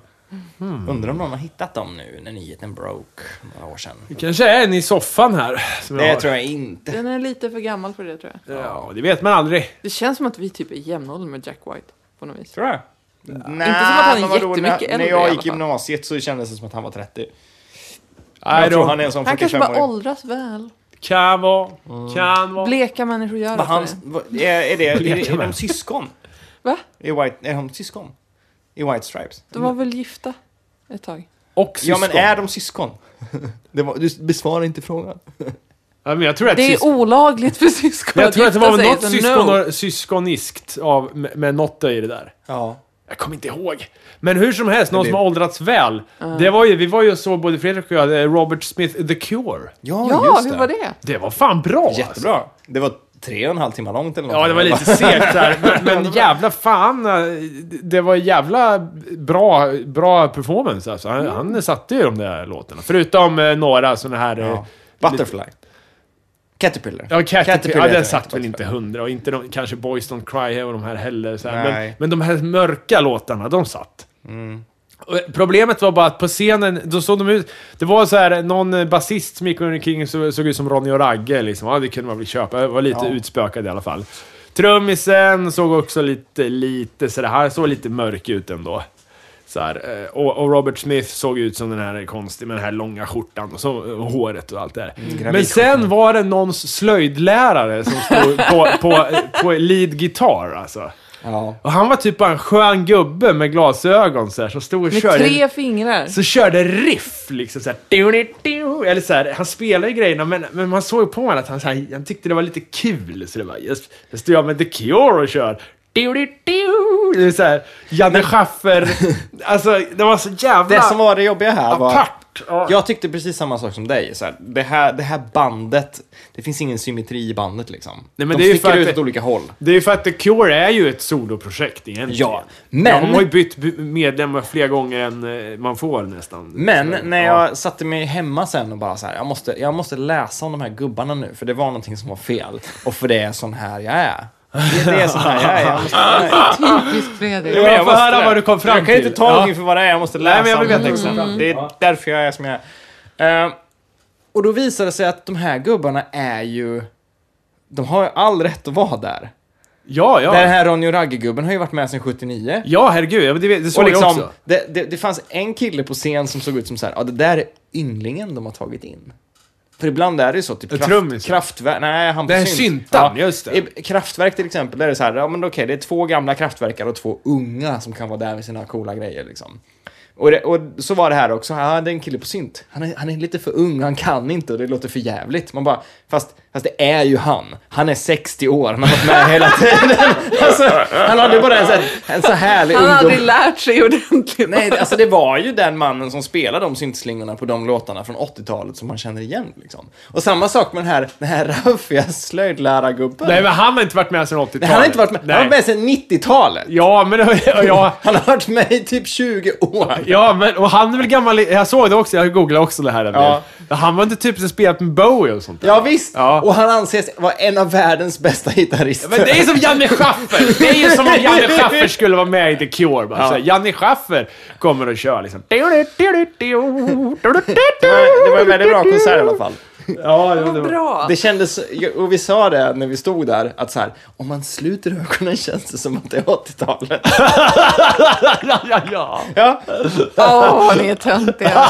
S3: Mhm.
S1: Undrar om någon har hittat dem nu när nyheten broke några år sedan.
S3: Det kanske är en i soffan här. Som
S1: Det
S3: jag har.
S1: tror jag inte.
S2: Den är lite för gammal för det tror jag.
S3: Ja, det vet man aldrig.
S2: Det känns som att vi typ är jämnåldern med Jack White på något vis.
S1: Tror jag. Nej,
S2: att han är
S1: men vadå,
S2: jättemycket
S1: när,
S2: äldre
S1: när
S2: i alla
S1: jag
S2: fall.
S1: gick gymnasiet så kändes det som att han var 30.
S3: Nej
S1: jag
S3: då.
S1: tror han är en sån
S2: Han kanske bara
S1: 45-åring.
S2: åldras väl.
S3: Kan vara, kan vara.
S2: Bleka människor gör
S1: Vad
S2: det.
S1: han- vad- Är, är, det, är, det- är de
S3: Blekemän.
S1: syskon?
S2: Va?
S1: Är, White, är de syskon? I White Stripes?
S2: De var väl gifta ett tag?
S3: Och syskon.
S1: Ja, men är de
S3: [LAUGHS]
S1: syskon? Det var, du besvarar inte frågan.
S3: Ja, men jag tror att
S2: Det är
S3: syskon...
S2: olagligt för syskon
S3: Jag tror att det var
S2: gifta sig,
S3: något
S2: så
S3: syskon
S2: no.
S3: syskoniskt av, med, med något i det där.
S1: Ja.
S3: Jag kommer inte ihåg. Men hur som helst, någon
S1: Det-
S3: som har åldrats väl. Det var ju, vi var ju och såg både Fredrik och jag, eh, Robert Smith, The Cure.
S1: Ja,
S2: Ja,
S1: just
S2: hur var det?
S3: Det var fan bra alltså.
S1: Jättebra. Det var tre och en halv timme långt eller
S3: Ja, det var lite segt där. Men,
S1: [LAUGHS]
S3: men jävla fan. eh, Det var jävla bra, bra performance alltså.
S1: Mm.
S3: Han, han satte ju de där låtarna. Förutom eh, några sådana här... eh,
S1: Ja. Butterfly. Caterpillar.
S3: Ja, Caterpillar, ja,
S1: heter
S3: den
S1: det.
S3: satt väl inte hundra. Och inte de, kanske Boys Don't Cry och de här heller. Så här. Men,
S1: Nej.
S3: men de här mörka låtarna, de satt. Och Problemet var bara att på scenen, då såg de ut... Det var så här, någon eh, basist som gick omkring så, såg ut som Ronny och Ragge liksom. Ja, det kunde man väl köpa. Var lite
S1: Ja.
S3: utspökad i alla fall. Trummisen såg också lite, lite sådär, han såg lite mörk ut ändå. Så här, eh, och, och Robert Smith såg ut som den här konstiga med den här långa skjortan och, så, och håret och allt det där. Men sen var det någons slöjdlärare som stod på, på, på lead guitar alltså.
S1: Ja.
S3: Och han var typ bara en skön gubbe med glasögon så här, som stod och
S2: Med
S3: körde...
S2: tre
S3: [LAUGHS]
S2: fingrar.
S3: Så körde riff liksom så här, "Duni, du." Eller så här, han spelade ju grejerna men, men man såg ju på honom att han, så här, han tyckte det var lite kul. Så det var yes, så står jag med The Cure och kör. "Duni, du." Det är så här,
S1: [LAUGHS]
S3: Janne Schaffer. Alltså det var så jävla
S1: Det som var det jobbiga här var...
S3: apart. Ja.
S1: Jag tyckte precis samma sak som dig. Så här, det, här, det här bandet, det finns ingen symmetri i bandet liksom.
S3: Nej, men
S1: De
S3: det är ju
S1: sticker
S3: för att
S1: ut
S3: det-
S1: åt olika håll.
S3: Det är ju för att The Cure är ju ett soloprojekt egentligen.
S1: Ja,
S3: Ja, De
S1: men...
S3: har ju bytt bu- medlemmar fler gånger än eh, man får nästan.
S1: Men
S3: Så,
S1: när
S3: ja.
S1: jag satte mig hemma sen och bara så här, jag måste, jag måste läsa om de här gubbarna nu, för det var någonting som var fel. Och för det är sån här jag är. Det, det är sån här jag är. Jag [LAUGHS] måste,
S2: Typiskt Fredrik.
S3: Ja, jag får
S1: måste
S3: höra
S1: det.
S3: vad du kom fram
S1: Jag kan
S3: till.
S1: inte ta
S3: Ja.
S1: någonting för vad det är, jag måste läsa
S3: Nej, men jag vill
S1: om den
S3: veta
S1: texten.
S3: exakt.
S1: Det Mm. är därför jag är som jag är. Eh, och då visade det sig att de här gubbarna är ju... De har ju all rätt att vara där.
S3: Ja, ja.
S1: Den här Ronny och Ragge-gubben har ju varit med sedan 79.
S3: Ja, herregud. ja, men Det, det såg
S1: Och
S3: jag
S1: liksom,
S3: också.
S1: det, det, det fanns en kille på scen som såg ut som så här, ja det där är ynglingen de har tagit in. För ibland är det ju så, typ
S3: En
S1: kraft,
S3: trummis.
S1: kraftverk, nej han på
S3: Det är
S1: synt.
S3: syntan, just det.
S1: I kraftverk till exempel, där är det så här, ja men okej det är två gamla kraftverkare och två unga som kan vara där med sina coola grejer liksom. Och, det, och så var det här också, ja det är en kille på synt. Han är, han är lite för ung, han kan inte och det låter för jävligt. Man bara, fast, fast det är ju han. Han är 60 år, han har varit med hela tiden. [LAUGHS] Alltså, han hade bara en så, här, en så härlig
S2: Han har
S1: ungdom.
S2: aldrig lärt sig ordentligt.
S1: Nej, alltså det var ju den mannen som spelade de syntslingorna på de låtarna från 80-talet som man känner igen. Liksom. Och samma sak med den här, den här raffiga slöjdlärargubben.
S3: Nej, men han har inte varit med sedan 80-talet.
S1: han har inte varit med, han
S3: Nej.
S1: har varit med sedan 90-talet.
S3: Ja, men... [LAUGHS] Ja,
S1: Han har varit med i typ 20 år.
S3: ja, men och han är väl gammal... i- Jag såg det också, jag googlade också det här. en
S1: Ja.
S3: del. Han var inte typ som spelat med Bowie och sånt där.
S1: Ja, visst.
S3: Ja.
S1: Och han anses vara en av världens bästa gitarrister.
S3: Men det är som Janne Schaffer! Det är ju som om Janne Schaffer skulle vara med i The Cure. Bara. Så här, Janne Schaffer kommer och kör liksom...
S1: det var, det var en väldigt bra konsert i alla fall.
S3: Ja, jo, alltså, det
S2: Vad
S3: var-
S2: bra!
S1: Det kändes, och vi sa det när vi stod där, att så här, om man sluter ögonen känns det som att det är 80-talet.
S3: Ja, ja, ja.
S1: Ja,
S2: Åh, ni är töntiga.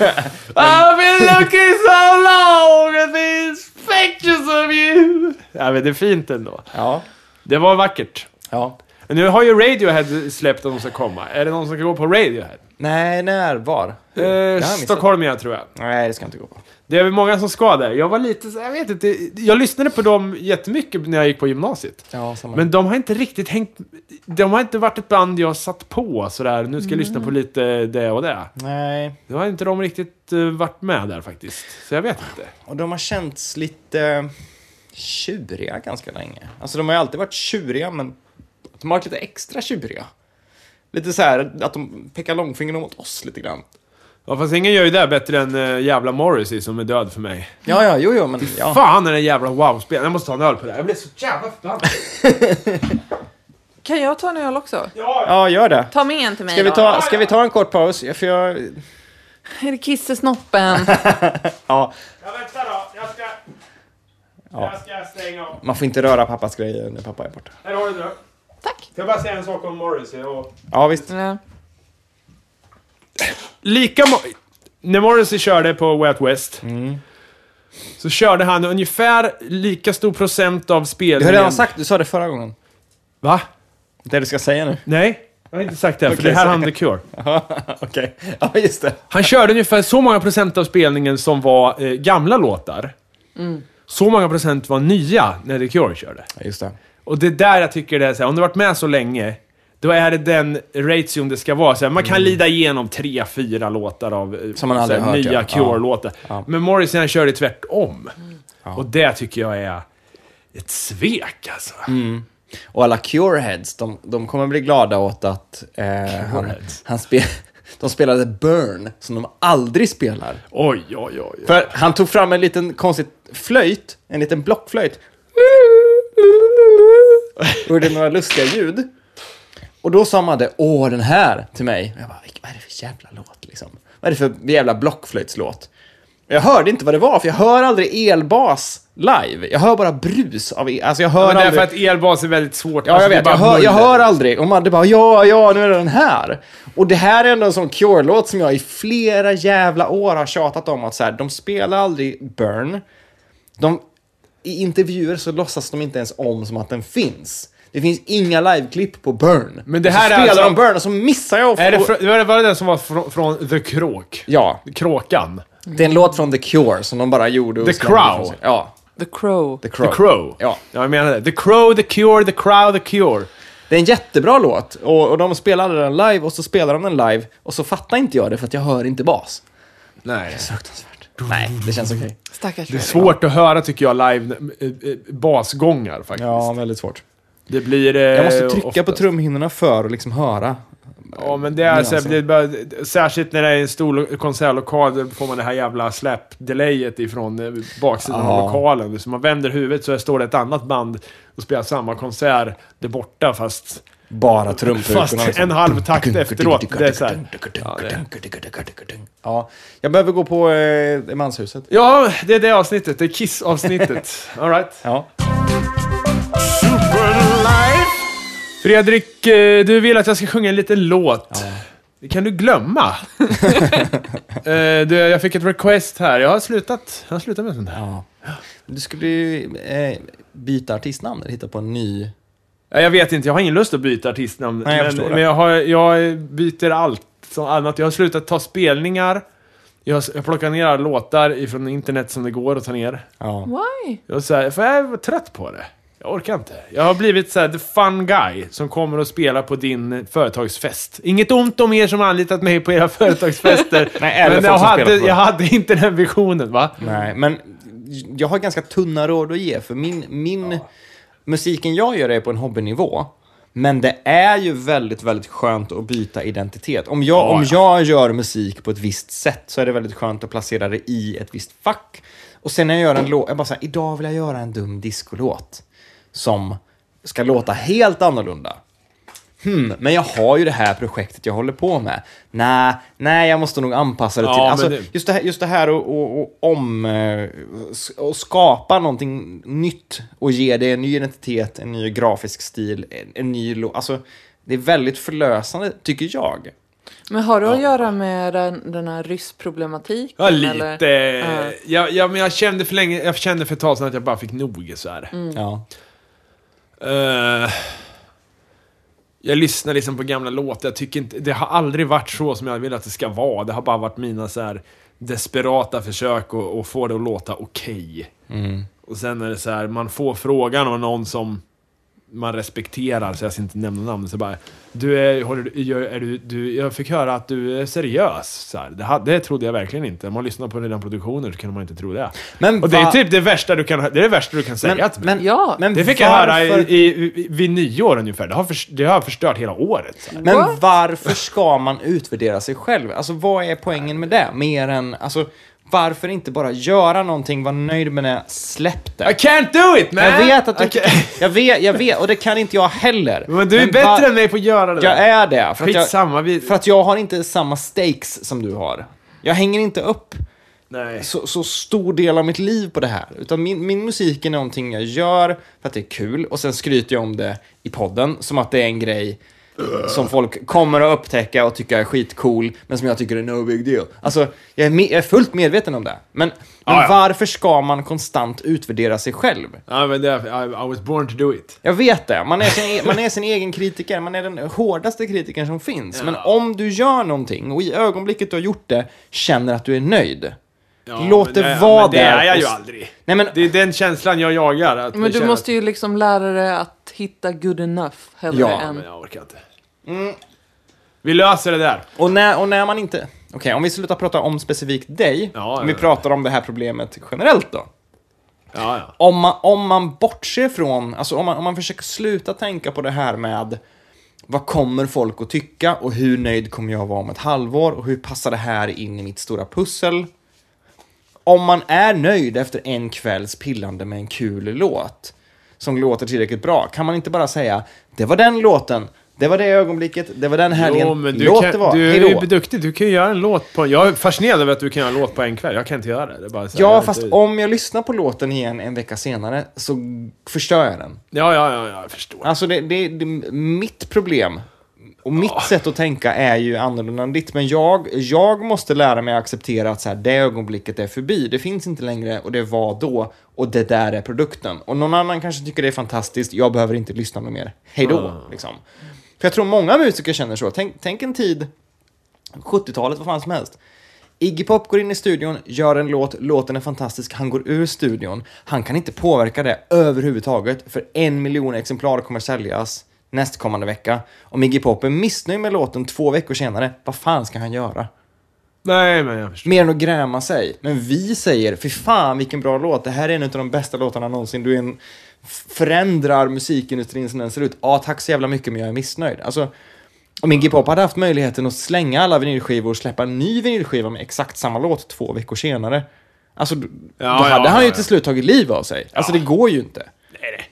S3: I've been looking so long at these pictures of you. Ja, men det är fint ändå.
S1: ja,
S3: Det var vackert.
S1: ja.
S3: Men Nu har ju Radiohead släppt att de ska komma. Är det någon som ska gå på Radiohead?
S1: Nej, när, var? Hur? Det har jag
S3: Eh,
S1: missat.
S3: Stockholm jag tror jag.
S1: Nej, det ska jag inte gå på.
S3: Det är väl många som ska där. Jag var lite så jag vet inte. Jag lyssnade på dem jättemycket när jag gick på gymnasiet.
S1: Ja, samma.
S3: Men de har inte riktigt hängt... De har inte varit ett band jag satt på sådär. Nu ska jag lyssna
S1: Mm.
S3: på lite det och det.
S1: Nej,
S3: Då har inte de riktigt eh, varit med där faktiskt. Så jag vet inte.
S1: och de har känts lite tjuriga ganska länge. Alltså de har ju alltid varit tjuriga, men de har varit lite extra tjuriga. Lite så här att de pekar långfingern åt oss lite grann.
S3: Ja, fast ingen gör ju det bättre än eh, jävla Morrissey som är död för mig.
S1: Ja, ja, jo, jo, men ja.
S3: Fan är den jävla wow-spelaren. Jag måste ta en öl på det här. Jag blev så jävla förbannad.
S2: Kan jag ta en öl också?
S1: Ja, gör det.
S2: Ta med en till mig
S1: Ska vi
S2: då.
S1: ta, ska vi ta en kort paus? Ja, För jag...
S2: Är det kissesnoppen?
S1: Ja,
S3: Ja, vänta då. Jag ska...
S1: Ja.
S3: Jag ska stänga av.
S1: man får inte röra pappas grejer när pappa är borta.
S3: Här har du det.
S2: Tack.
S3: Ska jag bara säga en sak om Morrissey och...
S1: Ja, visst.
S2: Ja.
S3: lika mo- När Morrissey körde på Way Out West
S1: Mm.
S3: så körde han ungefär lika stor procent av spelningen.
S1: Du har redan sagt, du sa det förra gången.
S3: Va?
S1: Det du ska säga nu. [LAUGHS]
S3: Nej, jag har inte sagt det. För
S1: Okej,
S3: det här
S1: sorry.
S3: hann The Cure.
S1: Okej. Ja, just det.
S3: Han körde ungefär så många procent av spelningen som var eh, gamla låtar. Så många procent var nya när The Cure körde.
S1: Ja, just det.
S3: Och det är där jag tycker det är så här, om du har varit med så länge, då är det den ration det ska vara. Så här, man kan lida igenom tre, fyra låtar av eh,
S1: Mm. Som man
S3: så
S1: aldrig
S3: här,
S1: hört,
S3: nya
S1: ja.
S3: Cure-låtar.
S1: Ja.
S3: Men Morrison han kör det tvärtom. Och det tycker jag är ett svek alltså.
S1: Mm. Och alla Cureheads, de, de kommer bli glada åt att eh, han,
S3: Cureheads.
S1: han spe, [LAUGHS] de spelade Burn, som de aldrig spelar.
S3: Oj, oj, oj. oj.
S1: För han tog fram en liten konstig flöjt, en liten blockflöjt. Och gjorde några lustiga ljud. Och då sa Madde, åh den här till mig. Och jag bara, vad är det för jävla låt liksom? Vad är det för jävla blockflöjtslåt? Och Jag hörde inte vad det var, för jag hör aldrig elbas live. Jag hör bara brus av el. Alltså jag hör
S3: Men det är
S1: aldrig...
S3: för att elbas är väldigt svårt.
S1: Ja,
S3: Alltså,
S1: jag
S3: det är
S1: vet.
S3: bara
S1: Jag hör, jag
S3: muller.
S1: hör aldrig. Och Madde bara, ja, ja, nu är det den här. Och det här är ändå en sån Cure-låt som jag i flera jävla år har tjatat om att så här, de spelar aldrig Burn. De, I intervjuer så låtsas de inte ens om som att den finns. Det finns inga liveklipp på Burn.
S3: Men det
S1: Och så
S3: här är
S1: spelar
S3: alltså-
S1: de Burn och så missar jag.
S3: Är det fr- var det- var det den som var från, från The Kråk?
S1: Ja,
S3: Kråkan?
S1: det är en låt från The Cure som de bara gjorde. och
S3: The
S1: slängde ifrån
S3: Crow.
S1: sig. Ja,
S2: The Crow.
S1: The Crow.
S3: The Crow?
S1: Ja.
S3: ja, jag menar det. The Crow, The Cure, The Crow, The Cure.
S1: Det är en jättebra låt och, och de spelade den live och så spelar de den live och så fattar inte jag det för att jag hör inte bas.
S3: Nej.
S1: Fruktansvärt. Nej, det känns okej.
S2: Stackars
S3: Det är svårt att höra tycker jag live, eh, eh, basgångar faktiskt.
S1: Ja, väldigt svårt.
S3: Det blir... eh,
S1: Jag måste trycka på
S3: oftast.
S1: trumhinnorna för att liksom höra.
S3: Ja, men det är, så,
S1: Nyanser.
S3: det är bara, särskilt när det är en stor lo- konsertlokal, då får man det här jävla släpdelayet ifrån eh, baksidan
S1: Ja.
S3: av lokalen. Så man vänder huvudet så står det ett annat band och spelar samma konsert där borta fast,
S1: Bara liksom. trumprutorna.
S3: fast en halv takt efteråt. Det är så här.
S1: Ja, ja, jag behöver gå på eh, manshuset.
S3: Ja, det är det avsnittet. Det
S1: [LAUGHS]
S3: är Kiss-avsnittet. All right.
S1: Ja.
S3: Fredrik, eh, du vill att jag ska sjunga en liten låt. Det kan
S1: [LAUGHS]
S3: du glömma. Eh, du, jag fick ett request här. Jag har slutat, jag har slutat med sånt här.
S1: ja. Du skulle ju eh, byta artistnamn eller hitta på en ny.
S3: Ja, Jag vet inte, jag har ingen lust att byta artistnamn.
S1: Nej, jag
S3: men
S1: förstår det.
S3: men jag, har, jag byter allt som annat. Jag har slutat ta spelningar. Jag, har s- jag plockar ner låtar ifrån internet som det går att ta ner.
S1: Ja.
S2: Why?
S3: Jag, är så här, för jag var trött på det. Jag orkar inte. Jag har blivit så här, the fun guy som kommer och spelar på din eh, företagsfest. Inget ont om er som har anlitat mig på era [LAUGHS] företagsfester.
S1: [LAUGHS] Nej, eller
S3: men
S1: folk
S3: jag
S1: som
S3: hade,
S1: spelar på-
S3: jag hade inte den visionen, va?
S1: Nej, men jag har ganska tunna råd att ge för min, min musiken jag gör är på en hobbynivå. Men det är ju väldigt, väldigt skönt att byta identitet. Om jag,
S3: Ja,
S1: om
S3: ja.
S1: jag gör musik på ett visst sätt så är det väldigt skönt att placera det i ett visst fack. Och sen när jag gör en låt, jag bara såhär, idag vill jag göra en dum discolåt som ska låta helt annorlunda. hmm,
S3: Mm.
S1: men jag har ju det här projektet jag håller på med. Nej, nej, jag måste nog anpassa det
S3: Ja,
S1: till...
S3: men
S1: Alltså,
S3: det-
S1: just, det här, just det här och, och, och om... eh, s- Och skapa någonting nytt och ge det en ny identitet, en ny grafisk stil, en, en ny... lo- Alltså, det är väldigt förlösande, tycker jag.
S2: Men har det att göra med den, den här ryssproblematiken?
S3: Ja, lite.
S2: Eller? Ja.
S3: Ja, ja, men jag kände för länge, jag kände för ett tag sedan att jag bara fick nog så här.
S2: Mm.
S1: Ja.
S3: Eh, jag lyssnar liksom på gamla låtar. Jag tycker inte, det har aldrig varit så som jag vill att det ska vara. Det har bara varit mina så här desperata försök att, att få det att låta okej.
S1: Mm.
S3: Och sen är det så här, man får frågan av någon som man respekterar, så jag ska inte nämna namn, så bara du är, håller, du- gör- är du, du, jag fick höra att du är seriös. Så här, det, ha- det trodde jag verkligen inte. Om man lyssnar på dina produktioner så kan man inte tro det.
S1: Men
S3: Och det är
S1: va-
S3: typ det värsta du kan, det är det värsta du kan säga till mig.
S1: men,
S2: Ja.
S1: men
S3: Det fick jag höra i,
S1: varför-
S3: i, i, vid nyår ungefär. Det har, förs- det har förstört hela året. Så. här.
S1: Men
S2: What?
S1: varför ska man utvärdera sig själv? Alltså vad är poängen med det? Mer än, alltså varför inte bara göra någonting, vara nöjd med det, släpp
S3: I
S1: det.
S3: can't do it man!
S1: Jag vet att du,
S3: Okej.
S1: jag vet, jag vet, och det kan inte jag heller.
S3: Men du är bättre
S1: va-
S3: än mig på att göra det
S1: Jag
S3: där.
S1: är det. För att jag,
S3: Skitsamma, vi...
S1: för att jag har inte samma stakes som du har. Jag hänger inte upp
S3: Nej.
S1: så, så stor del av mitt liv på det här. Utan min, min musik är någonting jag gör för att det är kul och sen skryter jag om det i podden som att det är en grej som folk kommer att upptäcka och tycka är skitcool men som jag tycker är no big deal. Alltså, jag är, me- jag är fullt medveten om det. Men, men
S3: Ja, ja.
S1: varför ska man konstant utvärdera sig själv?
S3: Ja, men det är, I, I was born to do it.
S1: Jag vet det. Man är, sin,
S3: [LAUGHS]
S1: e- man är sin egen kritiker. Man är den hårdaste kritikern som finns. Men om du gör någonting och i ögonblicket du har gjort det känner att du är nöjd.
S3: Ja,
S1: Låt
S3: men
S1: det
S3: ja,
S1: vara
S3: men Det
S1: där
S3: är jag
S1: och
S3: ju
S1: s-
S3: aldrig.
S1: Nej, men
S3: Det är den känslan jag jagar. Att
S2: Men du
S3: känna
S2: måste ju liksom lära dig att hitta good enough hellre
S1: Ja,
S3: Att,
S2: än...
S3: men jag orkar inte.
S1: Mm.
S3: Vi löser det där.
S1: Och när, och när man inte... Okej, om vi slutar prata om specifikt dig,
S3: Ja,
S1: om vi
S3: ja, ja.
S1: pratar om det här problemet generellt då.
S3: Ja, ja.
S1: Om man, om man bortser från, alltså om man, om man försöker sluta tänka på det här med vad kommer folk att tycka och hur nöjd kommer jag vara om ett halvår och hur passar det här in i mitt stora pussel? Om man är nöjd efter en kvälls pillande med en kul låt som låter tillräckligt bra, kan man inte bara säga det var den låten, det var det ögonblicket, det var den helgen,
S3: Jo, men du,
S1: låt
S3: kan,
S1: det vara,
S3: du är
S1: hejdå.
S3: ju duktig. Du kan ju göra en låt på... Jag är fascinerad över att du kan göra en låt på en kväll. Jag kan inte göra det. det är bara så här, jag
S1: Ja,
S3: är
S1: fast
S3: inte-
S1: om jag lyssnar på låten igen en vecka senare så förstör jag den.
S3: Ja, ja, ja, ja, jag förstår.
S1: Alltså, det, det, det mitt problem och mitt sätt att tänka är ju annorlunda än ditt. Men jag, jag måste lära mig att acceptera att så här, det ögonblicket är förbi. Det finns inte längre och det var då och det där är produkten. Och någon annan kanske tycker det är fantastiskt. Jag behöver inte lyssna något mer. Hej då, liksom. För jag tror många musiker känner så. Tänk, tänk en tid 70-talet, vad fan som helst. Iggy Pop går in i studion, gör en låt, låten är fantastisk, han går ur studion. Han kan inte påverka det överhuvudtaget, för en miljon exemplar kommer säljas nästkommande vecka. Om Iggy Pop är missnöjd med låten två veckor senare, vad fan ska han göra?
S3: Nej, men jag förstår.
S1: Mer än att gräma sig. Men vi säger, fy fan vilken bra låt, det här är en av de bästa låtarna någonsin. Du är en, f- förändrar musikindustrin som den ser ut. Ja, tack så jävla mycket, men jag är missnöjd. Alltså, om Iggy Pop hade haft möjligheten att slänga alla vinylskivor och släppa en ny vinylskiva med exakt samma låt två veckor senare, alltså, d- då
S3: Ja, ja,
S1: hade han
S3: ja,
S1: ju
S3: ja.
S1: till slut tagit liv av sig. Alltså, det går ju inte.
S3: Nej, nej.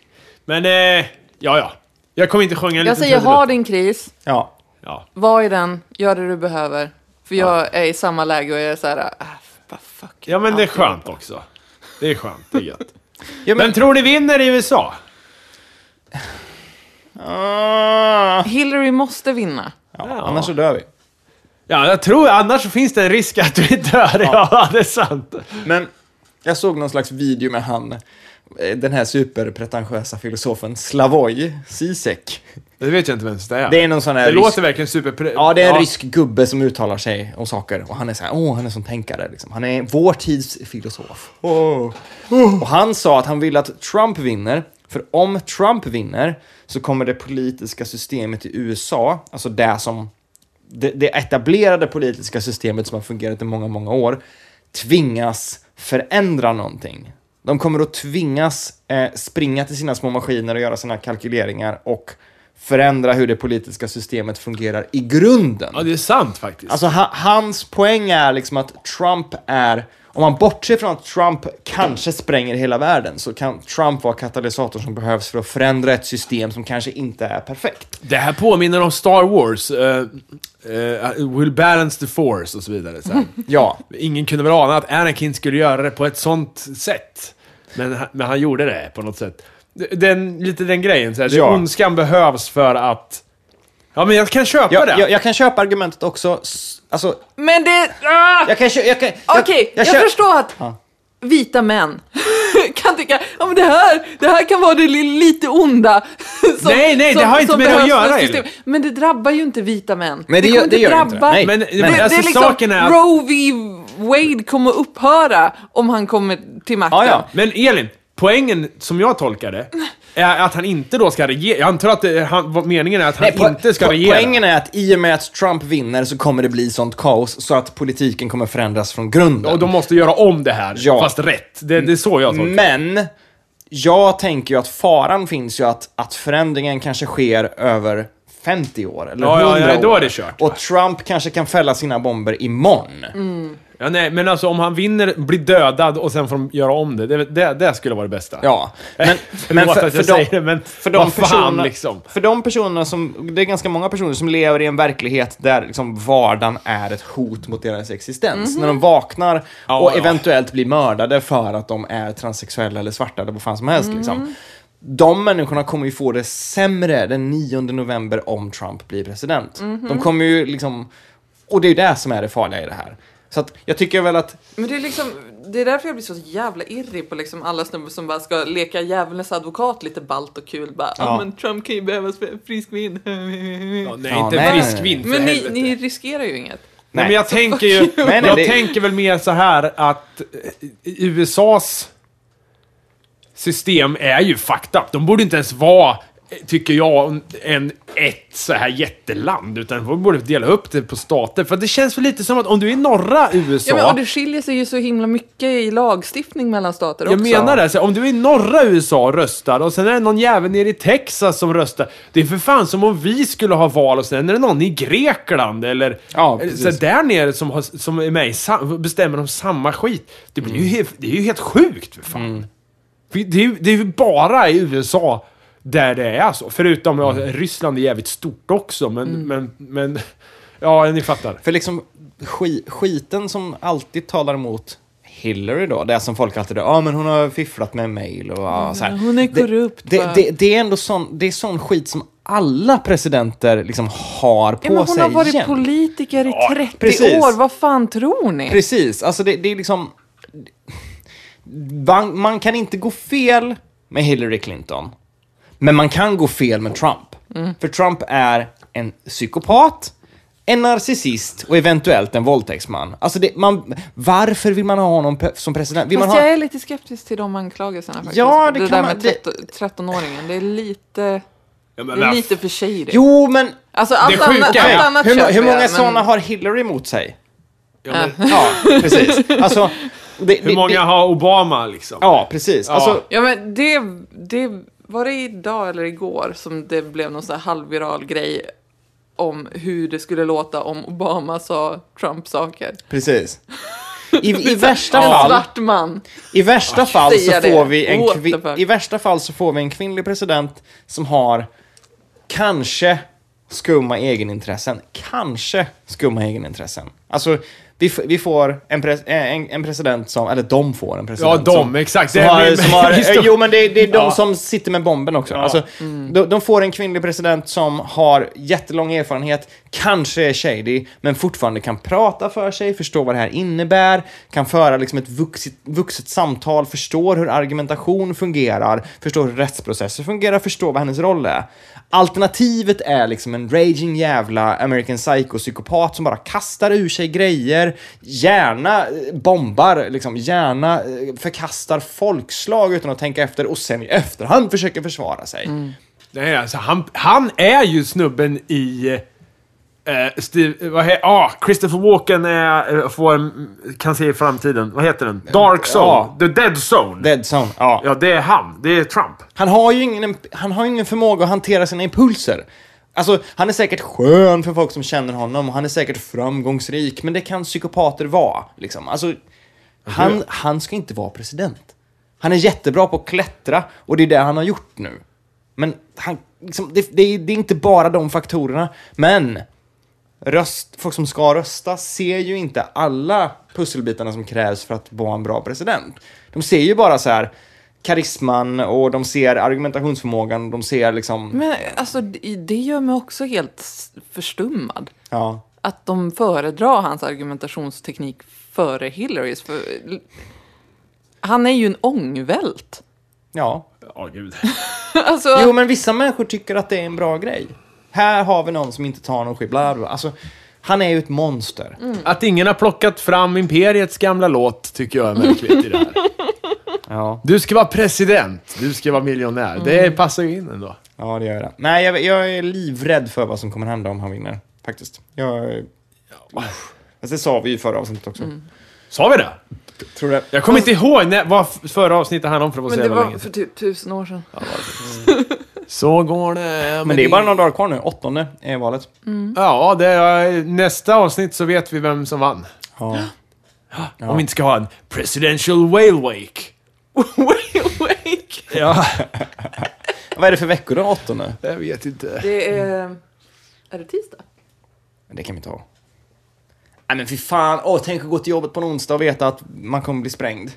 S3: Men, eh, ja, ja. Jag kommer inte sjunga en
S2: Jag
S3: liten
S2: säger,
S3: trudelutt.
S2: ha din kris.
S1: Ja.
S3: Ja.
S2: Var i den, gör det du behöver. För jag är i samma läge och jag är så här, ah, vad fuck.
S3: ja, men det är
S2: Alltid.
S3: skönt också. Det är skönt, det är gött. [LAUGHS]
S1: Ja, men-
S3: men... tror ni vinner i USA?
S1: Ah.
S2: Hillary måste vinna.
S1: Ja, Annars så dör vi.
S3: Ja, jag tror annars så finns det en risk att vi dör. [LAUGHS] Ja, det är sant.
S1: Men jag såg någon slags video med han, eh, den här superpretentiösa filosofen Slavoj Zizek.
S3: Det vet jag inte vem det är.
S1: Det är någon sån här
S3: det
S1: rysk-
S3: låter verkligen super...
S1: Ja, det är en rysk gubbe som uttalar sig om saker och han är så här, åh, han är som tänkare liksom. Han är vår tids filosof. Åh. Och han sa att han vill att Trump vinner, för om Trump vinner så kommer det politiska systemet i USA, alltså det som det, det etablerade politiska systemet som har fungerat i många, många år tvingas förändra någonting. De kommer att tvingas eh, springa till sina små maskiner och göra sina kalkyleringar och förändra hur det politiska systemet fungerar i grunden.
S3: Ja, det är sant faktiskt.
S1: Alltså ha, hans poäng är liksom att Trump är, Om man bortser från att Trump kanske spränger hela världen så kan Trump vara katalysatorn som behövs för att förändra ett system som kanske inte är perfekt.
S3: Det här påminner om Star Wars. eh, eh, we'll balance the force och så vidare.
S1: [LAUGHS]
S3: Så här.
S1: Ja,
S3: Ingen kunde väl ana att Anakin skulle göra det på ett sånt sätt. Men, han- men han gjorde det på något sätt. Den, lite den grejen. Så här,
S1: Ja.
S3: det, ondskan behövs för att... Ja, men jag kan köpa
S1: jag,
S3: det.
S1: jag, jag kan köpa argumentet också. S- Alltså,
S2: Men det... Ah!
S1: jag kan köpa... Jag, kan- jag,
S2: Okej, jag,
S1: kö-
S2: förstår att
S1: Ja.
S2: vita män [LAUGHS] kan tycka ja, men det, här, det här kan vara det li- lite onda. [LAUGHS] som-
S3: Nej, nej, det har inte
S2: som
S3: med det att
S2: behövs för
S3: göra,
S2: system.
S3: Elin.
S2: Men det drabbar ju inte vita män.
S1: Nej, det gör-
S2: kommer
S1: det gör det inte.
S2: drabba.
S1: Nej,
S3: Men-
S2: det,
S3: men
S2: det,
S3: alltså,
S2: är liksom,
S3: saken är att-
S2: Roe v. Wade kommer upphöra om han kommer till makten.
S1: Ja, ja.
S3: Men Elin, poängen som jag tolkar det är att han inte då ska regera. Jag antar att det, han, vad meningen är att han
S1: Nej, po-
S3: inte ska
S1: po-
S3: regera.
S1: Poängen är att i och med att Trump vinner så kommer det bli sånt kaos så att politiken kommer förändras från grunden.
S3: Och de måste göra om det här,
S1: Ja.
S3: fast rätt. Det, det är så jag tolkar det.
S1: Men jag tänker ju att faran finns ju att, att förändringen kanske sker över 50 år eller
S3: Ja,
S1: 100
S3: ja, ja,
S1: år.
S3: då är det kört. Mm.
S1: Och Trump kanske kan fälla sina bomber imorgon.
S3: Ja, nej, men alltså om han vinner, blir dödad och sen får de göra om det. Det, det, det skulle vara det bästa.
S1: Ja,
S3: [LAUGHS]
S1: men, men
S3: Förlåt
S1: för,
S3: att jag
S1: för, de,
S3: säger det, men
S1: för de
S3: vad fan
S1: personerna,
S3: liksom.
S1: för de personerna som, det är ganska många personer som lever i en verklighet där liksom vardagen är ett hot mot deras existens. När de vaknar
S3: Mhm. Ja,
S1: och
S3: ja.
S1: eventuellt blir mördade för att de är transsexuella eller svarta eller vad fan som helst.
S3: Mhm.
S1: Liksom. De människorna kommer ju få det sämre den 9 november om Trump blir president.
S3: Mhm.
S1: De kommer ju liksom, och det är ju det som är det farliga i det här. Så att jag tycker väl att
S2: Men det är liksom, det är därför jag blir så jävla irrig på liksom alla snubbar som bara ska leka djävulens advokat lite balt och kul. Bara, ja.
S1: Ja.
S2: men Trump kan ju behövas för frisk vind.
S3: Ja, nej,
S1: Ja,
S3: inte
S1: nej, nej,
S3: frisk
S1: nej.
S3: vind för
S2: Men ni,
S3: helvete.
S2: ni riskerar ju inget.
S3: Nej, men jag tänker ju...
S1: Nej, nej,
S3: jag
S1: det-
S3: tänker väl mer så här att eh, USAs system är ju fucked up. De borde inte ens vara, eh, tycker jag, en ett så här jätteland. Utan de borde dela upp det på stater. För det känns väl lite som att om du är i norra USA...
S2: Ja, men, och det skiljer sig ju så himla mycket i lagstiftning mellan stater
S3: Jag
S2: också.
S3: menar det. Så om du är i norra USA och röstar och sen är det någon jävel nere i Texas som röstar. Det är för fan som om vi skulle ha val och sen är det någon i Grekland eller
S1: Ja,
S3: eller så
S1: precis.
S3: där nere som, har, som är med i, sam- bestämmer om samma skit. Det, blir ju, he- det är ju helt sjukt för fan. För Det, är, ju- det är ju bara i USA där det är så. Förutom att Ryssland är jävligt stort också, men... men, men ja, ni fattar.
S1: För liksom ski, skiten som alltid talar emot Hillary då, det som folk alltid ja ah, men hon har fifflat med mail och ah, så här.
S2: hon är korrupt,
S1: Det,
S2: va?
S1: det, det, det är ändå sån, det är sån skit som alla presidenter liksom har på
S2: ja, men hon
S1: sig
S2: har varit
S1: igen.
S2: politiker i
S3: Ja,
S2: 30
S1: precis.
S2: år, vad fan tror ni?
S1: Precis, alltså det, det är liksom... Man, man kan inte gå fel med Hillary Clinton. Men man kan gå fel med Trump.
S2: Mm.
S1: För Trump är en psykopat, en narcissist och eventuellt en våldtäktsman. Alltså det, man, varför vill man ha honom pe- som president? Vill man
S2: Fast
S1: ha...
S2: jag är lite skeptisk till de anklagelserna faktiskt.
S1: Ja, det
S2: det
S1: kan
S2: där
S1: man-
S2: med
S1: det-
S2: 13 13-åringen, det är lite,
S3: Ja,
S2: det är lite för tjejigt.
S1: Jo, men...
S2: Alltså allt,
S3: alltså, sjuka
S2: annat,
S3: är-
S2: allt annat
S1: hur,
S2: köper
S1: hur många
S2: jag, men-
S1: sådana har Hillary emot sig?
S3: ja, men,
S1: Ja, precis. Alltså... Det,
S3: hur
S1: det,
S3: många
S1: det,
S3: har Obama liksom?
S1: Ja, precis. Alltså,
S2: Ja men det, det var det idag eller igår som det blev någon sån här halvviral grej om hur det skulle låta om Obama sa Trump-saker.
S1: precis. I, i värsta
S2: En
S1: fall...
S2: svart man.
S1: I värsta fall så
S2: säga det.
S1: får vi en
S2: What the
S1: kvi-
S2: fuck?
S1: I värsta fall så får vi en kvinnlig president som har kanske skumma egenintressen. Kanske skumma egenintressen. Alltså, vi, f- vi får en, pres- eh, en, en president som, eller de får en president
S3: Ja, de,
S1: som,
S3: exakt.
S1: Som
S3: [LAUGHS] Det är
S1: har,
S3: min-
S1: som har,
S3: min
S1: eh,
S3: stor-
S1: jo, men det, det är de
S3: Ja. Mm.
S1: som sitter med bomben också. Alltså, de, de får en kvinnlig president som har jättelång erfarenhet, kanske är shady, men fortfarande kan prata för sig, förstå vad det här innebär, kan föra liksom ett vuxet, vuxet samtal, förstår hur argumentation fungerar, förstår hur rättsprocesser fungerar, förstår vad hennes roll är. Alternativet är liksom en raging jävla American Psycho-psykopat som bara kastar ur sig grejer, gärna eh, bombar, liksom, gärna eh, förkastar folkslag utan att tänka efter och sen i efterhand försöker försvara sig.
S3: Nej, alltså han, han är ju snubben i... Eh, Steve, vad he, ah, Christopher Walken är, eh, får en, kan se i framtiden. Vad heter den? Dark Zone.
S1: Ja.
S3: The Dead Zone.
S1: Dead zone, ja.
S3: Ja, det är han. Det är Trump.
S1: Han har ju ingen, han har ju ingen förmåga att hantera sina impulser. Alltså, han är säkert skön för folk som känner honom och han är säkert framgångsrik, men det kan psykopater vara. Liksom. Alltså, Han, han ska inte vara president. Han är jättebra på att klättra och det är det han har gjort nu. Men han, liksom, det, det, är, det är inte bara de faktorerna. Men röst, folk som ska rösta ser ju inte alla pusselbitarna som krävs för att vara en bra president. De ser ju bara så här karisman och de ser argumentationsförmågan och de ser liksom...
S2: Men alltså, det det gör mig också helt s- förstummad.
S1: Ja.
S2: Att de föredrar hans argumentationsteknik före Hillarys. För... Han är ju en ångvält. [LAUGHS]
S1: Ja.
S3: Ja, gud.
S2: Alltså,
S1: Jo, men vissa människor tycker att det är en bra grej. Här har vi någon som inte tar någon skit, bla bla, bla. Alltså, han är ju ett monster.
S3: [LAUGHS] Att ingen har plockat fram Imperiets gamla låt tycker jag är märkligt i det här.
S1: Ja.
S3: Du ska vara president, du ska vara miljonär. Det
S2: Mm.
S3: passar ju in ändå.
S1: ja, det gör det. Nej, jag, jag är livrädd för vad som kommer hända om han vinner. Faktiskt. Jag... Alltså, det sa vi ju i förra avsnittet också.
S3: Mm. Sa vi det?
S1: Tror du det?
S3: Jag kommer inte ihåg när, vad f- förra avsnittet handlade om för det var så
S2: men det
S3: jävla
S2: var
S3: länge
S2: för
S3: sedan.
S2: typ tusen år sedan.
S3: Så går det.
S1: Men det är bara några dagar kvar nu. Åttonde är valet.
S3: Ja, det är, nästa avsnitt så vet vi vem som vann.
S1: Ja.
S3: Om vi inte ska ha en presidential whale wake.
S2: [LAUGHS] Wait, wait.
S3: [GASPS] Ja,
S1: [LAUGHS] Vad är det för veckor då? Åttonde?
S3: jag vet inte.
S2: Det är... Är det tisdag?
S1: Men Det kan vi inte ha. Nej men fy fan, åh, tänk att gå till jobbet på en onsdag och veta att man kommer bli [LAUGHS] sprängd.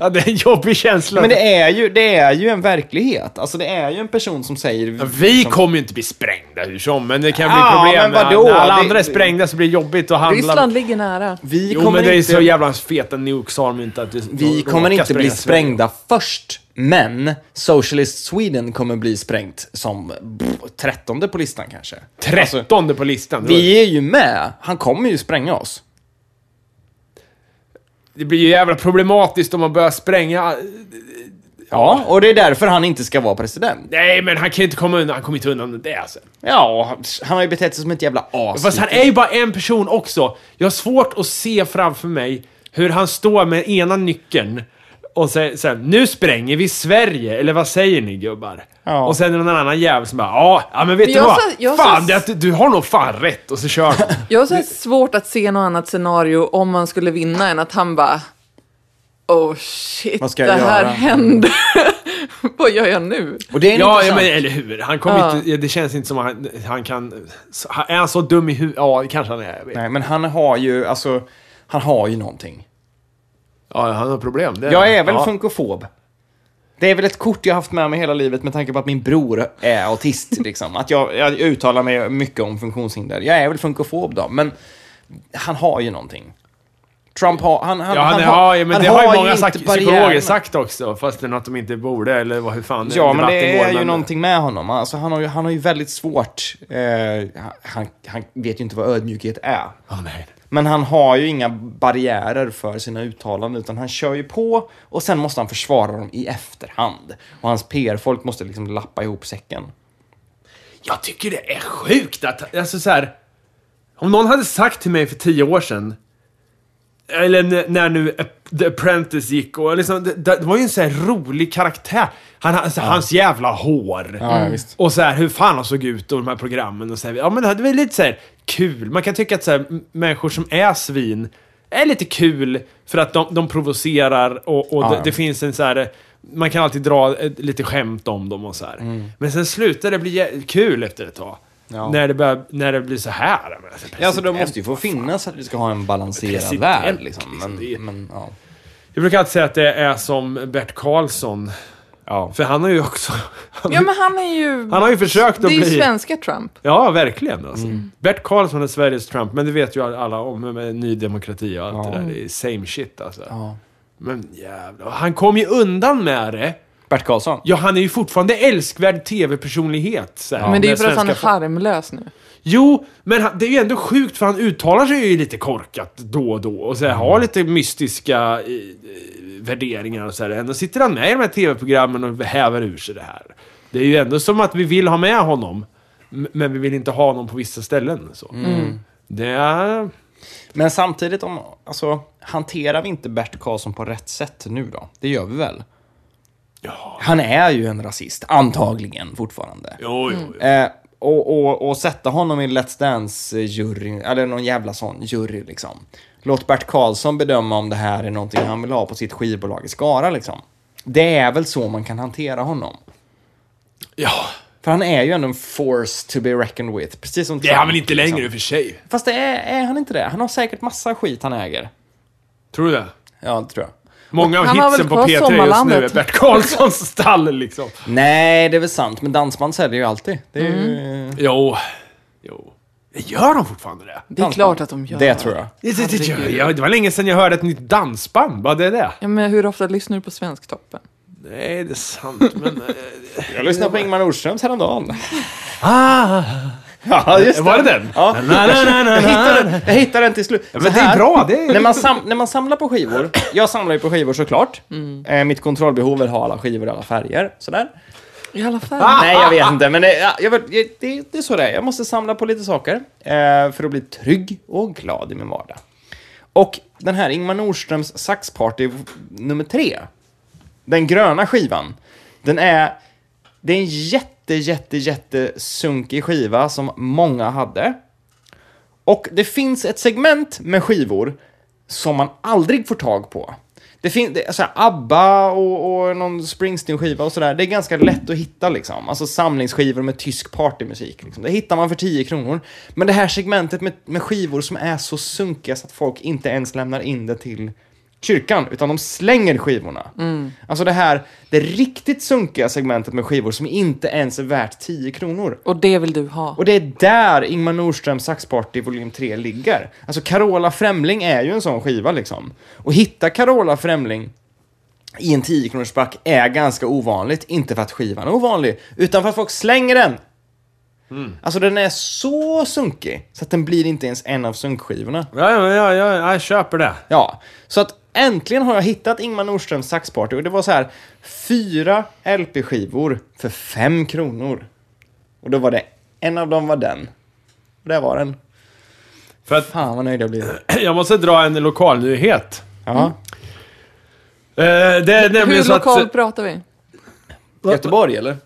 S3: Ja, det är en jobbig känsla.
S1: Men det är ju, det är ju en verklighet. Alltså det är ju en person som säger...
S3: Vi
S1: som,
S3: kommer ju inte bli sprängda hur som, men det kan bli
S1: Ja,
S3: problem.
S1: men vadå?
S3: När alla
S1: Det-
S3: andra är sprängda så blir det jobbigt att handla.
S2: Ryssland ligger nära.
S1: vi
S3: Jo,
S1: kommer
S3: men det är
S1: inte,
S3: så jävla feta nukes har de inte att du,
S1: Vi
S3: de
S1: kommer
S3: orkar
S1: inte bli
S3: spränga Sverige.
S1: sprängda först, men Socialist Sweden kommer bli sprängt som pff, trettonde på listan kanske. Alltså,
S3: Trettonde på listan. Det var-
S1: vi är ju med, han kommer ju spränga oss.
S3: Det blir ju jävla problematiskt om man börjar spränga...
S1: Ja, och det är därför han inte ska vara president.
S3: Nej, men han kan ju inte komma undan. Han kommer inte undan med det alltså.
S1: Ja, han- han har ju betett sig som ett jävla as.
S3: Fast han är ju bara en person också. Jag har svårt att se framför mig hur han står med ena nyckeln och säger så här, nu spränger vi Sverige, eller vad säger ni gubbar?
S1: Ja.
S3: Och sen är det någon annan jävel som bara, ja, ja, men vet
S2: Men
S3: du
S2: jag
S3: vad?
S2: sa- jag sa-
S3: fan, det, du har nog fan rätt. Och
S2: [LAUGHS]
S3: så kör han.
S2: Jag har så här svårt att se något annat scenario om man skulle vinna än att han bara Oh shit,
S1: Vad ska
S2: det
S1: jag
S2: här
S1: göra?
S2: händer. [LAUGHS] Vad gör jag nu?
S1: Och det är
S3: Ja, ja
S1: intressant.
S3: men eller hur. Han kommer
S2: Ja.
S3: inte, det känns inte som att han, han kan... så- han- Är han så dum i huvudet? Ja, kanske han är. Jag vet.
S1: Nej, men han har ju, alltså, han har ju någonting.
S3: Ja, han har problem. Det
S1: Jag är väl
S3: ja.
S1: funkofob. Det är väl ett kort jag haft med mig hela livet med tanke på att min bror är
S3: [LAUGHS]
S1: autist. Liksom. Att jag, jag uttalar mig mycket om funktionshinder. Jag är väl funkofob då, men han har ju någonting. Trump har... Han, han,
S3: Ja, han,
S1: han
S3: är, ja, ja, men
S1: han
S3: det har ju många
S1: inte
S3: sagt, psykologer
S1: barriärerna.
S3: sagt också, fastän att de inte borde, eller vad, hur fan
S1: Ja, men
S3: debatten
S1: det
S3: går,
S1: är ju
S3: men-
S1: någonting med honom. Alltså, han, har ju, han har ju väldigt svårt... Eh, han, han vet ju inte vad ödmjukhet är.
S3: Ja, nej.
S1: Men han har ju inga barriärer för sina uttalanden utan han kör ju på och sen måste han försvara dem i efterhand. Och hans PR-folk måste liksom lappa ihop säcken.
S3: Jag tycker det är sjukt att, alltså så här. Om någon hade sagt till mig för tio år sedan, eller n- när nu App- The Apprentice gick och liksom, det, det var ju en så här rolig karaktär. Han, alltså, Hans jävla hår.
S1: Ja, ja, visst.
S3: Och så här, hur fan han såg ut och de här programmen och så här, Ja men det hade väl lite så här kul. Man kan tycka att så här, m- människor som är svin är lite kul för att de, de provocerar och, och
S1: Ja,
S3: det,
S1: ja.
S3: det finns en så här... Man kan alltid dra ett, lite skämt om dem och så här. Men sen slutar det bli jä- kul efter ett tag.
S1: Mm. Ja.
S3: När, det börjar, när det blir så här. Jag menar,
S1: Ja, alltså de
S3: president.
S1: måste ju få finnas att vi ska ha en balanserad
S3: President,
S1: värld. Liksom.
S3: liksom, det är-
S1: Men, men, ja.
S3: Jag brukar alltid säga att det är som Bert Karlsson.
S1: Ja.
S3: För han har ju också... Han,
S2: Ja, men han är ju...
S3: han har ju försökt att
S2: det är ju
S3: bli...
S2: svenska Trump.
S3: Ja, verkligen. Alltså.
S1: Mm.
S3: Bert Karlsson är Sveriges Trump, men det vet ju alla om med Ny Demokrati och allt det där. Det är same shit alltså.
S1: Ja.
S3: Men jävlar. Han kom ju undan med det.
S1: Bert Karlsson.
S3: Ja, han är ju fortfarande älskvärd tv-personlighet. så här,
S2: men det är ju
S3: med
S2: för att han är
S3: svenska folk.
S2: harmlös nu.
S3: Jo, men han, det är ju ändå sjukt för han uttalar sig ju lite korkat då och då. Och så här,
S2: Mm.
S3: har lite mystiska eh, eh, värderingar och så här. Ändå sitter han med i de här tv-programmen och häver ur sig det här. Det är ju ändå som att vi vill ha med honom. m- Men vi vill inte ha honom på vissa ställen. Så.
S2: Mm.
S3: Det är...
S1: Men samtidigt, om, alltså, hanterar vi inte Bert Karlsson på rätt sätt nu då? Det gör vi väl?
S3: Ja,
S1: Han är ju en rasist, antagligen fortfarande.
S3: jo, jo, jo.
S1: Eh, och, och, och sätta honom i Let's Dance-juryn, eller någon jävla sån jury liksom. Låt Bert Karlsson bedöma om det här är någonting han vill ha på sitt skivbolag i Skara liksom. Det är väl så man kan hantera honom.
S3: Ja,
S1: För han är ju ändå en force to be reckoned with. Precis som
S3: det är han
S1: Trump,
S3: väl inte längre
S1: liksom.
S3: i och för sig.
S1: Fast det är, är han inte det? Han har säkert massa skit han äger.
S3: Tror du det?
S1: Ja, det tror jag.
S3: Många av
S2: Han har väl
S3: hitsen på
S2: kvar
S3: P3 just nu är
S2: Sommarlandet.
S3: Bert Karlssons stall liksom.
S1: Nej, det är väl sant. Men dansband säljer ju alltid. Det är
S3: Mm.
S1: ju...
S3: Jo. Jo. Gör de fortfarande det?
S2: Det är klart att de gör.
S1: Det tror jag.
S3: Det, det, det, gör jag. det var länge sedan jag hörde ett nytt dansband. Vad är det?
S2: Ja, men hur ofta lyssnar du på Svensktoppen?
S3: Nej, det är sant, men...
S1: Jag lyssnade på Ingmar Nordströms häromdagen. [LAUGHS]
S3: ah,
S1: Ja, just
S3: var det den?
S1: Ja.
S3: Na, na, na, na,
S1: Jag
S3: na.
S1: hittade, jag hittade den till slut.
S3: men det är bra, det är-
S1: När, man sam, när man samlar på skivor, jag samlar ju på skivor såklart.
S3: Mm.
S1: Eh, mitt kontrollbehov vill ha alla skivor i alla färger. Sådär.
S2: I alla fall.
S1: Nej, jag vet inte. Men det, ja, jag, vet- jag- det, det är så det är. Jag måste samla på lite saker eh, för att bli trygg och glad i min vardag. Och den här Ingmar Nordströms saxparty nummer tre, den gröna skivan, den är... Det är en jätte, jätte, jätte sunkig skiva som många hade. Och det finns ett segment med skivor som man aldrig får tag på. Det finns alltså ABBA och, och någon Springsteen-skiva och sådär. Det är ganska lätt att hitta liksom. Alltså samlingsskivor med tysk partymusik. Liksom. Det hittar man för 10 kronor. Men det här segmentet med, med skivor som är så sunkiga så att folk inte ens lämnar in det till kyrkan, utan de slänger skivorna. Alltså det här, det riktigt sunkiga segmentet med skivor som inte ens är värt 10 kronor.
S2: Och det vill du ha.
S1: Och det är där Ingmar Nordströms Saxparty volym 3 ligger. Alltså Carola Främling är ju en sån skiva liksom. Och hitta Carola Främling i en 10-kronorsback är ganska ovanligt. Inte för att skivan är ovanlig, utan för att folk slänger den. Alltså den är så sunkig så att den blir inte ens en av sunkskivorna.
S3: Ja, ja, ja, ja, jag köper det.
S1: Ja, så att äntligen har jag hittat Ingmar Nordströms Saxparty och det var så här fyra LP-skivor för fem kronor. Och då var det, en av dem var den. Och där var den.
S3: För att
S1: Fan vad nöjd jag blev.
S3: [CLEARS THROAT] jag måste dra en lokalnyhet.
S1: Ja.
S3: Eh, Det är nämligen
S2: hur
S3: så att...
S2: lokalt pratar vi?
S1: Göteborg eller?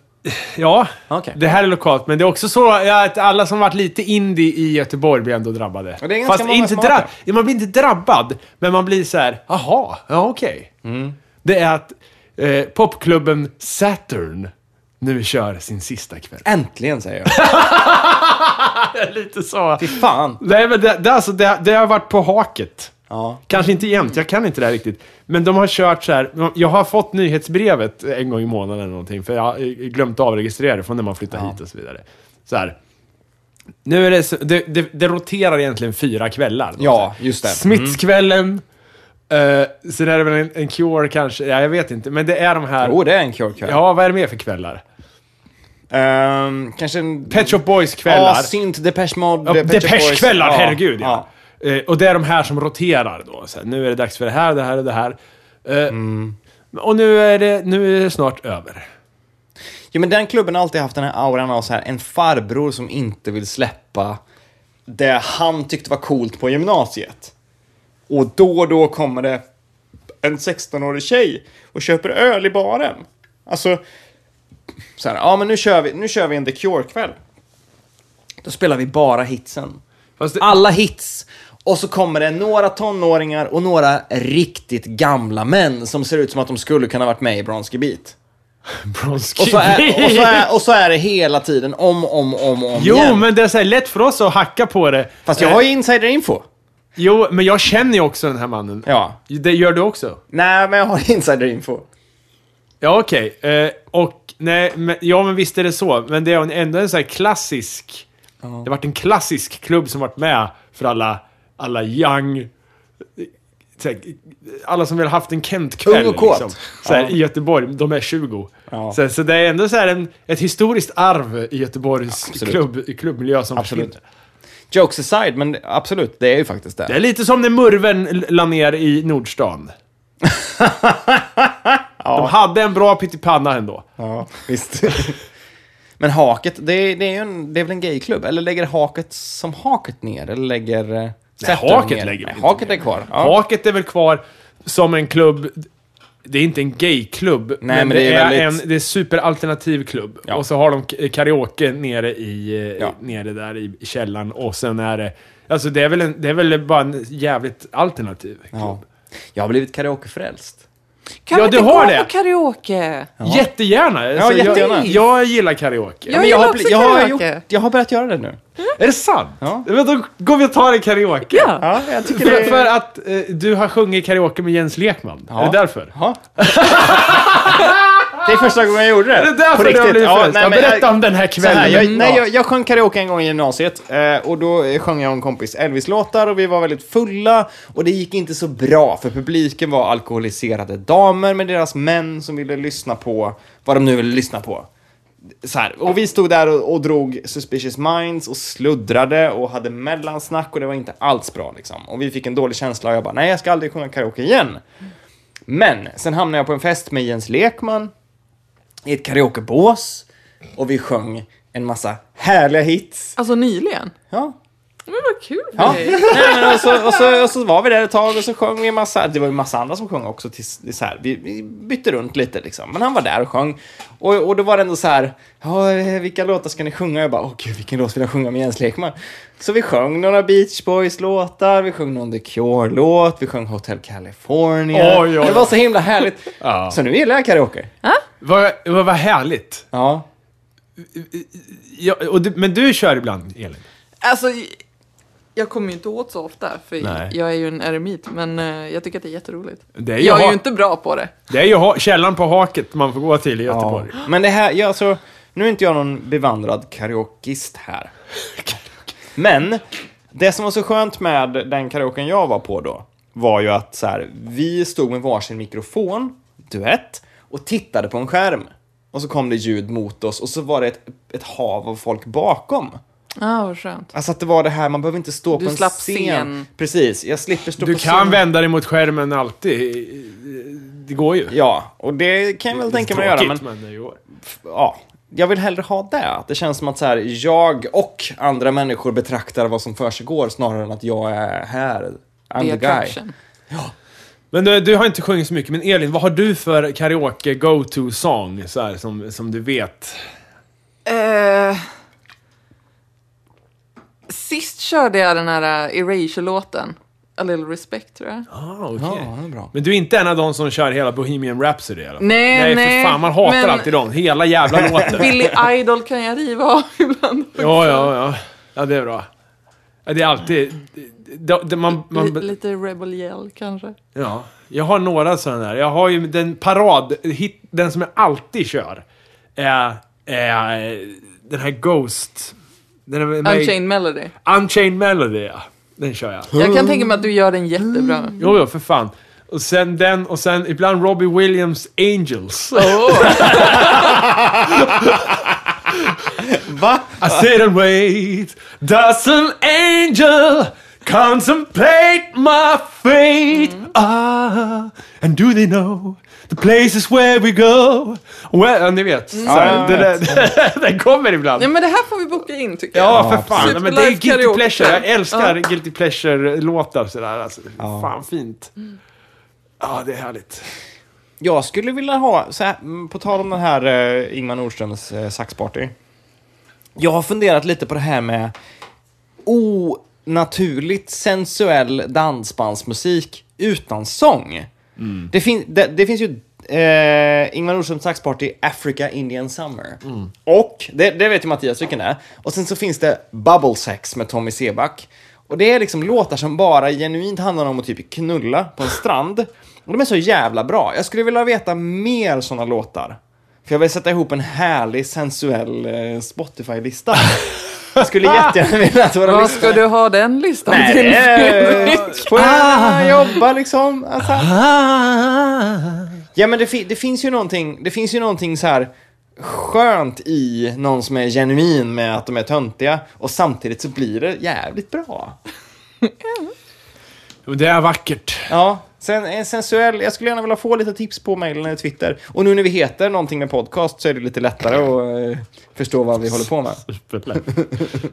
S3: Ja,
S1: Okej.
S3: det här är lokalt. Men det är också så ja, att alla som varit lite indie i Göteborg blir ändå drabbade.
S1: Ja, det är ganska många
S3: inte
S1: som har varit
S3: ja, man blir inte drabbad, men man blir så här, aha, ja okej. Det är att eh, popklubben Saturn nu kör sin sista kväll.
S1: Äntligen säger jag.
S3: lite så.
S1: Fy fan.
S3: Nej, men det, det, alltså, det, det har varit på haket.
S1: Ja.
S3: Kanske inte jämt, jag kan inte det här riktigt. Men de har kört så här. Jag har fått nyhetsbrevet en gång i månaden eller någonting, för jag har eh, glömt avregistrera det från när man flyttar hit och så vidare. Så här. Nu är det, så, det, det, det roterar egentligen fyra kvällar.
S1: Ja, just det. Mm.
S3: Smitskvällen, eh, sen är det väl en, en cure kanske, ja, jag vet inte. Men det är de här...
S1: Jo, det är en kul kväll.
S3: Ja, vad är det mer för kvällar?
S1: Ehm, kanske en...
S3: Pet Shop Boys-kvällar.
S1: Ja, synt, Depeche Mode,
S3: Ja,
S1: Pet Shop Boys.
S3: Depeche-kvällar,
S1: Ja,
S3: herregud ja. Eh, och det är de här som roterar då. Så här, nu är det dags för det här, det här och det här. Eh,
S1: Mm.
S3: Och nu är, det, nu är det snart över.
S1: Ja, men den klubben har alltid haft den här auran av så här, en farbror som inte vill släppa det han tyckte var coolt på gymnasiet. Och då och då kommer det en 16-årig tjej och köper öl i baren. Alltså, så här, ja men nu kör vi, nu kör vi en The Cure-kväll. Då spelar vi bara hitsen.
S3: Fast det-
S1: Alla hits. Och så kommer det några tonåringar och några riktigt gamla män som ser ut som att de skulle kunna varit med i Bronski Beat. Och så, [LAUGHS]
S3: [LAUGHS]
S1: är, och, så är, och så är det hela tiden, om, om, om, om
S3: Jo,
S1: igen.
S3: men det är så här lätt för oss att hacka på det.
S1: Fast jag
S3: Eh,
S1: har ju insiderinfo.
S3: Jo, men jag känner ju också den här mannen.
S1: Ja.
S3: Det gör du också?
S1: Nej, men jag har [LAUGHS] insiderinfo.
S3: Ja, okej. Eh, och nej, men, ja men visst är det så. Men det är en- ändå en sån här klassisk... Det har varit en klassisk klubb som varit med för alla, alla young... eh, så här, Alla som väl haft en Kent-kväll. liksom.
S1: Ung och kåt.
S3: så här,
S1: Ja.
S3: I Göteborg, de är 20.
S1: Ja.
S3: Så, så det är ändå så här en, ett historiskt arv i Göteborgs
S1: Absolut.
S3: klubb, i klubbmiljö som
S1: Absolut.
S3: försvinner.
S1: Jokes aside, men absolut, det är ju faktiskt det.
S3: Det är lite som när Murven l- la ner i
S1: [LAUGHS]
S3: Nordstan. De hade en bra pyttipanna ändå.
S1: Ja, visst. [LAUGHS] men haket, det är, det, är ju en, det är väl en gayklubb? Eller lägger haket som haket ner? Eller lägger... eh, Nej,
S3: haket lägger vi
S1: Nej,
S3: inte
S1: haket är kvar. Ja.
S3: Haket är väl kvar som en klubb det är inte en gayklubb,
S1: Nej, men det är väldigt-
S3: en det är superalternativ klubb.
S1: Ja.
S3: Och så har de k- karaoke nere, i, eh,
S1: Ja.
S3: nere där i i källaren och sen är det... Alltså det är väl, en, det är väl bara en jävligt alternativ klubb.
S1: Ja. Jag har blivit karaokefrälst.
S2: Kan
S3: Ja,
S2: vi inte
S3: du har
S2: gå
S3: det.
S2: på karaoke?
S3: Jättegärna! Alltså,
S1: jättegärna.
S3: Jag, jag gillar karaoke.
S2: Ja. Jag
S1: Men jag,
S2: gillar
S1: har,
S2: också
S1: bli- jag, har gjort,
S2: karaoke.
S1: jag har börjat göra det nu.
S3: Är det sant?
S1: Ja.
S3: Men då går vi och tar en karaoke.
S2: Ja.
S1: Ja, jag tycker
S3: För,
S1: det
S3: för att eh, du har sjungit karaoke med Jens Lekman.
S1: Ja.
S3: Är det därför?
S1: Ja. [LAUGHS] Det är första gången jag gjorde det.
S3: Är det därför du har blivit frälst? Ja, berätta om den här
S1: Så
S3: kvällen.
S1: här, jag, nej,
S3: Ja.
S1: jag, jag sjöng karaoke en gång i gymnasiet eh, och då eh, sjöng jag och en kompis Elvis-låtar och vi var väldigt fulla och det gick inte så bra för publiken var alkoholiserade damer med deras män som ville lyssna på vad de nu ville lyssna på. Så här, och vi stod där och, och drog Suspicious Minds och sluddrade och hade mellansnack och det var inte alls bra liksom. Och vi fick en dålig känsla och jag bara, nej jag ska aldrig sjunga karaoke igen. Men sen hamnade jag på en fest med Jens Lekman i ett karaokebås och vi sjöng en massa härliga hits.
S2: Alltså nyligen?
S1: Ja.
S2: Men vad kul för
S1: ja.
S2: dig.
S1: Nej, men och, så, och, så, och så var vi där ett tag och så sjöng vi en massa, det var ju en massa andra som sjöng också, till, till så här. Vi, vi bytte runt lite liksom. Men han var där och sjöng. Och, och då var det ändå så här, "Ja, eh, vilka låtar ska ni sjunga? Jag bara, åh gud, vilken låt vill jag sjunga med Jens Lekman? Så vi sjöng några Beach Boys-låtar, vi sjöng någon The Cure-låt, vi sjöng Hotel California.
S3: Oj, oj, oj.
S1: Det var så himla härligt.
S3: Ja.
S1: Så nu gillar jag karaoke.
S3: Vad, vad, vad härligt.
S1: Ja.
S3: Ja, och du, men du kör ibland, Elin?
S2: Alltså, jag kommer ju inte åt så ofta för
S3: Nej.
S2: jag är ju en eremit. Men eh, jag tycker att det är jätteroligt.
S3: Det är ju
S2: jag är
S3: ha-
S2: ju inte bra på det.
S3: Det är ju ha, källan på haket man får gå till i Göteborg.
S1: Ja. Men det här, ja, alltså, nu är inte jag någon bevandrad karaokeist här. Men det som var så skönt med den karaoken jag var på då var ju att så här, vi stod med varsin mikrofon, duett, och tittade på en skärm. Och så kom det ljud mot oss och så var det ett, ett hav av folk bakom.
S2: Ja, ah, vad skönt.
S1: Alltså att det var det här, man behöver inte stå
S2: Du
S1: på en
S2: slapp
S1: scen.
S2: scen.
S1: Precis, jag slipper stå
S3: Du
S1: på
S3: kan
S1: scen.
S3: vända dig mot skärmen alltid. Det går ju.
S1: Ja, och det kan jag väl tänka mig att göra. Men,
S3: Tråkigt, men det går.
S1: ja, jag vill hellre ha det. Det känns som att så här, jag och andra människor betraktar vad som försiggår snarare än att jag är här. I'm
S2: Det
S1: the
S2: är
S1: guy.
S2: attraction.
S3: Men eh, du, du har inte sjungit så mycket, men Elin, vad har du för karaoke go-to-song så här, som, som du vet?
S2: Eh, sist körde jag den här eh, Erasure-låten. A little respect tror jag.
S3: Ah, okej.
S1: Ja, det är bra.
S3: Men du är inte en av de som kör hela Bohemian Rhapsody? Eller?
S2: Nej, nej,
S3: för fan, man hatar
S2: men-
S3: alltid dem.
S2: [LAUGHS]
S3: Hela jävla låten. [LAUGHS]
S2: Billy Idol kan jag riva av [LAUGHS] ibland.
S3: Ja, ja, ja. Ja, det är bra. Ja, det är alltid... Det, det, man,
S2: Li-
S3: man,
S2: lite Rebel Yell kanske.
S3: ja. Jag har några sådana där. Jag har ju den parad... Hit, den som jag alltid kör. Är, är den här Ghost... Den är med,
S2: Unchained Melody.
S3: Unchained Melody, ja. Den kör jag.
S2: Jag kan tänka mig att du gör den jättebra.
S3: Jo, jo, för fan. Och sen den och sen ibland Robbie Williams Angels.
S1: Va?
S3: I sit and wait. Does an angel contemplate my fate?
S1: Mm.
S3: Ah, and do they know the places where we go? Well, ja, ni vet. Så här,
S1: Mm. Ja, jag
S3: [LAUGHS] det där, den kommer ibland.
S2: Nej men det här får vi boka in tycker jag.
S3: Ja, för fan.
S2: precis.
S3: Nej, men det är
S2: Superlive
S3: guilty
S2: karaoke.
S3: pleasure. Jag älskar guilty pleasure-låtar sådär. Alltså, Fan fint. Ja, det är härligt.
S1: Jag skulle vilja ha, så här, mm, på tal om den här eh, Ingmar Nordströms eh, saxparty. Jag har funderat lite på det här med onaturligt sensuell dansbandsmusik utan sång. Det, fin- det, det finns ju eh, Ingvar Nordströms saxparty Africa Indian Summer. Och, det, det vet ju Mattias vilken det är. Och sen så finns det Bubble Sex med Tommy Seback. Och det är liksom låtar som bara genuint handlar om att typ knulla på en strand. Och de är så jävla bra. Jag skulle vilja veta mer sådana låtar. För jag vill sätta ihop en härlig sensuell eh, Spotify-lista. Jag skulle jättegärna vilja att våra
S2: Vad ska du ha den listan
S1: Nej,
S2: till?
S1: det är... Får jag jobba liksom? Alltså. Ja, men det, fi- det finns ju någonting, det finns ju någonting så här skönt i någon som är genuin med att de är töntiga och samtidigt så blir det jävligt bra.
S3: Jo, Det är vackert.
S1: Ja, sen en sensuell, jag skulle gärna vilja få lite tips på mailen eller Twitter. Och nu när vi heter någonting med podcast så är det lite lättare att eh, förstå vad vi håller på med.
S3: Superlätt.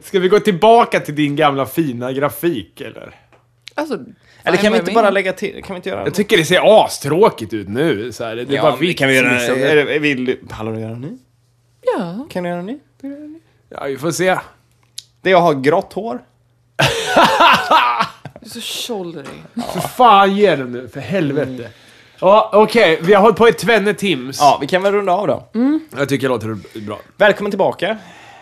S3: Ska vi gå tillbaka till din gamla fina grafik, eller?
S2: Alltså,
S1: Eller
S2: fine
S1: kan vi
S2: by
S1: inte
S2: me.
S1: bara lägga till? Kan vi inte göra
S3: Jag tycker det ser astråkigt ut nu. Så här. Det är bara vitt.
S1: kan vi göra
S3: liksom.
S1: är det- vill du, Pallar du göra en ny?
S2: Ja.
S1: Kan du göra en ny?
S3: Ja, vi får se.
S1: Det jag har grått hår.
S2: Du är så tjollrig.
S3: För fan ge den nu, för helvete. Ja, okej. Vi har hållit på i tvenne tims.
S1: Ja, vi kan väl runda av då.
S3: Jag tycker det låter bra.
S1: Välkommen tillbaka.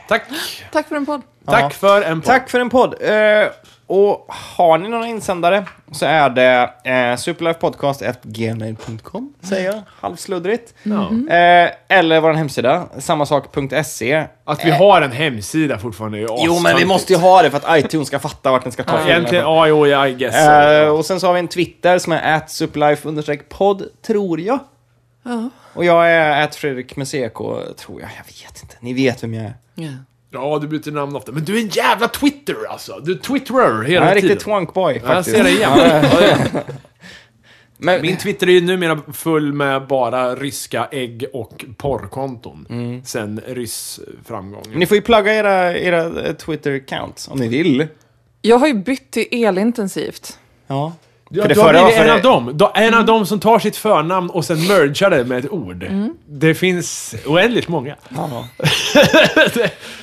S3: Tack.
S2: Tack för en podd.
S3: Tack
S1: Ja.
S3: för en podd.
S1: Tack för en podd. Eh, och har ni några insändare så är det eh, superlifepodcast.gmail.com säger jag, halvsluddrigt.
S3: Mm. Ja.
S1: Eh, eller vår hemsida, sammasak.se.
S3: Att vi har en hemsida fortfarande är ju
S1: Jo, men vi
S3: astöntigt.
S1: måste ju ha det för att iTunes ska fatta vart den ska ta
S3: Ja,
S1: filmerna
S3: Egentligen,
S1: från.
S3: ja, jo, I guess.
S1: Eh, och sen så har vi en Twitter som är at superlife-podd, tror jag.
S2: Ja.
S1: Och jag är at Fredrik med CK, tror jag. Jag vet inte. Ni vet vem jag är.
S2: Ja.
S3: ja, du byter namn ofta. Men du är en jävla Twitter alltså. Du twittrar hela
S1: Jag är en
S3: tiden.
S1: riktig twankboy
S3: Ja, jag
S1: faktiskt.
S3: ser det igen. Ja, ja.
S1: Men,
S3: Min Twitter är ju numera full med bara ryska ägg och porrkonton. Sen ryss
S1: men
S3: framgången.
S1: Mm. ni får ju plugga era, era eh, Twitter-accounts om ni vill.
S2: Jag har ju bytt till elintensivt.
S1: Ja.
S3: Ja,
S1: För
S3: det
S1: det
S3: då
S1: förra
S3: blir
S1: var
S3: det en
S1: för-
S3: av dem. Då, en av dem som tar sitt förnamn och sen mergar det med ett ord.
S1: Mm.
S3: Det finns
S1: [LAUGHS]
S3: oändligt många.
S1: ja.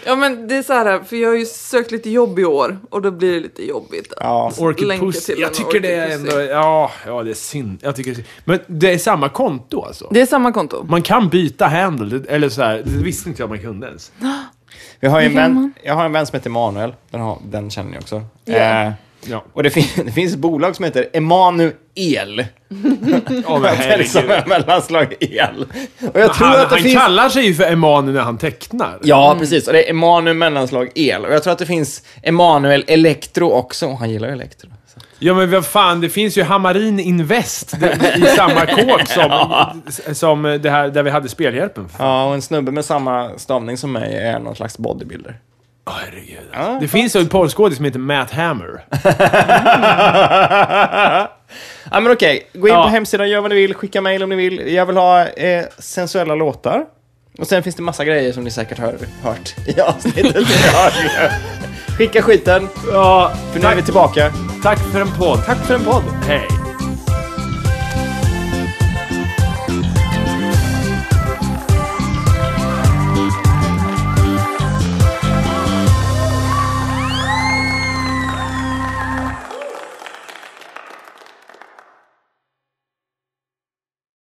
S2: Ja men det är så här, för jag har ju sökt lite jobb i år och då blir det lite jobbigt.
S1: Ja.
S3: Orchid
S2: Länka
S3: Pussy.
S2: till
S3: Jag
S2: en
S3: tycker det är
S2: Orchid Pussy.
S3: ändå... Ja, ja, det är synd. Jag tycker det är synd. Men det är samma konto alltså?
S2: Det är samma konto.
S3: Man kan byta handle, det- eller så här, det visste inte jag man
S1: [LAUGHS]
S3: kunde ens.
S1: Vi har ju en
S2: Hur gör
S1: vän,
S2: man?
S1: jag har en vän som heter Emanuel. Den, har, den känner ni också.
S2: Ja.
S1: Eh,
S3: Ja,
S1: och det, fin- [LAUGHS] det finns ett bolag som heter Emanuel.
S3: [LAUGHS] oh,
S1: Det är liksom ett mellanslag el. Och jag tror
S3: han,
S1: att det
S3: han
S1: finns...
S3: kallar sig ju för Emanuel när han tecknar.
S1: Ja, precis. Och det är Emanuel mellanslag el. Och jag tror att det finns Emanuel Electro också. Och han gillar ju Electro. Så.
S3: Ja men vad fan, det finns ju Hamarin Invest det- det- i samma kåk
S1: [LAUGHS]
S3: som, som det här där vi hade spelhjälpen. För.
S1: Ja, och en snubbe med samma stavning som mig är någon slags bodybuilder.
S3: Åh, herregud.
S1: alltså.
S3: det finns ju en porrskådis som heter Matt Hammer.
S1: [LAUGHS] Ja, men okej. Gå in
S3: Ja.
S1: på hemsidan, gör vad ni vill, skicka mejl om ni vill. Jag vill ha eh, sensuella låtar. Och sen finns det massa grejer som ni säkert har hört i avsnittet. Skicka skiten,
S3: Ja,
S1: för nu är
S3: tack,
S1: vi tillbaka.
S3: tack för en podd.
S1: Tack för en podd.
S3: Hej.